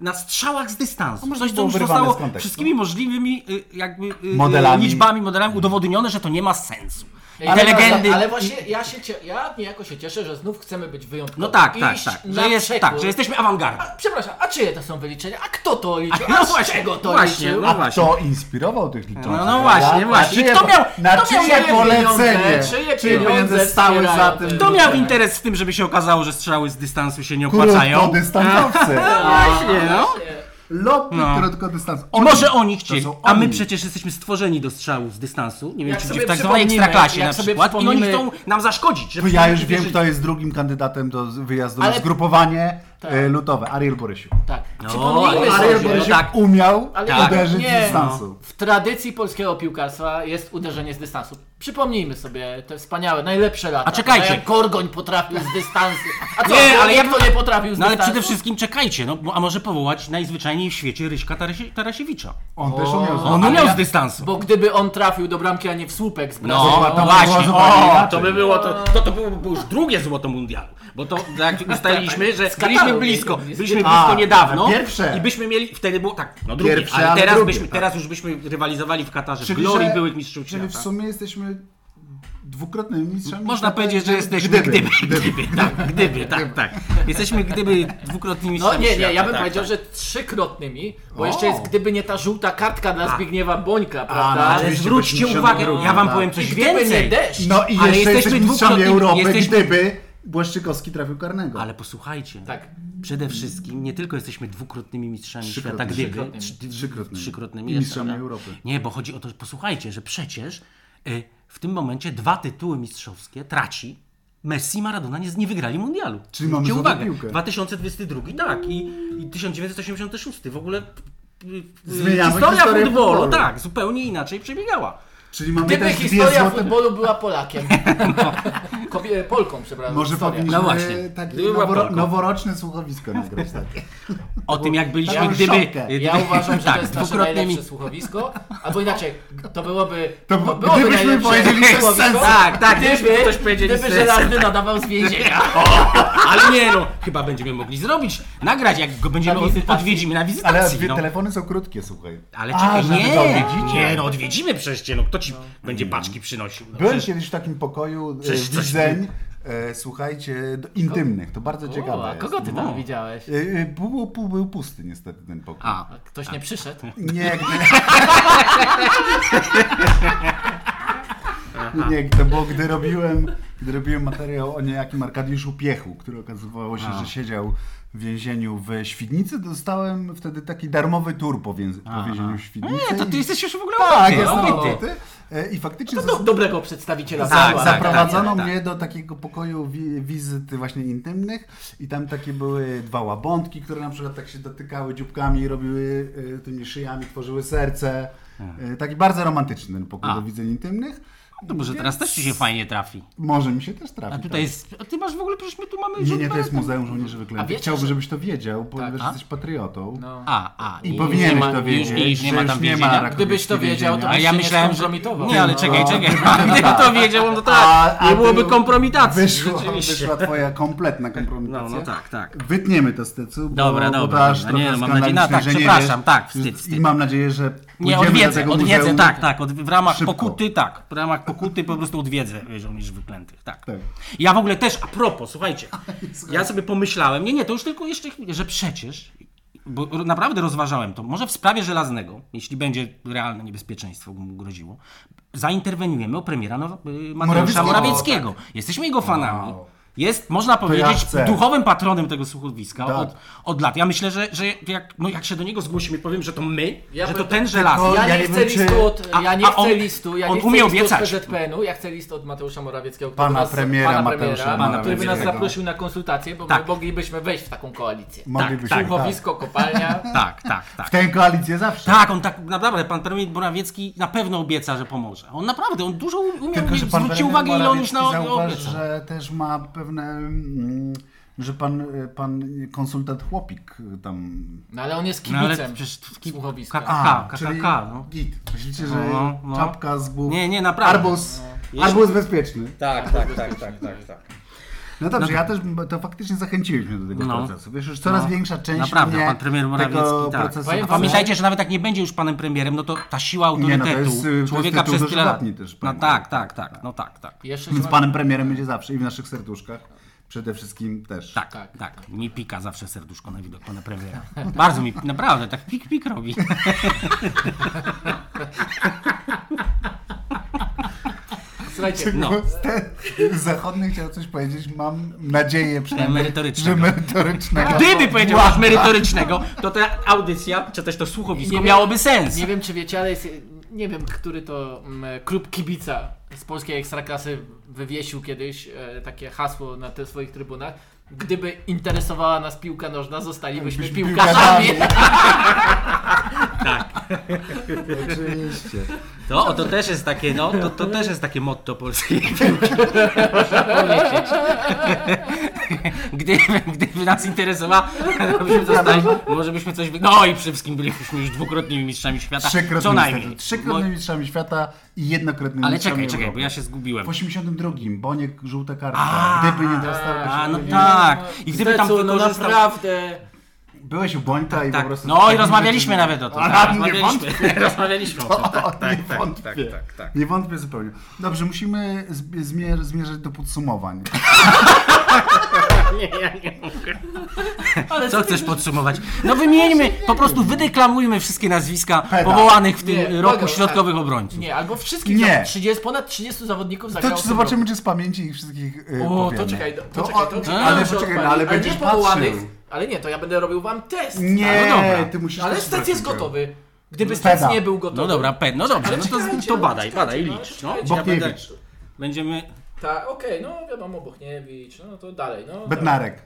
[SPEAKER 2] na strzałach z dystansu.
[SPEAKER 1] może
[SPEAKER 2] Coś,
[SPEAKER 1] to
[SPEAKER 2] co
[SPEAKER 1] było
[SPEAKER 2] już
[SPEAKER 1] wyrwane
[SPEAKER 2] zostało
[SPEAKER 1] z kontekstu.
[SPEAKER 2] wszystkimi możliwymi y, jakby y,
[SPEAKER 1] Modelami.
[SPEAKER 2] liczbami, modelami udowodnione, że to nie ma sensu. I
[SPEAKER 3] Ale-
[SPEAKER 2] te legendy...
[SPEAKER 3] Ale właśnie ja się cie, ja niejako się cieszę, że znów chcemy być wyjątkowi.
[SPEAKER 2] No tak, tak,
[SPEAKER 3] Iść
[SPEAKER 2] tak.
[SPEAKER 3] na
[SPEAKER 2] Że jest,
[SPEAKER 3] przekór.
[SPEAKER 2] tak, że jesteśmy awangardą.
[SPEAKER 3] A, przepraszam, a czyje to są wyliczenia? A kto to liczył?
[SPEAKER 2] no
[SPEAKER 3] A z
[SPEAKER 2] właśnie,
[SPEAKER 3] czego to
[SPEAKER 2] właśnie,
[SPEAKER 3] liczył?
[SPEAKER 2] no
[SPEAKER 3] A
[SPEAKER 2] właśnie.
[SPEAKER 1] Kto inspirował tych liczących?
[SPEAKER 2] No, no
[SPEAKER 1] prawda?
[SPEAKER 2] właśnie,
[SPEAKER 1] Na
[SPEAKER 2] właśnie.
[SPEAKER 1] czyje-
[SPEAKER 2] Kto miał-
[SPEAKER 1] na
[SPEAKER 2] kto miał
[SPEAKER 1] czyje
[SPEAKER 3] czyje
[SPEAKER 1] polecenie?
[SPEAKER 3] pieniądze, czyje
[SPEAKER 1] Czyje pieniądze
[SPEAKER 3] pieniądze
[SPEAKER 1] stały za
[SPEAKER 3] wspierają
[SPEAKER 1] tym?
[SPEAKER 3] ten
[SPEAKER 2] Kto miał
[SPEAKER 3] Dokładnie.
[SPEAKER 2] interes w tym, żeby się okazało, że strzały z dystansu się nie opłacają?
[SPEAKER 1] Krótkodystansowcy.
[SPEAKER 2] Właśnie, no.
[SPEAKER 1] Lotnik
[SPEAKER 2] No.
[SPEAKER 1] krótkodystans.
[SPEAKER 2] I może oni chcieli,
[SPEAKER 1] to są
[SPEAKER 2] a my
[SPEAKER 1] oni.
[SPEAKER 2] przecież jesteśmy stworzeni do strzału z dystansu. Nie wiem,
[SPEAKER 3] Jak
[SPEAKER 2] czy
[SPEAKER 3] sobie
[SPEAKER 2] gdzie w tak zwanej
[SPEAKER 3] przypomnimy,
[SPEAKER 2] ekstraklasie
[SPEAKER 3] jak
[SPEAKER 2] na
[SPEAKER 3] sobie
[SPEAKER 2] przykład. I oni
[SPEAKER 3] przypomnimy-
[SPEAKER 2] chcą nam zaszkodzić.
[SPEAKER 1] Bo
[SPEAKER 2] Żeby
[SPEAKER 1] ja już wiem,
[SPEAKER 2] żeby-
[SPEAKER 1] kto jest drugim kandydatem do z- wyjazdu na
[SPEAKER 3] Ale-
[SPEAKER 1] zgrupowanie
[SPEAKER 2] Tak.
[SPEAKER 1] e, lutowe. Ariel Borysiu.
[SPEAKER 3] Tak.
[SPEAKER 2] No,
[SPEAKER 3] Przypomnijmy
[SPEAKER 2] ale-
[SPEAKER 1] Ariel
[SPEAKER 2] no
[SPEAKER 3] sobie,
[SPEAKER 1] Borysiu
[SPEAKER 2] tak.
[SPEAKER 1] umiał
[SPEAKER 3] Ale-
[SPEAKER 1] uderzyć
[SPEAKER 3] nie,
[SPEAKER 1] z dystansu.
[SPEAKER 3] w tradycji polskiego piłkarstwa jest uderzenie z dystansu. Przypomnijmy sobie te wspaniałe, najlepsze lata. No
[SPEAKER 2] A czekajcie.
[SPEAKER 3] Jak Korgoń potrafił z dystansu. A co,
[SPEAKER 2] Nie, ale
[SPEAKER 3] ale jak
[SPEAKER 2] ja-
[SPEAKER 3] to nie potrafił z
[SPEAKER 2] No ale
[SPEAKER 3] dystansu?
[SPEAKER 2] przede wszystkim czekajcie, no bo- a może powołać najzwyczajniej w świecie Ryśka Tarasi- Tarasiewicza.
[SPEAKER 1] On też umiał.
[SPEAKER 2] No, On
[SPEAKER 1] z-
[SPEAKER 3] ale
[SPEAKER 2] umiał
[SPEAKER 3] ja-
[SPEAKER 2] z dystansu.
[SPEAKER 3] Bo gdyby on trafił do bramki, a nie w słupek z
[SPEAKER 2] No,
[SPEAKER 3] Brazylii,
[SPEAKER 1] to
[SPEAKER 2] właśnie,
[SPEAKER 1] było zupełnie
[SPEAKER 2] o,
[SPEAKER 1] inaczej.
[SPEAKER 2] to by było, to, to, to byłoby już drugie złoto mundialu, bo to jak ustaliliśmy, że
[SPEAKER 3] Z Kataru
[SPEAKER 2] byliśmy blisko,
[SPEAKER 3] jest- jest-
[SPEAKER 2] byliśmy
[SPEAKER 1] A,
[SPEAKER 2] blisko niedawno
[SPEAKER 1] pierwsze.
[SPEAKER 2] i byśmy mieli, wtedy było tak, no drugie,
[SPEAKER 1] Pierwsze,
[SPEAKER 2] ale
[SPEAKER 1] ale
[SPEAKER 2] teraz,
[SPEAKER 1] drugie,
[SPEAKER 2] byśmy,
[SPEAKER 1] tak.
[SPEAKER 2] teraz już byśmy rywalizowali w Katarze,
[SPEAKER 1] Czyli,
[SPEAKER 2] w glorii
[SPEAKER 1] że-
[SPEAKER 2] byłych mistrzów
[SPEAKER 1] Czyli w
[SPEAKER 2] świata.
[SPEAKER 1] sumie jesteśmy dwukrotnymi mistrzami.
[SPEAKER 2] Można
[SPEAKER 1] świata,
[SPEAKER 2] powiedzieć, że jesteśmy gdyby, gdyby, gdyby, tak, gdyby, tak, tak. Jesteśmy gdyby dwukrotnymi
[SPEAKER 3] No nie,
[SPEAKER 2] świata,
[SPEAKER 3] nie, ja bym
[SPEAKER 2] tak,
[SPEAKER 3] powiedział,
[SPEAKER 2] tak.
[SPEAKER 3] że trzykrotnymi, bo
[SPEAKER 1] O.
[SPEAKER 3] jeszcze jest gdyby nie ta żółta kartka dla Zbigniewa Bońka, prawda?
[SPEAKER 1] no,
[SPEAKER 2] Ale
[SPEAKER 1] Oczywiście
[SPEAKER 2] zwróćcie
[SPEAKER 1] byśmy
[SPEAKER 2] uwagę,
[SPEAKER 1] siódmy,
[SPEAKER 2] ja wam
[SPEAKER 1] tak.
[SPEAKER 2] powiem
[SPEAKER 3] I
[SPEAKER 2] coś
[SPEAKER 3] gdyby nie
[SPEAKER 2] więcej.
[SPEAKER 3] deszcz,
[SPEAKER 1] No i
[SPEAKER 2] Ale
[SPEAKER 1] jeszcze
[SPEAKER 2] jesteśmy
[SPEAKER 1] jesteśmy mistrzami
[SPEAKER 2] dwukrotnymi-
[SPEAKER 1] Europy,
[SPEAKER 2] jesteśmy-
[SPEAKER 1] gdyby Błaszczykowski trafił karnego.
[SPEAKER 2] Ale posłuchajcie. no.
[SPEAKER 3] Tak.
[SPEAKER 2] Przede wszystkim nie tylko jesteśmy dwukrotnymi mistrzami świata,
[SPEAKER 1] Trzykrotnymi.
[SPEAKER 2] gdyby
[SPEAKER 3] Trzykrotnymi.
[SPEAKER 2] trzy-
[SPEAKER 1] Trzykrotnymi.
[SPEAKER 2] trzykrotnymi
[SPEAKER 1] I mistrzami
[SPEAKER 2] jeszcze,
[SPEAKER 1] Europy.
[SPEAKER 2] Nie, bo chodzi o to, posłuchajcie, że przecież y, w tym momencie dwa tytuły mistrzowskie traci Messi i Maradona nie, nie wygrali mundialu.
[SPEAKER 1] Czyli mamy
[SPEAKER 2] Zwróćcie
[SPEAKER 1] złotą
[SPEAKER 2] uwagę.
[SPEAKER 1] piłkę.
[SPEAKER 2] 2022 tak i, i 1986 w ogóle y, y,
[SPEAKER 1] Zmieniamy
[SPEAKER 2] historia
[SPEAKER 1] historię
[SPEAKER 2] futbolu,
[SPEAKER 1] futbolu.
[SPEAKER 2] tak, zupełnie inaczej przebiegała.
[SPEAKER 1] Czyli mamy
[SPEAKER 3] gdyby
[SPEAKER 1] też dwie
[SPEAKER 3] historia
[SPEAKER 1] złote...
[SPEAKER 3] futbolu była Polakiem. Kobie, Polką, przepraszam.
[SPEAKER 1] Może
[SPEAKER 3] historia.
[SPEAKER 1] powinniśmy
[SPEAKER 2] No właśnie.
[SPEAKER 1] takie
[SPEAKER 2] Gdyby była
[SPEAKER 1] noworo-
[SPEAKER 2] Polką.
[SPEAKER 1] noworoczne słuchowisko nagrać. tak. Takie.
[SPEAKER 2] O tym jak byliśmy,
[SPEAKER 1] Ja mam
[SPEAKER 2] gdyby...
[SPEAKER 1] szopkę.
[SPEAKER 2] gdyby-
[SPEAKER 3] Ja uważam, że
[SPEAKER 2] tak,
[SPEAKER 3] to jest nasze
[SPEAKER 2] dwukrotnie
[SPEAKER 3] najlepsze
[SPEAKER 2] mi-
[SPEAKER 3] słuchowisko. Albo inaczej, to byłoby.
[SPEAKER 1] To
[SPEAKER 3] to
[SPEAKER 1] by-
[SPEAKER 3] byłoby
[SPEAKER 1] gdybyśmy
[SPEAKER 3] najlepsze
[SPEAKER 1] powiedzieli bez
[SPEAKER 3] słuchowisko,
[SPEAKER 1] sensu.
[SPEAKER 2] Tak, tak,
[SPEAKER 3] Gdyby,
[SPEAKER 2] gdybyśmy ktoś powiedzieli
[SPEAKER 3] gdyby
[SPEAKER 2] bez sensu,
[SPEAKER 3] żelazny nadawał z więzienia.
[SPEAKER 2] Ale nie no, chyba będziemy mogli zrobić, nagrać, jak go będziemy,
[SPEAKER 3] Na wizytacji.
[SPEAKER 2] odwiedzimy na
[SPEAKER 1] Ale
[SPEAKER 2] wizytacji.
[SPEAKER 1] dwie
[SPEAKER 2] no.
[SPEAKER 1] telefony są krótkie, słuchaj.
[SPEAKER 2] Ale
[SPEAKER 1] A,
[SPEAKER 2] czekaj,
[SPEAKER 1] że
[SPEAKER 2] nie,
[SPEAKER 1] wy go odwiedzicie.
[SPEAKER 2] nie, no odwiedzimy przecież cię, no kto ci będzie paczki przynosił? No,
[SPEAKER 1] Byłem
[SPEAKER 2] przecież-
[SPEAKER 1] kiedyś w takim pokoju e,
[SPEAKER 2] Przecież coś-
[SPEAKER 1] widzeń, e, słuchajcie, do- intymnych. To bardzo
[SPEAKER 3] O,
[SPEAKER 1] ciekawe
[SPEAKER 3] a
[SPEAKER 1] jest.
[SPEAKER 3] kogo ty
[SPEAKER 2] No.
[SPEAKER 3] tam widziałeś?
[SPEAKER 1] E, e, Był, był, był pusty niestety ten pokój.
[SPEAKER 2] A,
[SPEAKER 3] A Ktoś nie przyszedł.
[SPEAKER 1] Nie, gdy... Nie, to było gdy robiłem, gdy robiłem materiał o niejakim Arkadiuszu Piechu, który okazywało się, że siedział w więzieniu w Świdnicy, dostałem wtedy taki darmowy tur po, więz... po więzieniu w Świdnicy.
[SPEAKER 2] nie, to ty jesteś już w ogóle
[SPEAKER 1] Tak,
[SPEAKER 2] obyty,
[SPEAKER 1] jestem
[SPEAKER 2] obyty.
[SPEAKER 1] obyty. E, I faktycznie
[SPEAKER 3] No, dobrego przedstawiciela
[SPEAKER 2] Tak,
[SPEAKER 3] zespołu,
[SPEAKER 2] tak,
[SPEAKER 3] ale-
[SPEAKER 1] Zaprowadzono
[SPEAKER 2] tak, tak.
[SPEAKER 1] mnie do takiego pokoju wi- wizyt właśnie intymnych i tam takie były dwa łabądki, które na przykład tak się dotykały dzióbkami i robiły y, tymi szyjami, tworzyły serce. Y, taki bardzo romantyczny ten pokój
[SPEAKER 2] Tak. A.
[SPEAKER 1] do widzeń intymnych.
[SPEAKER 2] To może teraz też ci się fajnie trafi.
[SPEAKER 1] Może mi się też trafi.
[SPEAKER 2] A tutaj jest, a ty masz w ogóle, przecież my tu mamy...
[SPEAKER 1] tak. Nie, nie,
[SPEAKER 2] żołnierza.
[SPEAKER 1] to jest Muzeum Żołnierzy
[SPEAKER 3] A
[SPEAKER 1] Wyklętych.
[SPEAKER 3] wiecie,
[SPEAKER 1] Chciałbym,
[SPEAKER 3] że- Tak.
[SPEAKER 1] żebyś to wiedział, ponieważ
[SPEAKER 2] A?
[SPEAKER 1] jesteś patriotą.
[SPEAKER 3] No.
[SPEAKER 2] A, a.
[SPEAKER 1] I powinieneś
[SPEAKER 2] nie ma-
[SPEAKER 1] to wiedzieć,
[SPEAKER 2] I, i,
[SPEAKER 1] że
[SPEAKER 2] nie ma
[SPEAKER 1] już
[SPEAKER 2] tam
[SPEAKER 1] nie ma
[SPEAKER 2] więzienia.
[SPEAKER 1] raku.
[SPEAKER 3] Gdybyś to
[SPEAKER 1] Więzienia.
[SPEAKER 3] wiedział, to
[SPEAKER 2] A
[SPEAKER 3] byś
[SPEAKER 2] ja
[SPEAKER 3] się
[SPEAKER 2] myślałem,
[SPEAKER 3] nie
[SPEAKER 2] że...
[SPEAKER 3] skompromitował.
[SPEAKER 2] Nie, ale
[SPEAKER 3] No.
[SPEAKER 2] czekaj,
[SPEAKER 1] No.
[SPEAKER 2] czekaj. Gdyby to wiedział, no to tak.
[SPEAKER 1] A- a
[SPEAKER 2] Nie byłoby
[SPEAKER 1] tu
[SPEAKER 2] kompromitacji.
[SPEAKER 1] Wyszła,
[SPEAKER 2] Rzeczywiście.
[SPEAKER 1] wyszła twoja kompletna kompromitacja.
[SPEAKER 2] No, no tak, tak.
[SPEAKER 1] Wytniemy to z tycu, bo,
[SPEAKER 2] Dobra,
[SPEAKER 1] bo
[SPEAKER 2] dobra,
[SPEAKER 1] to aż
[SPEAKER 2] dobra.
[SPEAKER 1] trochę
[SPEAKER 2] Nie, no, mam nadzieję- no
[SPEAKER 1] skandaliczne,
[SPEAKER 2] tak,
[SPEAKER 1] że nie
[SPEAKER 2] przepraszam,
[SPEAKER 1] wiesz.
[SPEAKER 2] tak, wstyd, wstyd.
[SPEAKER 1] I mam nadzieję, że
[SPEAKER 2] Nie,
[SPEAKER 1] pójdziemy do
[SPEAKER 2] odwiedzę,
[SPEAKER 1] tego
[SPEAKER 2] odwiedzę,
[SPEAKER 1] muzeum.
[SPEAKER 2] tak, tak. Od, w ramach
[SPEAKER 1] Szybko.
[SPEAKER 2] pokuty, tak. W ramach pokuty po prostu odwiedzę żołnierzy wyklętych, tak.
[SPEAKER 1] Tak.
[SPEAKER 2] Ja w ogóle też, a propos, słuchajcie, ja sobie pomyślałem, nie, nie, to już tylko jeszcze, chwilę, że przecież, bo r- naprawdę rozważałem to, może w sprawie Żelaznego, jeśli będzie realne niebezpieczeństwo mu groziło, zainterweniujemy o premiera Now- y, Mateusza
[SPEAKER 1] Morawieckiego. tak.
[SPEAKER 2] Morawieckiego. Jesteśmy jego fanami.
[SPEAKER 1] Wow. Jest
[SPEAKER 2] Jest, można powiedzieć,
[SPEAKER 1] chcę.
[SPEAKER 2] duchowym patronem tego słuchowiska
[SPEAKER 1] Tak.
[SPEAKER 2] od, od lat. Ja myślę, że, że jak, no jak się do niego zgłosimy, powiem, że to my,
[SPEAKER 3] Ja
[SPEAKER 2] że to
[SPEAKER 3] bym-
[SPEAKER 2] ten żelazny.
[SPEAKER 1] tylko-
[SPEAKER 3] Ja,
[SPEAKER 1] Ja
[SPEAKER 3] nie
[SPEAKER 1] nie
[SPEAKER 3] chcę
[SPEAKER 1] wiem, czy-
[SPEAKER 3] listu od,
[SPEAKER 2] A-
[SPEAKER 3] ja nie
[SPEAKER 2] a
[SPEAKER 3] chcę
[SPEAKER 2] on-
[SPEAKER 3] listu, ja
[SPEAKER 2] on
[SPEAKER 3] nie chcę
[SPEAKER 2] umie
[SPEAKER 3] listu
[SPEAKER 2] obiecać.
[SPEAKER 3] od PZPN-u, ja chcę list od Mateusza Morawieckiego, który
[SPEAKER 1] Pana
[SPEAKER 3] nas,
[SPEAKER 1] premiera
[SPEAKER 3] pana
[SPEAKER 1] Mateusza
[SPEAKER 3] premiera, który by nas
[SPEAKER 1] Morawieckiego.
[SPEAKER 3] zaprosił na konsultacje, bo
[SPEAKER 2] Tak.
[SPEAKER 3] my moglibyśmy wejść w taką koalicję.
[SPEAKER 1] Moglibyśmy,
[SPEAKER 2] tak,
[SPEAKER 1] tak.
[SPEAKER 3] Słuchowisko, kopalnia.
[SPEAKER 2] Tak, tak,
[SPEAKER 1] W
[SPEAKER 2] tak.
[SPEAKER 1] tę koalicję zawsze.
[SPEAKER 2] Tak, on tak naprawdę, pan premier Morawiecki na pewno obieca, że pomoże. On naprawdę, on dużo umiał,
[SPEAKER 1] Tylko, że pan
[SPEAKER 2] zwrócił
[SPEAKER 1] premier
[SPEAKER 2] uwagę, ile on już na
[SPEAKER 1] Morawiecki zauważ,
[SPEAKER 2] obiecał.
[SPEAKER 1] że też ma pewne... mm, Że pan, pan konsultant Chłopik tam...
[SPEAKER 3] No ale on jest
[SPEAKER 2] No ale
[SPEAKER 3] kibicem
[SPEAKER 2] przecież w ki-
[SPEAKER 3] słuchowiska.
[SPEAKER 2] kaka- K, K,
[SPEAKER 1] czyli
[SPEAKER 2] K, no.
[SPEAKER 1] git. Myślicie, że
[SPEAKER 2] No, no.
[SPEAKER 1] czapka z głów...
[SPEAKER 2] Nie, nie, naprawdę.
[SPEAKER 1] Arbus, arbus bezpieczny.
[SPEAKER 2] Tak, tak, tak, tak, tak, tak.
[SPEAKER 1] No dobrze, ja też bym- to faktycznie zachęciłeś mnie do tego
[SPEAKER 2] No.
[SPEAKER 1] procesu. Wiesz, już coraz
[SPEAKER 2] No.
[SPEAKER 1] większa część
[SPEAKER 2] Naprawdę,
[SPEAKER 1] mnie
[SPEAKER 2] pan premier
[SPEAKER 1] tego
[SPEAKER 2] Morawiecki, tak.
[SPEAKER 1] procesu
[SPEAKER 2] A
[SPEAKER 3] Powiem wam,
[SPEAKER 1] chce.
[SPEAKER 2] pamiętajcie, że nawet jak nie będzie już panem premierem, no to ta siła
[SPEAKER 1] no, to jest,
[SPEAKER 2] autorytetu
[SPEAKER 1] y, to jest
[SPEAKER 2] człowieka
[SPEAKER 1] tytuł
[SPEAKER 2] przez tyle lat.
[SPEAKER 1] dożywotni też,
[SPEAKER 2] No
[SPEAKER 1] panie.
[SPEAKER 2] tak, tak, tak, no tak, tak.
[SPEAKER 3] Jeszcze się
[SPEAKER 1] Więc
[SPEAKER 3] ma-
[SPEAKER 1] panem premierem będzie zawsze i w naszych serduszkach. Przede wszystkim też.
[SPEAKER 2] Tak,
[SPEAKER 3] Tak.
[SPEAKER 2] tak, tak. Mi pika zawsze serduszko na widok pana premiera. Bardzo mi, naprawdę, tak pik, pik robi.
[SPEAKER 3] Słuchajcie,
[SPEAKER 2] No.
[SPEAKER 1] Zachodny chciał coś powiedzieć, mam nadzieję przynajmniej,
[SPEAKER 2] Merytorycznego.
[SPEAKER 1] że merytorycznego.
[SPEAKER 2] Tak, Gdyby powiedział coś merytorycznego, to ta audycja, czy też to słuchowisko
[SPEAKER 3] Nie wiem-
[SPEAKER 2] miałoby sens.
[SPEAKER 3] nie wiem czy wiecie, ale jest, nie wiem, który to mm, klub kibica z polskiej ekstraklasy wywiesił kiedyś e, takie hasło na tych swoich trybunach. Gdyby interesowała nas piłka nożna, zostalibyśmy
[SPEAKER 1] Byliśmy
[SPEAKER 3] piłkarzami.
[SPEAKER 2] Tak.
[SPEAKER 1] Oczywiście.
[SPEAKER 2] To, o, to też jest takie, no, to, to też jest takie motto polskie. Gdyby, gdyby nas interesowała, to byśmy zostali, może byśmy coś... Wy... No i przede wszystkim byliśmy już dwukrotnymi mistrzami świata, co
[SPEAKER 1] Trzykrotnymi,
[SPEAKER 2] najmniej.
[SPEAKER 1] trzykrotnymi
[SPEAKER 2] Mo-
[SPEAKER 1] mistrzami świata i jednokrotnymi
[SPEAKER 2] Ale
[SPEAKER 1] mistrzami
[SPEAKER 2] czekaj, czekaj,
[SPEAKER 1] Europy.
[SPEAKER 2] bo ja się zgubiłem.
[SPEAKER 1] W 82. Boniek, żółta kartka.
[SPEAKER 2] A,
[SPEAKER 1] Gdyby nie dostał... to się
[SPEAKER 2] A, no
[SPEAKER 1] nie-
[SPEAKER 2] tak. I gdyby tam
[SPEAKER 3] Stecu, no
[SPEAKER 2] wykorzystał...
[SPEAKER 3] naprawdę.
[SPEAKER 1] Byłeś u Bońka i po
[SPEAKER 2] Tak.
[SPEAKER 1] prostu...
[SPEAKER 2] No i rozmawialiśmy nawet o tym.
[SPEAKER 1] Ale
[SPEAKER 2] tak,
[SPEAKER 1] nie
[SPEAKER 2] rozmawialiśmy. rozmawialiśmy o tym. Tak,
[SPEAKER 1] nie
[SPEAKER 2] tak, tak, tak,
[SPEAKER 1] wątpię.
[SPEAKER 2] tak, tak.
[SPEAKER 1] Nie wątpię zupełnie. Dobrze, musimy zb- zmier- zmierzać do podsumowań.
[SPEAKER 2] Nie, ja nie mogę.
[SPEAKER 3] Ale
[SPEAKER 2] Co chcesz podsumować? No wymieńmy, po prostu wydeklamujmy wszystkie nazwiska
[SPEAKER 1] Peda.
[SPEAKER 2] powołanych w tym
[SPEAKER 3] Nie,
[SPEAKER 2] roku
[SPEAKER 3] Bogu,
[SPEAKER 2] środkowych obrońców.
[SPEAKER 3] Nie, albo wszystkich
[SPEAKER 1] Nie.
[SPEAKER 3] nie. 30, ponad 30 zawodników
[SPEAKER 1] To
[SPEAKER 3] zagrało. w
[SPEAKER 1] czy
[SPEAKER 3] tym
[SPEAKER 1] zobaczymy,
[SPEAKER 3] roku.
[SPEAKER 1] czy z pamięci ich wszystkich yy,
[SPEAKER 3] O,
[SPEAKER 1] powiemy.
[SPEAKER 3] to czekaj, to,
[SPEAKER 1] To
[SPEAKER 3] to czekaj,
[SPEAKER 1] o-
[SPEAKER 3] to czekaj.
[SPEAKER 1] Ale
[SPEAKER 3] muszę
[SPEAKER 1] poczekaj,
[SPEAKER 3] odpalić.
[SPEAKER 1] no, ale
[SPEAKER 3] nie
[SPEAKER 1] będziesz
[SPEAKER 3] powołanych,
[SPEAKER 1] patrzył.
[SPEAKER 3] Ale nie, to ja będę robił wam test.
[SPEAKER 1] Nie,
[SPEAKER 2] No dobra.
[SPEAKER 1] ty musisz...
[SPEAKER 3] Ale
[SPEAKER 1] też no.
[SPEAKER 3] stec jest
[SPEAKER 1] sprawdzić.
[SPEAKER 3] gotowy. Gdyby
[SPEAKER 1] Peda.
[SPEAKER 3] stec nie był gotowy.
[SPEAKER 2] No dobra, pe, no dobrze, no to,
[SPEAKER 3] czekajcie,
[SPEAKER 2] to
[SPEAKER 3] no,
[SPEAKER 2] badaj,
[SPEAKER 3] czekajcie,
[SPEAKER 2] badaj,
[SPEAKER 3] no,
[SPEAKER 2] licz. No,
[SPEAKER 3] czekajcie.
[SPEAKER 2] ja będę-
[SPEAKER 1] Bochniewicz.
[SPEAKER 2] Będziemy...
[SPEAKER 3] Tak, okej, no wiadomo, Bochniewicz, no to dalej, no.
[SPEAKER 1] Bednarek.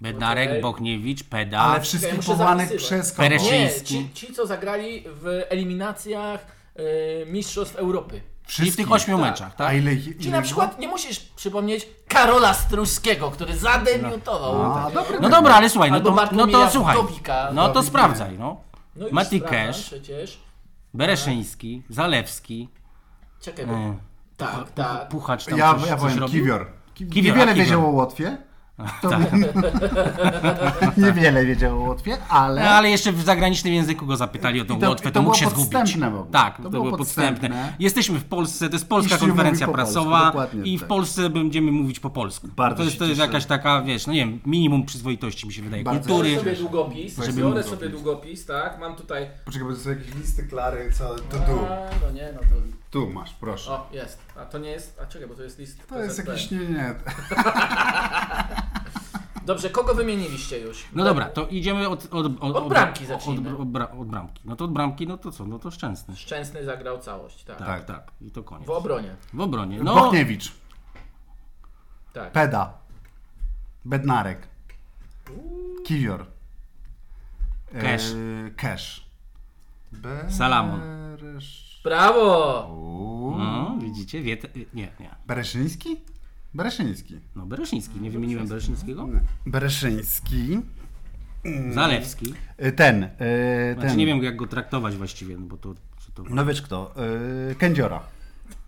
[SPEAKER 2] Bednarek,
[SPEAKER 3] Okej.
[SPEAKER 2] Bochniewicz, Peda,
[SPEAKER 1] Ale wszystkich
[SPEAKER 3] muszę
[SPEAKER 1] powołanych
[SPEAKER 3] zapisywać.
[SPEAKER 1] przez kogo?
[SPEAKER 2] Peres-
[SPEAKER 3] Nie,
[SPEAKER 2] Pszczyński.
[SPEAKER 3] ci, ci co zagrali w eliminacjach y, Mistrzostw Europy.
[SPEAKER 2] Czyli w tych ośmiu
[SPEAKER 3] Tak.
[SPEAKER 2] meczach, tak?
[SPEAKER 1] A ile ich...
[SPEAKER 3] Czy
[SPEAKER 1] ile
[SPEAKER 3] na
[SPEAKER 1] ich
[SPEAKER 3] przykład nie musisz przypomnieć Karola Struskiego, który zadebiutował.
[SPEAKER 1] było? A,
[SPEAKER 3] Tak.
[SPEAKER 1] dobra.
[SPEAKER 2] No dobra, ale słuchaj, no
[SPEAKER 3] Albo
[SPEAKER 2] to, no
[SPEAKER 3] Bartłomieja
[SPEAKER 2] to słuchaj.
[SPEAKER 3] Wdowika.
[SPEAKER 2] No to
[SPEAKER 1] Wdowik.
[SPEAKER 2] sprawdzaj, no.
[SPEAKER 3] No i
[SPEAKER 2] Mati
[SPEAKER 3] Strachan
[SPEAKER 2] Cash.
[SPEAKER 3] przecież.
[SPEAKER 2] Bereszyński, Zalewski,
[SPEAKER 3] Czekaj, bo...
[SPEAKER 2] e,
[SPEAKER 3] tak, tak.
[SPEAKER 2] Puchacz tam
[SPEAKER 1] Ja,
[SPEAKER 2] coś,
[SPEAKER 1] ja
[SPEAKER 2] coś
[SPEAKER 1] powiem
[SPEAKER 2] robił.
[SPEAKER 1] Kiwior. Ki-
[SPEAKER 2] Kiwior, a,
[SPEAKER 1] Niewiele
[SPEAKER 2] Kiwior.
[SPEAKER 1] wiedział o Łotwie. To Tak. Niewiele wiedział o Łotwie, ale...
[SPEAKER 2] No, ale jeszcze w zagranicznym języku go zapytali o tą
[SPEAKER 1] Tak? I to-
[SPEAKER 2] Łotwę,
[SPEAKER 1] i
[SPEAKER 2] to,
[SPEAKER 1] to
[SPEAKER 2] mógł się
[SPEAKER 1] było
[SPEAKER 2] zgubić.
[SPEAKER 1] podstępne w ogóle.
[SPEAKER 2] Tak, to,
[SPEAKER 1] To
[SPEAKER 2] było,
[SPEAKER 1] było
[SPEAKER 2] podstępne.
[SPEAKER 1] podstępne.
[SPEAKER 2] Jeszcze Jesteśmy w Polsce, to jest polska
[SPEAKER 1] I się
[SPEAKER 2] konferencja
[SPEAKER 1] mówi po polsku,
[SPEAKER 2] prasowa
[SPEAKER 1] dokładnie
[SPEAKER 2] i w
[SPEAKER 1] tak.
[SPEAKER 2] Polsce będziemy mówić po polsku.
[SPEAKER 1] Bardzo
[SPEAKER 2] to jest,
[SPEAKER 1] się
[SPEAKER 2] to jest
[SPEAKER 1] cieszę.
[SPEAKER 2] jakaś taka, wiesz, no nie wiem, minimum przyzwoitości mi się wydaje,
[SPEAKER 1] Bardzo
[SPEAKER 2] kultury.
[SPEAKER 1] się
[SPEAKER 4] Biorę sobie długopis,
[SPEAKER 1] Żeby
[SPEAKER 4] biorę
[SPEAKER 1] długopis.
[SPEAKER 4] sobie długopis, tak, mam tutaj...
[SPEAKER 1] Poczekaj, bo to są jakieś listy Klary, co... To
[SPEAKER 3] A,
[SPEAKER 1] tu,
[SPEAKER 3] no nie, no to...
[SPEAKER 1] tu masz, proszę.
[SPEAKER 3] O, jest.
[SPEAKER 4] A to nie jest... A czekaj, bo to jest list
[SPEAKER 1] To jest
[SPEAKER 4] PZP.
[SPEAKER 1] jakiś... Nie, nie.
[SPEAKER 3] Dobrze, kogo wymieniliście już?
[SPEAKER 2] No dobra, to idziemy od, od, od,
[SPEAKER 3] Od bramki zacznijmy.
[SPEAKER 2] Od, od, bra- od bramki. No to od bramki, no to co, no to szczęsny.
[SPEAKER 3] Szczęsny zagrał całość, tak.
[SPEAKER 2] Tak, tak. I to koniec.
[SPEAKER 3] W obronie.
[SPEAKER 2] W obronie.
[SPEAKER 1] No.
[SPEAKER 2] No,
[SPEAKER 1] Bochniewicz.
[SPEAKER 3] Tak.
[SPEAKER 1] Peda. Bednarek. Kiwior. E,
[SPEAKER 2] Kesz.
[SPEAKER 1] Kesz. Be-
[SPEAKER 2] Salamon.
[SPEAKER 1] Resz-
[SPEAKER 3] Brawo!
[SPEAKER 1] Uuu.
[SPEAKER 2] no widzicie, wie, nie, nie.
[SPEAKER 1] Bereszyński? Bereszyński.
[SPEAKER 2] No Bereszyński, nie wymieniłem Bereszyńskiego?
[SPEAKER 1] Bereszyński.
[SPEAKER 2] Zalewski.
[SPEAKER 1] E, Ten. e,
[SPEAKER 2] Znaczy
[SPEAKER 1] ten.
[SPEAKER 2] nie wiem jak go traktować właściwie, no bo to... Czy to...
[SPEAKER 1] No wiesz kto? E, Kędziora.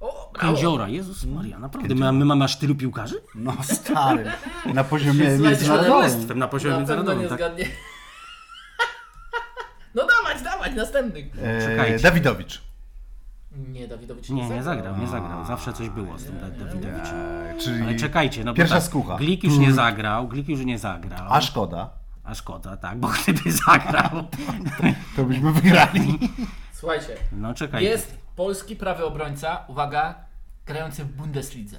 [SPEAKER 3] O, brawo!
[SPEAKER 2] Kędziora, Jezus
[SPEAKER 1] Mm.
[SPEAKER 2] Maria, naprawdę, my, my mamy aż tylu piłkarzy?
[SPEAKER 1] No stary. Na poziomie
[SPEAKER 3] Słuchajcie,
[SPEAKER 1] międzynarodowym.
[SPEAKER 2] Jestem na poziomie
[SPEAKER 3] Na pewno nie
[SPEAKER 2] międzynarodowym, tak?
[SPEAKER 3] zgadnie. No dawać, dawać, następny.
[SPEAKER 1] E,
[SPEAKER 2] Czekajcie.
[SPEAKER 1] Dawidowicz.
[SPEAKER 3] Nie, Dawidowicz
[SPEAKER 2] Nie, nie
[SPEAKER 3] zagrał.
[SPEAKER 2] zagrał, nie zagrał. Zawsze coś było z tym Da- Dawidowiczem.
[SPEAKER 1] E, czyli
[SPEAKER 2] Ale czekajcie, no bo
[SPEAKER 1] Pierwsza
[SPEAKER 2] tak,
[SPEAKER 1] skucha. Mm.
[SPEAKER 2] Glik już nie zagrał, Glik już nie zagrał.
[SPEAKER 1] A szkoda.
[SPEAKER 2] A szkoda, tak, bo gdyby zagrał...
[SPEAKER 1] To byśmy wygrali.
[SPEAKER 3] Słuchajcie,
[SPEAKER 2] No czekajcie.
[SPEAKER 3] jest polski prawy obrońca, uwaga, grający w Bundeslidze.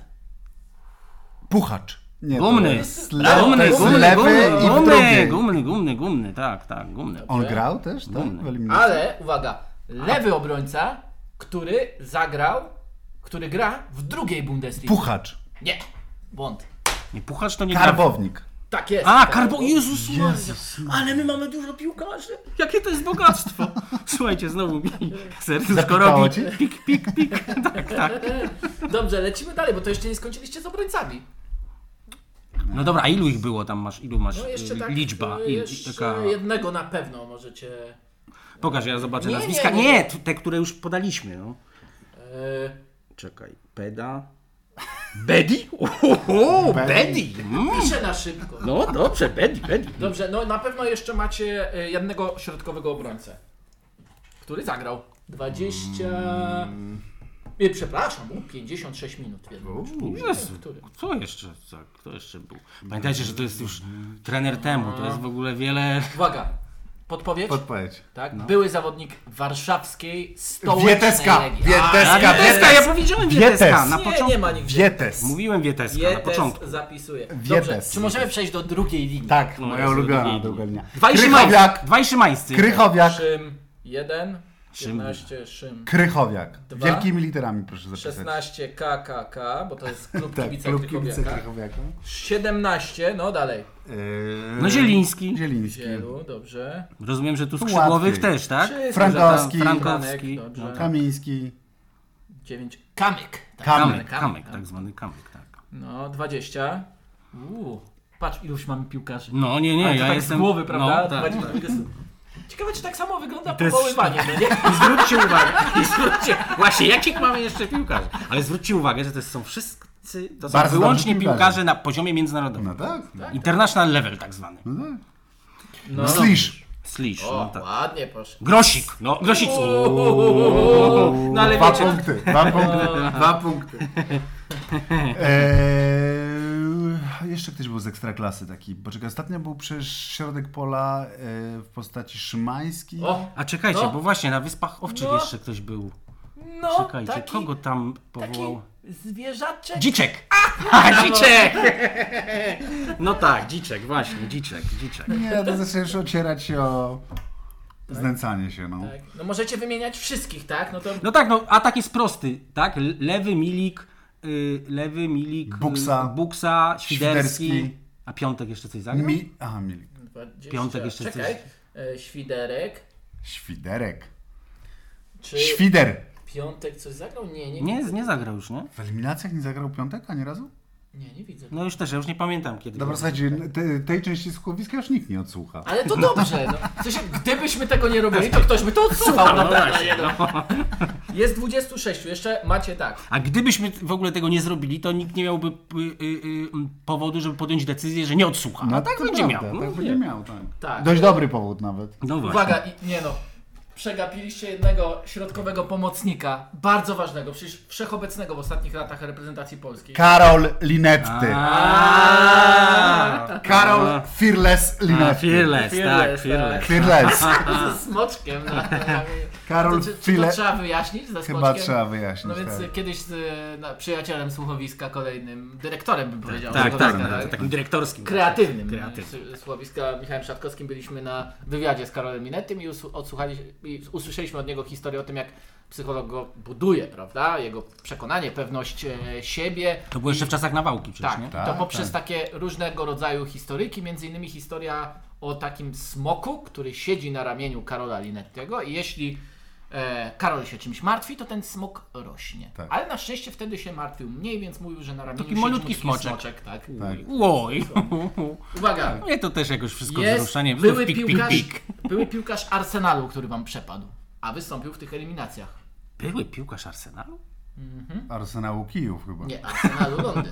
[SPEAKER 1] Puchacz. Nie, to
[SPEAKER 2] Gumny.
[SPEAKER 1] jest le- to
[SPEAKER 2] Gumny,
[SPEAKER 1] jest
[SPEAKER 2] gumny,
[SPEAKER 1] lewy
[SPEAKER 2] gumny,
[SPEAKER 1] i w
[SPEAKER 2] gumny,
[SPEAKER 1] drugiej.
[SPEAKER 2] gumny, gumny, gumny, tak, tak, gumny.
[SPEAKER 1] On grał też, tak?
[SPEAKER 2] Gumny.
[SPEAKER 1] W eliminacji?
[SPEAKER 3] Ale, uwaga, lewy obrońca, który zagrał, który gra w drugiej Bundeslidze.
[SPEAKER 1] Puchacz.
[SPEAKER 3] Nie, błąd.
[SPEAKER 2] Nie, puchacz to nie gra.
[SPEAKER 1] Karbownik.
[SPEAKER 3] Tak jest.
[SPEAKER 2] A,
[SPEAKER 3] tak.
[SPEAKER 2] karbo... Jezus Maria.
[SPEAKER 1] Jezus
[SPEAKER 2] Ale my mamy dużo piłkarzy. Jakie to jest bogactwo. Słuchajcie, znowu mi serduszko
[SPEAKER 1] Zapiekało
[SPEAKER 2] robi.
[SPEAKER 1] ci?
[SPEAKER 2] Pik, pik, pik. Tak, tak.
[SPEAKER 3] Dobrze, lecimy dalej, bo to jeszcze nie skończyliście z obrońcami.
[SPEAKER 2] No dobra, a ilu ich było tam masz? Ilu masz
[SPEAKER 3] No jeszcze
[SPEAKER 2] y,
[SPEAKER 3] tak,
[SPEAKER 2] liczba?
[SPEAKER 3] y,
[SPEAKER 2] Il,
[SPEAKER 3] jeszcze
[SPEAKER 2] taka...
[SPEAKER 3] jednego na pewno możecie...
[SPEAKER 2] Pokaż, ja zobaczę
[SPEAKER 3] Nie,
[SPEAKER 2] nazwiska.
[SPEAKER 3] nie,
[SPEAKER 2] Nie,
[SPEAKER 3] nie.
[SPEAKER 2] t- te, które już podaliśmy. No.
[SPEAKER 3] e,
[SPEAKER 2] Czekaj, Peda. Bedi? Ohoho, Bedi. Mm.
[SPEAKER 3] Piszę na szybko.
[SPEAKER 2] No dobrze, Bedi, Bedi.
[SPEAKER 3] Dobrze, no na pewno jeszcze macie e, jednego środkowego obrońcę, który zagrał 20...
[SPEAKER 2] Mm.
[SPEAKER 3] Nie, przepraszam, u, 56 minut w jednym meczu.
[SPEAKER 2] Jezu,
[SPEAKER 3] Który?
[SPEAKER 2] kto jeszcze, co, kto jeszcze był? Pamiętajcie, że to jest już trener temu, to jest w ogóle wiele...
[SPEAKER 3] Uwaga, podpowiedź?
[SPEAKER 1] Podpowiedź.
[SPEAKER 3] Tak,
[SPEAKER 2] no.
[SPEAKER 3] były zawodnik warszawskiej stołecznej
[SPEAKER 1] Wieteska.
[SPEAKER 3] Legii.
[SPEAKER 2] A,
[SPEAKER 1] Wieteska.
[SPEAKER 2] Wieteska,
[SPEAKER 1] Wietes.
[SPEAKER 2] ja powiedziałem
[SPEAKER 1] Wietes.
[SPEAKER 2] Wieteska na
[SPEAKER 3] A, nie,
[SPEAKER 2] początku.
[SPEAKER 3] nie ma nigdzie.
[SPEAKER 1] Wietes.
[SPEAKER 2] Mówiłem Wieteska na
[SPEAKER 4] Wietes
[SPEAKER 2] początku.
[SPEAKER 4] zapisuje.
[SPEAKER 3] Dobrze,
[SPEAKER 1] Wietes.
[SPEAKER 3] czy możemy przejść do drugiej linii?
[SPEAKER 1] Tak,
[SPEAKER 2] No,
[SPEAKER 1] moja
[SPEAKER 2] jest
[SPEAKER 1] ulubiona
[SPEAKER 2] drugi.
[SPEAKER 1] długelnia.
[SPEAKER 2] Dwaj Szymańscy.
[SPEAKER 1] Krychowiak.
[SPEAKER 2] Dwaj Szymańscy.
[SPEAKER 1] Krychowiak.
[SPEAKER 3] Szym 1,
[SPEAKER 2] Szym.
[SPEAKER 3] 15 Szym,
[SPEAKER 1] Krychowiak.
[SPEAKER 3] Dwa.
[SPEAKER 1] Wielkimi literami proszę zapisać.
[SPEAKER 3] 16 KKK, bo to jest klub
[SPEAKER 1] Tak,
[SPEAKER 3] kibica
[SPEAKER 1] klub kibice
[SPEAKER 3] Krychowiaka.
[SPEAKER 1] Krychowiaka.
[SPEAKER 3] 17, no dalej.
[SPEAKER 1] Eee,
[SPEAKER 2] No Zieliński.
[SPEAKER 1] Zieliński.
[SPEAKER 3] Zielu, dobrze.
[SPEAKER 2] Rozumiem, że
[SPEAKER 1] Tu
[SPEAKER 2] tu skrzydłowych
[SPEAKER 1] łatwiej.
[SPEAKER 2] też, tak?
[SPEAKER 3] Wszyscy
[SPEAKER 1] Frankowski.
[SPEAKER 2] Że tam
[SPEAKER 3] Franek,
[SPEAKER 2] Frankowski.
[SPEAKER 3] dobrze.
[SPEAKER 1] No, Kamiński.
[SPEAKER 3] 9. Kamyk. Tak.
[SPEAKER 2] Kamek,
[SPEAKER 1] Kamek.
[SPEAKER 2] kamek, tak zwany kamek, tak.
[SPEAKER 3] No, 20. Uuu. Patrz, iluś mamy piłkarzy.
[SPEAKER 2] No nie, nie,
[SPEAKER 3] Ale to
[SPEAKER 2] ja
[SPEAKER 3] tak
[SPEAKER 2] jestem...
[SPEAKER 3] z głowy, prawda?
[SPEAKER 2] No, tak.
[SPEAKER 3] 20, 20. Ciekawe, czy tak samo wygląda
[SPEAKER 2] to jest
[SPEAKER 3] powoływanie, no nie?
[SPEAKER 2] I zwróćcie uwagę, i zwróćcie, właśnie jakich mamy jeszcze piłkarzy? Ale zwróćcie uwagę, że to są wszyscy, to są
[SPEAKER 1] Bardzo
[SPEAKER 2] wyłącznie
[SPEAKER 1] dobrzy piłkarze.
[SPEAKER 2] piłkarze na poziomie międzynarodowym.
[SPEAKER 1] No tak. No.
[SPEAKER 2] International level tak zwany.
[SPEAKER 3] Mhm. No.
[SPEAKER 1] Slisz.
[SPEAKER 2] Slisz,
[SPEAKER 3] O,
[SPEAKER 2] no tak.
[SPEAKER 3] ładnie proszę.
[SPEAKER 2] Grosik, no grosik. No ale
[SPEAKER 1] Dwa
[SPEAKER 2] wiecie,
[SPEAKER 1] punkty. Dwa punkty. Dwa punkty. Eee, jeszcze ktoś był z ekstraklasy taki. Bo czekaj, ostatnio był przecież środek pola e, w postaci Szymański.
[SPEAKER 3] O,
[SPEAKER 2] a czekajcie,
[SPEAKER 3] No.
[SPEAKER 2] bo właśnie na Wyspach Owczych
[SPEAKER 3] No.
[SPEAKER 2] jeszcze ktoś był.
[SPEAKER 3] no,
[SPEAKER 2] Czekajcie,
[SPEAKER 3] taki,
[SPEAKER 2] kogo tam
[SPEAKER 3] taki
[SPEAKER 2] powołał?
[SPEAKER 3] zwierzaczek.
[SPEAKER 2] Dziczek! A, dziczek! No tak, dziczek, właśnie, dziczek, dziczek.
[SPEAKER 1] Nie, to zaczęliśmy już ocierać się o znęcanie się, no.
[SPEAKER 3] Tak. No możecie wymieniać wszystkich, tak? No to
[SPEAKER 2] No tak, no atak jest prosty, tak? Lewy Milik, y, lewy Milik, y,
[SPEAKER 1] Buksa.
[SPEAKER 2] Buksa Świderski,
[SPEAKER 1] Świderski.
[SPEAKER 2] a Piątek jeszcze coś zagrał?
[SPEAKER 1] Mi... Aha, Milik.
[SPEAKER 3] 20.
[SPEAKER 2] Piątek jeszcze
[SPEAKER 3] Czekaj. E, Świderek.
[SPEAKER 1] Świderek.
[SPEAKER 3] Czy...
[SPEAKER 1] Świder.
[SPEAKER 3] Piątek coś zagrał? Nie, nie.
[SPEAKER 2] Nie, nie zagrał już, nie?
[SPEAKER 1] W eliminacjach nie zagrał piątek ani razu?
[SPEAKER 3] Nie, nie widzę.
[SPEAKER 2] No już też, ja już nie pamiętam kiedy.
[SPEAKER 1] Dobra,
[SPEAKER 2] było.
[SPEAKER 1] słuchajcie, te, tej części słuchowiska już nikt nie odsłucha.
[SPEAKER 3] Ale to dobrze, no. W sensie, gdybyśmy tego nie robili, to ktoś by to odsłuchał na pewno. nie no.
[SPEAKER 4] Jest 26, jeszcze macie tak.
[SPEAKER 2] A gdybyśmy w ogóle tego nie zrobili, to nikt nie miałby y, y, y, powodu, żeby podjąć decyzję, że nie odsłucha. No, tak
[SPEAKER 1] to
[SPEAKER 2] będzie
[SPEAKER 1] prawda,
[SPEAKER 2] miał.
[SPEAKER 1] Tak
[SPEAKER 2] No,
[SPEAKER 1] będzie miał, tak.
[SPEAKER 3] Tak.
[SPEAKER 1] Dość dobry powód nawet.
[SPEAKER 2] no właśnie.
[SPEAKER 3] Uwaga, i, nie no. Przegapiliście jednego środkowego pomocnika, bardzo ważnego, przecież wszechobecnego w ostatnich latach reprezentacji polskiej.
[SPEAKER 1] Karol Linetti.
[SPEAKER 2] Aaaa!
[SPEAKER 1] Karol Fearless
[SPEAKER 2] A,
[SPEAKER 1] Linetti.
[SPEAKER 2] Fearless, tak,
[SPEAKER 3] Fearless,
[SPEAKER 2] Fearless.
[SPEAKER 1] Fearless.
[SPEAKER 3] Ze smoczkiem na na ramieniu.
[SPEAKER 1] Karol
[SPEAKER 3] To czy, czy to
[SPEAKER 1] Fearless.
[SPEAKER 3] trzeba wyjaśnić ze
[SPEAKER 1] Chyba
[SPEAKER 3] smoczkiem?
[SPEAKER 1] trzeba wyjaśnić.
[SPEAKER 3] No więc
[SPEAKER 1] tak.
[SPEAKER 3] kiedyś z y, no, przyjacielem słuchowiska kolejnym, dyrektorem bym powiedział.
[SPEAKER 2] Tak, tak,
[SPEAKER 3] słuchowiska,
[SPEAKER 2] tak, takim dyrektorskim.
[SPEAKER 3] Kreatywnym
[SPEAKER 2] Kreatywnym.
[SPEAKER 3] kreatywnym. słuchowiska Michałem Szatkowskim byliśmy na wywiadzie z Karolem Minettym i, usu- odsłuchali, i usłyszeliśmy od niego historię o tym, jak psycholog go buduje, prawda? Jego przekonanie, pewność e, siebie.
[SPEAKER 2] To było jeszcze w czasach nawałki przecież,
[SPEAKER 3] Tak,
[SPEAKER 2] nie?
[SPEAKER 1] Tak,
[SPEAKER 3] to poprzez
[SPEAKER 1] tak.
[SPEAKER 3] takie różnego rodzaju historyki, między innymi historia o takim smoku, który siedzi na ramieniu Karola Linettiego i jeśli e, Karol się czymś martwi, to ten smok rośnie.
[SPEAKER 1] Tak.
[SPEAKER 3] Ale na szczęście wtedy się martwił mniej, więc mówił, że na ramieniu
[SPEAKER 2] Taki
[SPEAKER 3] siedzi
[SPEAKER 2] malutki smoczek.
[SPEAKER 3] tak.
[SPEAKER 1] Tak.
[SPEAKER 2] Łoj.
[SPEAKER 3] Uwaga,
[SPEAKER 2] Mnie to też jakoś wszystko
[SPEAKER 3] jest
[SPEAKER 2] wzruszanie.
[SPEAKER 3] były,
[SPEAKER 2] Pik, pik,
[SPEAKER 3] piłkarz,
[SPEAKER 2] pik.
[SPEAKER 3] były piłkarz Arsenalu, który wam przepadł, a wystąpił w tych eliminacjach. Mhm.
[SPEAKER 2] Były piłkarz Arsenalu?
[SPEAKER 1] Arsenału Kijów chyba.
[SPEAKER 3] Nie, Arsenalu Londyn.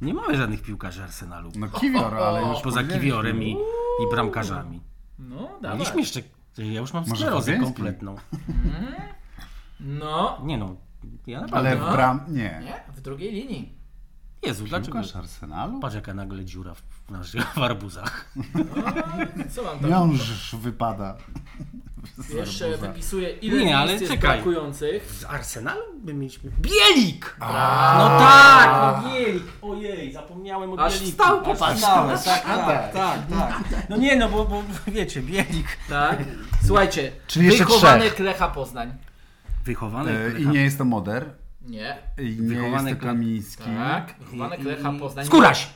[SPEAKER 2] Nie mamy żadnych piłkarzy Arsenalu.
[SPEAKER 1] No Kiwior, ale już
[SPEAKER 2] Poza
[SPEAKER 1] powiedzieliśmy.
[SPEAKER 2] Kiwiorem i, i bramkarzami.
[SPEAKER 3] No,
[SPEAKER 2] Mieliśmy
[SPEAKER 3] dawaj.
[SPEAKER 2] jeszcze... Ja już mam
[SPEAKER 1] Może
[SPEAKER 2] sklerozę
[SPEAKER 1] Fabiański?
[SPEAKER 2] kompletną.
[SPEAKER 3] No,
[SPEAKER 2] Nie no, ja naprawdę...
[SPEAKER 1] Ale w bram... Nie.
[SPEAKER 3] nie, w drugiej linii.
[SPEAKER 2] Jezu, dlaczego...
[SPEAKER 1] Piłkarz Arsenalu?
[SPEAKER 2] Patrz jaka nagle dziura w, w naszych w arbuzach.
[SPEAKER 4] Co mam tam?
[SPEAKER 1] Miąższ wypada. Z
[SPEAKER 4] Jeszcze
[SPEAKER 1] arbuza.
[SPEAKER 4] wypisuję ile
[SPEAKER 2] Nie,
[SPEAKER 4] nie,
[SPEAKER 2] ale
[SPEAKER 4] ale jest
[SPEAKER 2] czekaj.
[SPEAKER 4] brakujących.
[SPEAKER 2] Z Arsenalu by mieliśmy... Bielik! No tak! no Bielik! Ojej, zapomniałem o
[SPEAKER 4] Aż
[SPEAKER 2] Bieliku.
[SPEAKER 4] wstał,
[SPEAKER 2] Aż
[SPEAKER 4] popatrz.
[SPEAKER 2] wstałem, tak, tak, tak, tak. No nie no, bo, bo wiecie, Bielik...
[SPEAKER 3] Tak. Słuchajcie,
[SPEAKER 1] Czyli jeszcze
[SPEAKER 3] wychowany Klecha Poznań.
[SPEAKER 2] Wychowany...
[SPEAKER 1] E, I
[SPEAKER 2] kolecha.
[SPEAKER 1] nie jest to Moder.
[SPEAKER 3] Nie.
[SPEAKER 1] I nie jest
[SPEAKER 2] No Wychowany
[SPEAKER 1] to
[SPEAKER 2] kl-
[SPEAKER 1] Kamiński.
[SPEAKER 3] Tak. Wychowany
[SPEAKER 2] Mm. I-
[SPEAKER 3] Klecha
[SPEAKER 2] i-
[SPEAKER 3] Poznań.
[SPEAKER 2] Skóraś!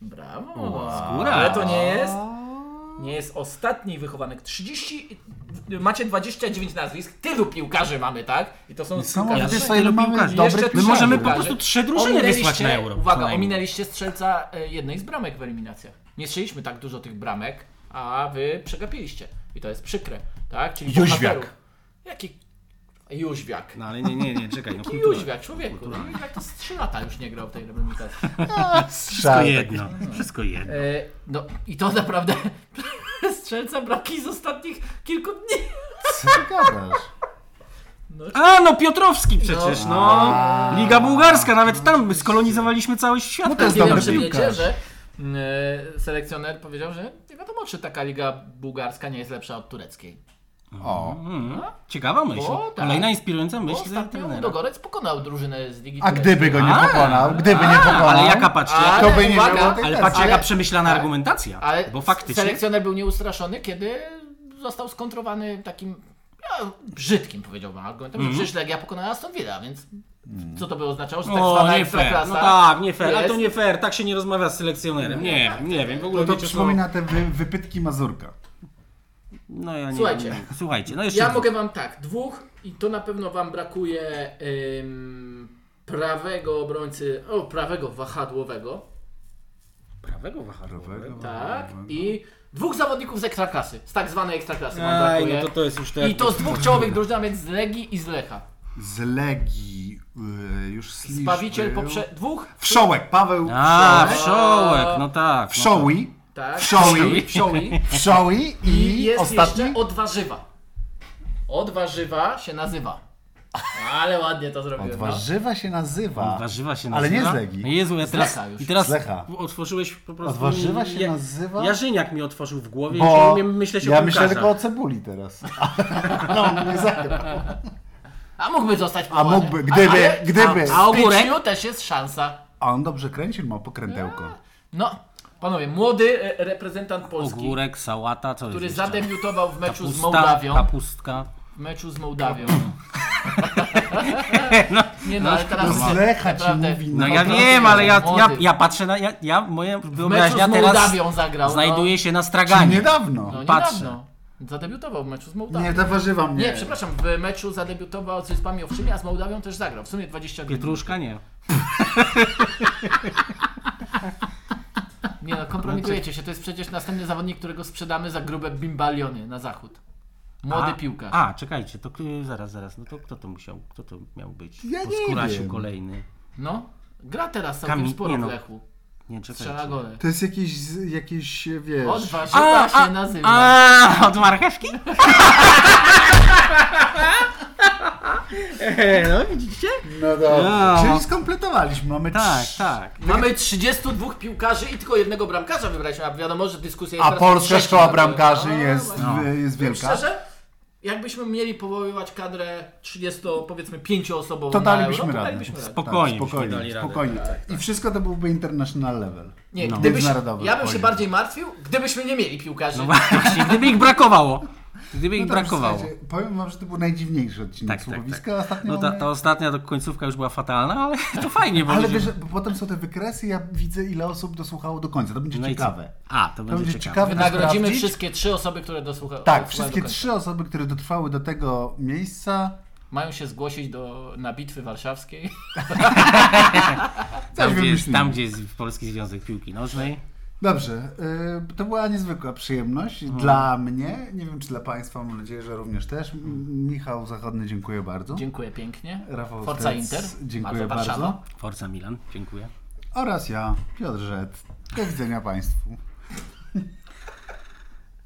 [SPEAKER 3] Brawo.
[SPEAKER 2] skóra.
[SPEAKER 3] Ale to nie jest. Nie jest ostatni wychowanek. 30. i- Macie 29 nazwisk. Tylu piłkarzy mamy, tak? I to są
[SPEAKER 1] Niesamowite.
[SPEAKER 3] piłkarze.
[SPEAKER 1] Wiesz,
[SPEAKER 2] z
[SPEAKER 1] co,
[SPEAKER 2] tylu
[SPEAKER 1] ile mamy
[SPEAKER 2] piłkarzy.
[SPEAKER 1] dobrych
[SPEAKER 2] My
[SPEAKER 1] piłkarzy.
[SPEAKER 2] możemy po
[SPEAKER 3] piłkarzy.
[SPEAKER 2] prostu trzy drużyny
[SPEAKER 3] Ominęliście-
[SPEAKER 2] wysłać na euro. co
[SPEAKER 3] Uwaga,
[SPEAKER 2] najmniej.
[SPEAKER 3] ominęliście strzelca e, jednej z bramek w eliminacjach. Nie strzeliśmy tak dużo tych bramek, a wy przegapiliście. I to jest przykre, tak? Czyli
[SPEAKER 1] Jóźwiak.
[SPEAKER 3] bohaterów. Jaki Jóźwiak.
[SPEAKER 2] No ale nie, nie, nie, czekaj. No, kultura.
[SPEAKER 3] Jóźwiak, człowieku. no. Jóźwiak to z 3 lata już nie grał w tej reprezentacji.
[SPEAKER 2] Wszystko
[SPEAKER 1] Strzał.
[SPEAKER 2] jedno, wszystko jedno.
[SPEAKER 3] E, no i to naprawdę strzelca braki z ostatnich kilku dni.
[SPEAKER 1] Co ty gadasz?
[SPEAKER 2] A no Piotrowski przecież, no. Liga Bułgarska, nawet tam skolonizowaliśmy cały świat.
[SPEAKER 1] No to jest
[SPEAKER 3] Nie wiem,
[SPEAKER 1] dobry
[SPEAKER 3] czy wiecie,
[SPEAKER 1] piłkarz.
[SPEAKER 3] że e, selekcjoner powiedział, że nie wiadomo, czy taka liga bułgarska nie jest lepsza od tureckiej.
[SPEAKER 1] O.
[SPEAKER 2] Mm, ciekawa myśl.
[SPEAKER 3] O, tak.
[SPEAKER 2] Kolejna inspirująca
[SPEAKER 3] Bo
[SPEAKER 2] myśl za
[SPEAKER 3] ostatnio
[SPEAKER 2] trenera.
[SPEAKER 3] Dogorec pokonał drużynę z ligi
[SPEAKER 1] A
[SPEAKER 3] tureckiej.
[SPEAKER 1] gdyby go nie pokonał, gdyby nie pokonał,
[SPEAKER 2] Ale jaka patrzcie,
[SPEAKER 3] Ale
[SPEAKER 1] to by nie
[SPEAKER 3] uwaga,
[SPEAKER 1] było tej
[SPEAKER 2] ale
[SPEAKER 1] tezy.
[SPEAKER 2] patrzcie jaka
[SPEAKER 3] ale-
[SPEAKER 2] przemyślana
[SPEAKER 3] ale-
[SPEAKER 2] argumentacja.
[SPEAKER 3] Ale
[SPEAKER 2] bo faktycznie
[SPEAKER 3] selekcjoner był nieustraszony, kiedy został skontrowany takim no, brzydkim, powiedziałbym, argumentem, że przecież Legia pokonała Aston Villa, więc
[SPEAKER 1] Mhm.
[SPEAKER 3] co to by oznaczało, że tak
[SPEAKER 2] Mhm. O,
[SPEAKER 3] zwana
[SPEAKER 2] nie fair.
[SPEAKER 3] ekstraklasa
[SPEAKER 2] No tak, nie fair. Ale
[SPEAKER 3] jest-
[SPEAKER 2] to nie fair. Tak się nie rozmawia z selekcjonerem. No Nie, nie wiem. W ogóle
[SPEAKER 1] To, to
[SPEAKER 2] wiecie, co-
[SPEAKER 1] przypomina te wy, wypytki Mazurka.
[SPEAKER 2] No ja nie
[SPEAKER 3] Słuchajcie.
[SPEAKER 2] nie- Słuchajcie, no jeszcze.
[SPEAKER 4] Ja mogę wam tak, dwóch i to na pewno wam brakuje ym, prawego obrońcy, o prawego wahadłowego,
[SPEAKER 2] Prawego wahadłowego.
[SPEAKER 4] tak,
[SPEAKER 1] I...
[SPEAKER 4] i
[SPEAKER 3] Dwóch zawodników z ekstraklasy, z tak zwanej ekstraklasy wam
[SPEAKER 2] Aj,
[SPEAKER 3] brakuje.
[SPEAKER 2] no to, to jest już tak.
[SPEAKER 3] I to z dwóch czołowych drużyn, a więc z Legii i z Lecha.
[SPEAKER 1] Z Legii, y, już Slisz
[SPEAKER 3] Zbawiciel
[SPEAKER 1] był.
[SPEAKER 3] poprze... dwóch...
[SPEAKER 1] Wszołek, Paweł
[SPEAKER 2] A,
[SPEAKER 1] Wszołek.
[SPEAKER 2] wszołek, no tak. No
[SPEAKER 1] Wszoły,
[SPEAKER 4] tak,
[SPEAKER 1] Wszoły,
[SPEAKER 3] Psiowi.
[SPEAKER 1] Wszoły
[SPEAKER 3] I
[SPEAKER 1] i
[SPEAKER 3] jest
[SPEAKER 1] ostatni?
[SPEAKER 3] jeszcze od warzywa. Od warzywa się nazywa. Ale ładnie to zrobiłem.
[SPEAKER 1] Od
[SPEAKER 3] no.
[SPEAKER 1] warzywa się
[SPEAKER 2] tak.
[SPEAKER 1] nazywa.
[SPEAKER 2] Od Warzywa się
[SPEAKER 1] Ale
[SPEAKER 2] nazywa. No
[SPEAKER 1] nie z Legii.
[SPEAKER 2] Jezu, ja teraz,
[SPEAKER 3] Lecha już.
[SPEAKER 2] i teraz
[SPEAKER 1] Z Lecha.
[SPEAKER 2] otworzyłeś po prostu...
[SPEAKER 1] Od warzywa się
[SPEAKER 2] ja,
[SPEAKER 1] nazywa?
[SPEAKER 2] Jarzyniak mi otworzył w głowie, bo...
[SPEAKER 1] Bo
[SPEAKER 2] nie umiem myśleć o
[SPEAKER 1] ja myślę
[SPEAKER 2] piłkarzach.
[SPEAKER 1] tylko o cebuli teraz. No, nie zagrał.
[SPEAKER 3] A mógłby zostać
[SPEAKER 1] A
[SPEAKER 3] powołany.
[SPEAKER 1] mógłby, gdyby,
[SPEAKER 3] ale-
[SPEAKER 1] gdyby.
[SPEAKER 3] A
[SPEAKER 2] A ogórek?
[SPEAKER 3] ogórek? też jest szansa.
[SPEAKER 1] A on dobrze kręcił, ma pokrętełko.
[SPEAKER 3] No, panowie, młody e, reprezentant Polski,
[SPEAKER 2] Ogórek, sałata, co
[SPEAKER 3] który
[SPEAKER 2] jest jeszcze?
[SPEAKER 3] zadebiutował w meczu z
[SPEAKER 2] Kapusta,
[SPEAKER 3] Mołdawią.
[SPEAKER 2] Kapustka.
[SPEAKER 3] W meczu z Mołdawią. Nie no, ale
[SPEAKER 1] No
[SPEAKER 3] teraz
[SPEAKER 1] z Lecha ci
[SPEAKER 3] naprawdę.
[SPEAKER 1] mówi.
[SPEAKER 2] No ja
[SPEAKER 3] naprawdę
[SPEAKER 2] wiem, ale ja, ja,
[SPEAKER 3] młody.
[SPEAKER 2] ja patrzę na... Ja, ja moja
[SPEAKER 3] W meczu z
[SPEAKER 2] wyobraźnia teraz
[SPEAKER 3] Mołdawią no. zagrał.
[SPEAKER 2] znajduje się na
[SPEAKER 1] Czyli
[SPEAKER 2] straganie.
[SPEAKER 1] niedawno.
[SPEAKER 3] no, no,
[SPEAKER 2] patrzę.
[SPEAKER 3] niedawno.
[SPEAKER 4] Zadebiutował w meczu z Mołdawią.
[SPEAKER 1] Nie, ta warzywa mnie.
[SPEAKER 4] Nie, przepraszam, w meczu zadebiutował z Wyspami Owczymi, a z Mołdawią też zagrał. W sumie 20 minut.
[SPEAKER 2] Pietruszka nie.
[SPEAKER 4] Nie no, kompromitujecie się. To jest przecież następny zawodnik, którego sprzedamy za grube bimbaliony na zachód. Młody
[SPEAKER 2] A-
[SPEAKER 4] piłkarz.
[SPEAKER 2] A, czekajcie, to k- zaraz, zaraz. No to kto to musiał? Kto to miał być?
[SPEAKER 1] Ja
[SPEAKER 2] Po
[SPEAKER 1] nie
[SPEAKER 2] Skurasiu
[SPEAKER 1] wiem.
[SPEAKER 2] kolejny.
[SPEAKER 4] No, gra teraz całkiem
[SPEAKER 2] Kami-
[SPEAKER 4] sporo
[SPEAKER 2] nie no.
[SPEAKER 4] w Lechu.
[SPEAKER 2] Nie, czekajcie.
[SPEAKER 4] Strzela gole.
[SPEAKER 1] To jest jakiś, z- jakiś wiesz...
[SPEAKER 4] Od warzywa tak się nazywa.
[SPEAKER 2] A, od marchewki? E, no widzicie?
[SPEAKER 1] No dobrze.
[SPEAKER 2] No.
[SPEAKER 1] Czyli skompletowaliśmy. Mamy
[SPEAKER 2] Tak,
[SPEAKER 1] trz-
[SPEAKER 2] tak.
[SPEAKER 3] Mamy 32 piłkarzy i tylko jednego bramkarza wybraliśmy, a wiadomo, że dyskusja jest
[SPEAKER 1] A
[SPEAKER 3] teraz
[SPEAKER 1] polska
[SPEAKER 3] sześciu
[SPEAKER 1] szkoła
[SPEAKER 3] bramkarzy.
[SPEAKER 1] bramkarzy
[SPEAKER 3] No,
[SPEAKER 1] jest,
[SPEAKER 2] no.
[SPEAKER 1] w- jest wielka.
[SPEAKER 3] Szczerze, jakbyśmy mieli powoływać kadrę 30, powiedzmy 5 osobową
[SPEAKER 1] To
[SPEAKER 3] na
[SPEAKER 1] dalibyśmy
[SPEAKER 3] Euro, to
[SPEAKER 1] radę.
[SPEAKER 3] dalibyśmy radę.
[SPEAKER 2] Spokojnie,
[SPEAKER 1] tak,
[SPEAKER 2] byśmy dali
[SPEAKER 1] spokojnie,
[SPEAKER 2] radę.
[SPEAKER 1] spokojnie. I wszystko to byłby international level.
[SPEAKER 3] tak. Nie,
[SPEAKER 2] No.
[SPEAKER 3] gdybyś,
[SPEAKER 1] Międzynarodowy
[SPEAKER 3] ja bym się
[SPEAKER 1] poziom.
[SPEAKER 3] bardziej martwił, gdybyśmy nie mieli piłkarzy.
[SPEAKER 2] No właśnie, gdyby ich brakowało. Gdyby ich
[SPEAKER 1] No dobrze,
[SPEAKER 2] brakowało.
[SPEAKER 1] słuchajcie, Powiem wam, że to był najdziwniejszy odcinek
[SPEAKER 2] Tak, tak,
[SPEAKER 1] słuchowiska. Ostatnio
[SPEAKER 2] No ta,
[SPEAKER 1] mamy-
[SPEAKER 2] ta ostatnia to końcówka już była fatalna, ale to fajnie, bo
[SPEAKER 1] Ale
[SPEAKER 2] ludzie-
[SPEAKER 1] wiesz, bo potem są te wykresy i ja widzę ile osób dosłuchało do końca. To będzie
[SPEAKER 2] No i co?
[SPEAKER 1] ciekawe.
[SPEAKER 2] A, to będzie,
[SPEAKER 1] będzie
[SPEAKER 2] ciekawe.
[SPEAKER 1] ciekawe.
[SPEAKER 4] Wynagrodzimy
[SPEAKER 1] sprawdzić?
[SPEAKER 4] wszystkie trzy osoby, które dosłuchały.
[SPEAKER 1] Tak,
[SPEAKER 4] dosłuchały
[SPEAKER 1] wszystkie
[SPEAKER 4] do końca.
[SPEAKER 1] trzy osoby, które dotrwały do tego miejsca,
[SPEAKER 4] Mają się zgłosić do, na bitwy warszawskiej.
[SPEAKER 1] Coś
[SPEAKER 2] Tam gdzie, jest,
[SPEAKER 1] wymyślimy.
[SPEAKER 2] tam, gdzie jest Polski Związek Piłki Nożnej.
[SPEAKER 1] Dobrze, y, to była niezwykła przyjemność dla mnie, nie wiem czy dla Państwa, mam nadzieję, że również też. M- Michał Zachodny, dziękuję bardzo.
[SPEAKER 4] Dziękuję pięknie.
[SPEAKER 1] Rafał
[SPEAKER 4] Forza
[SPEAKER 1] Stec,
[SPEAKER 4] Inter.
[SPEAKER 1] Dziękuję
[SPEAKER 4] Bardzo
[SPEAKER 1] bardzo.
[SPEAKER 4] Warszawa.
[SPEAKER 2] Forza Milan, dziękuję.
[SPEAKER 1] Oraz ja, Piotr Rzet. Do widzenia Państwu.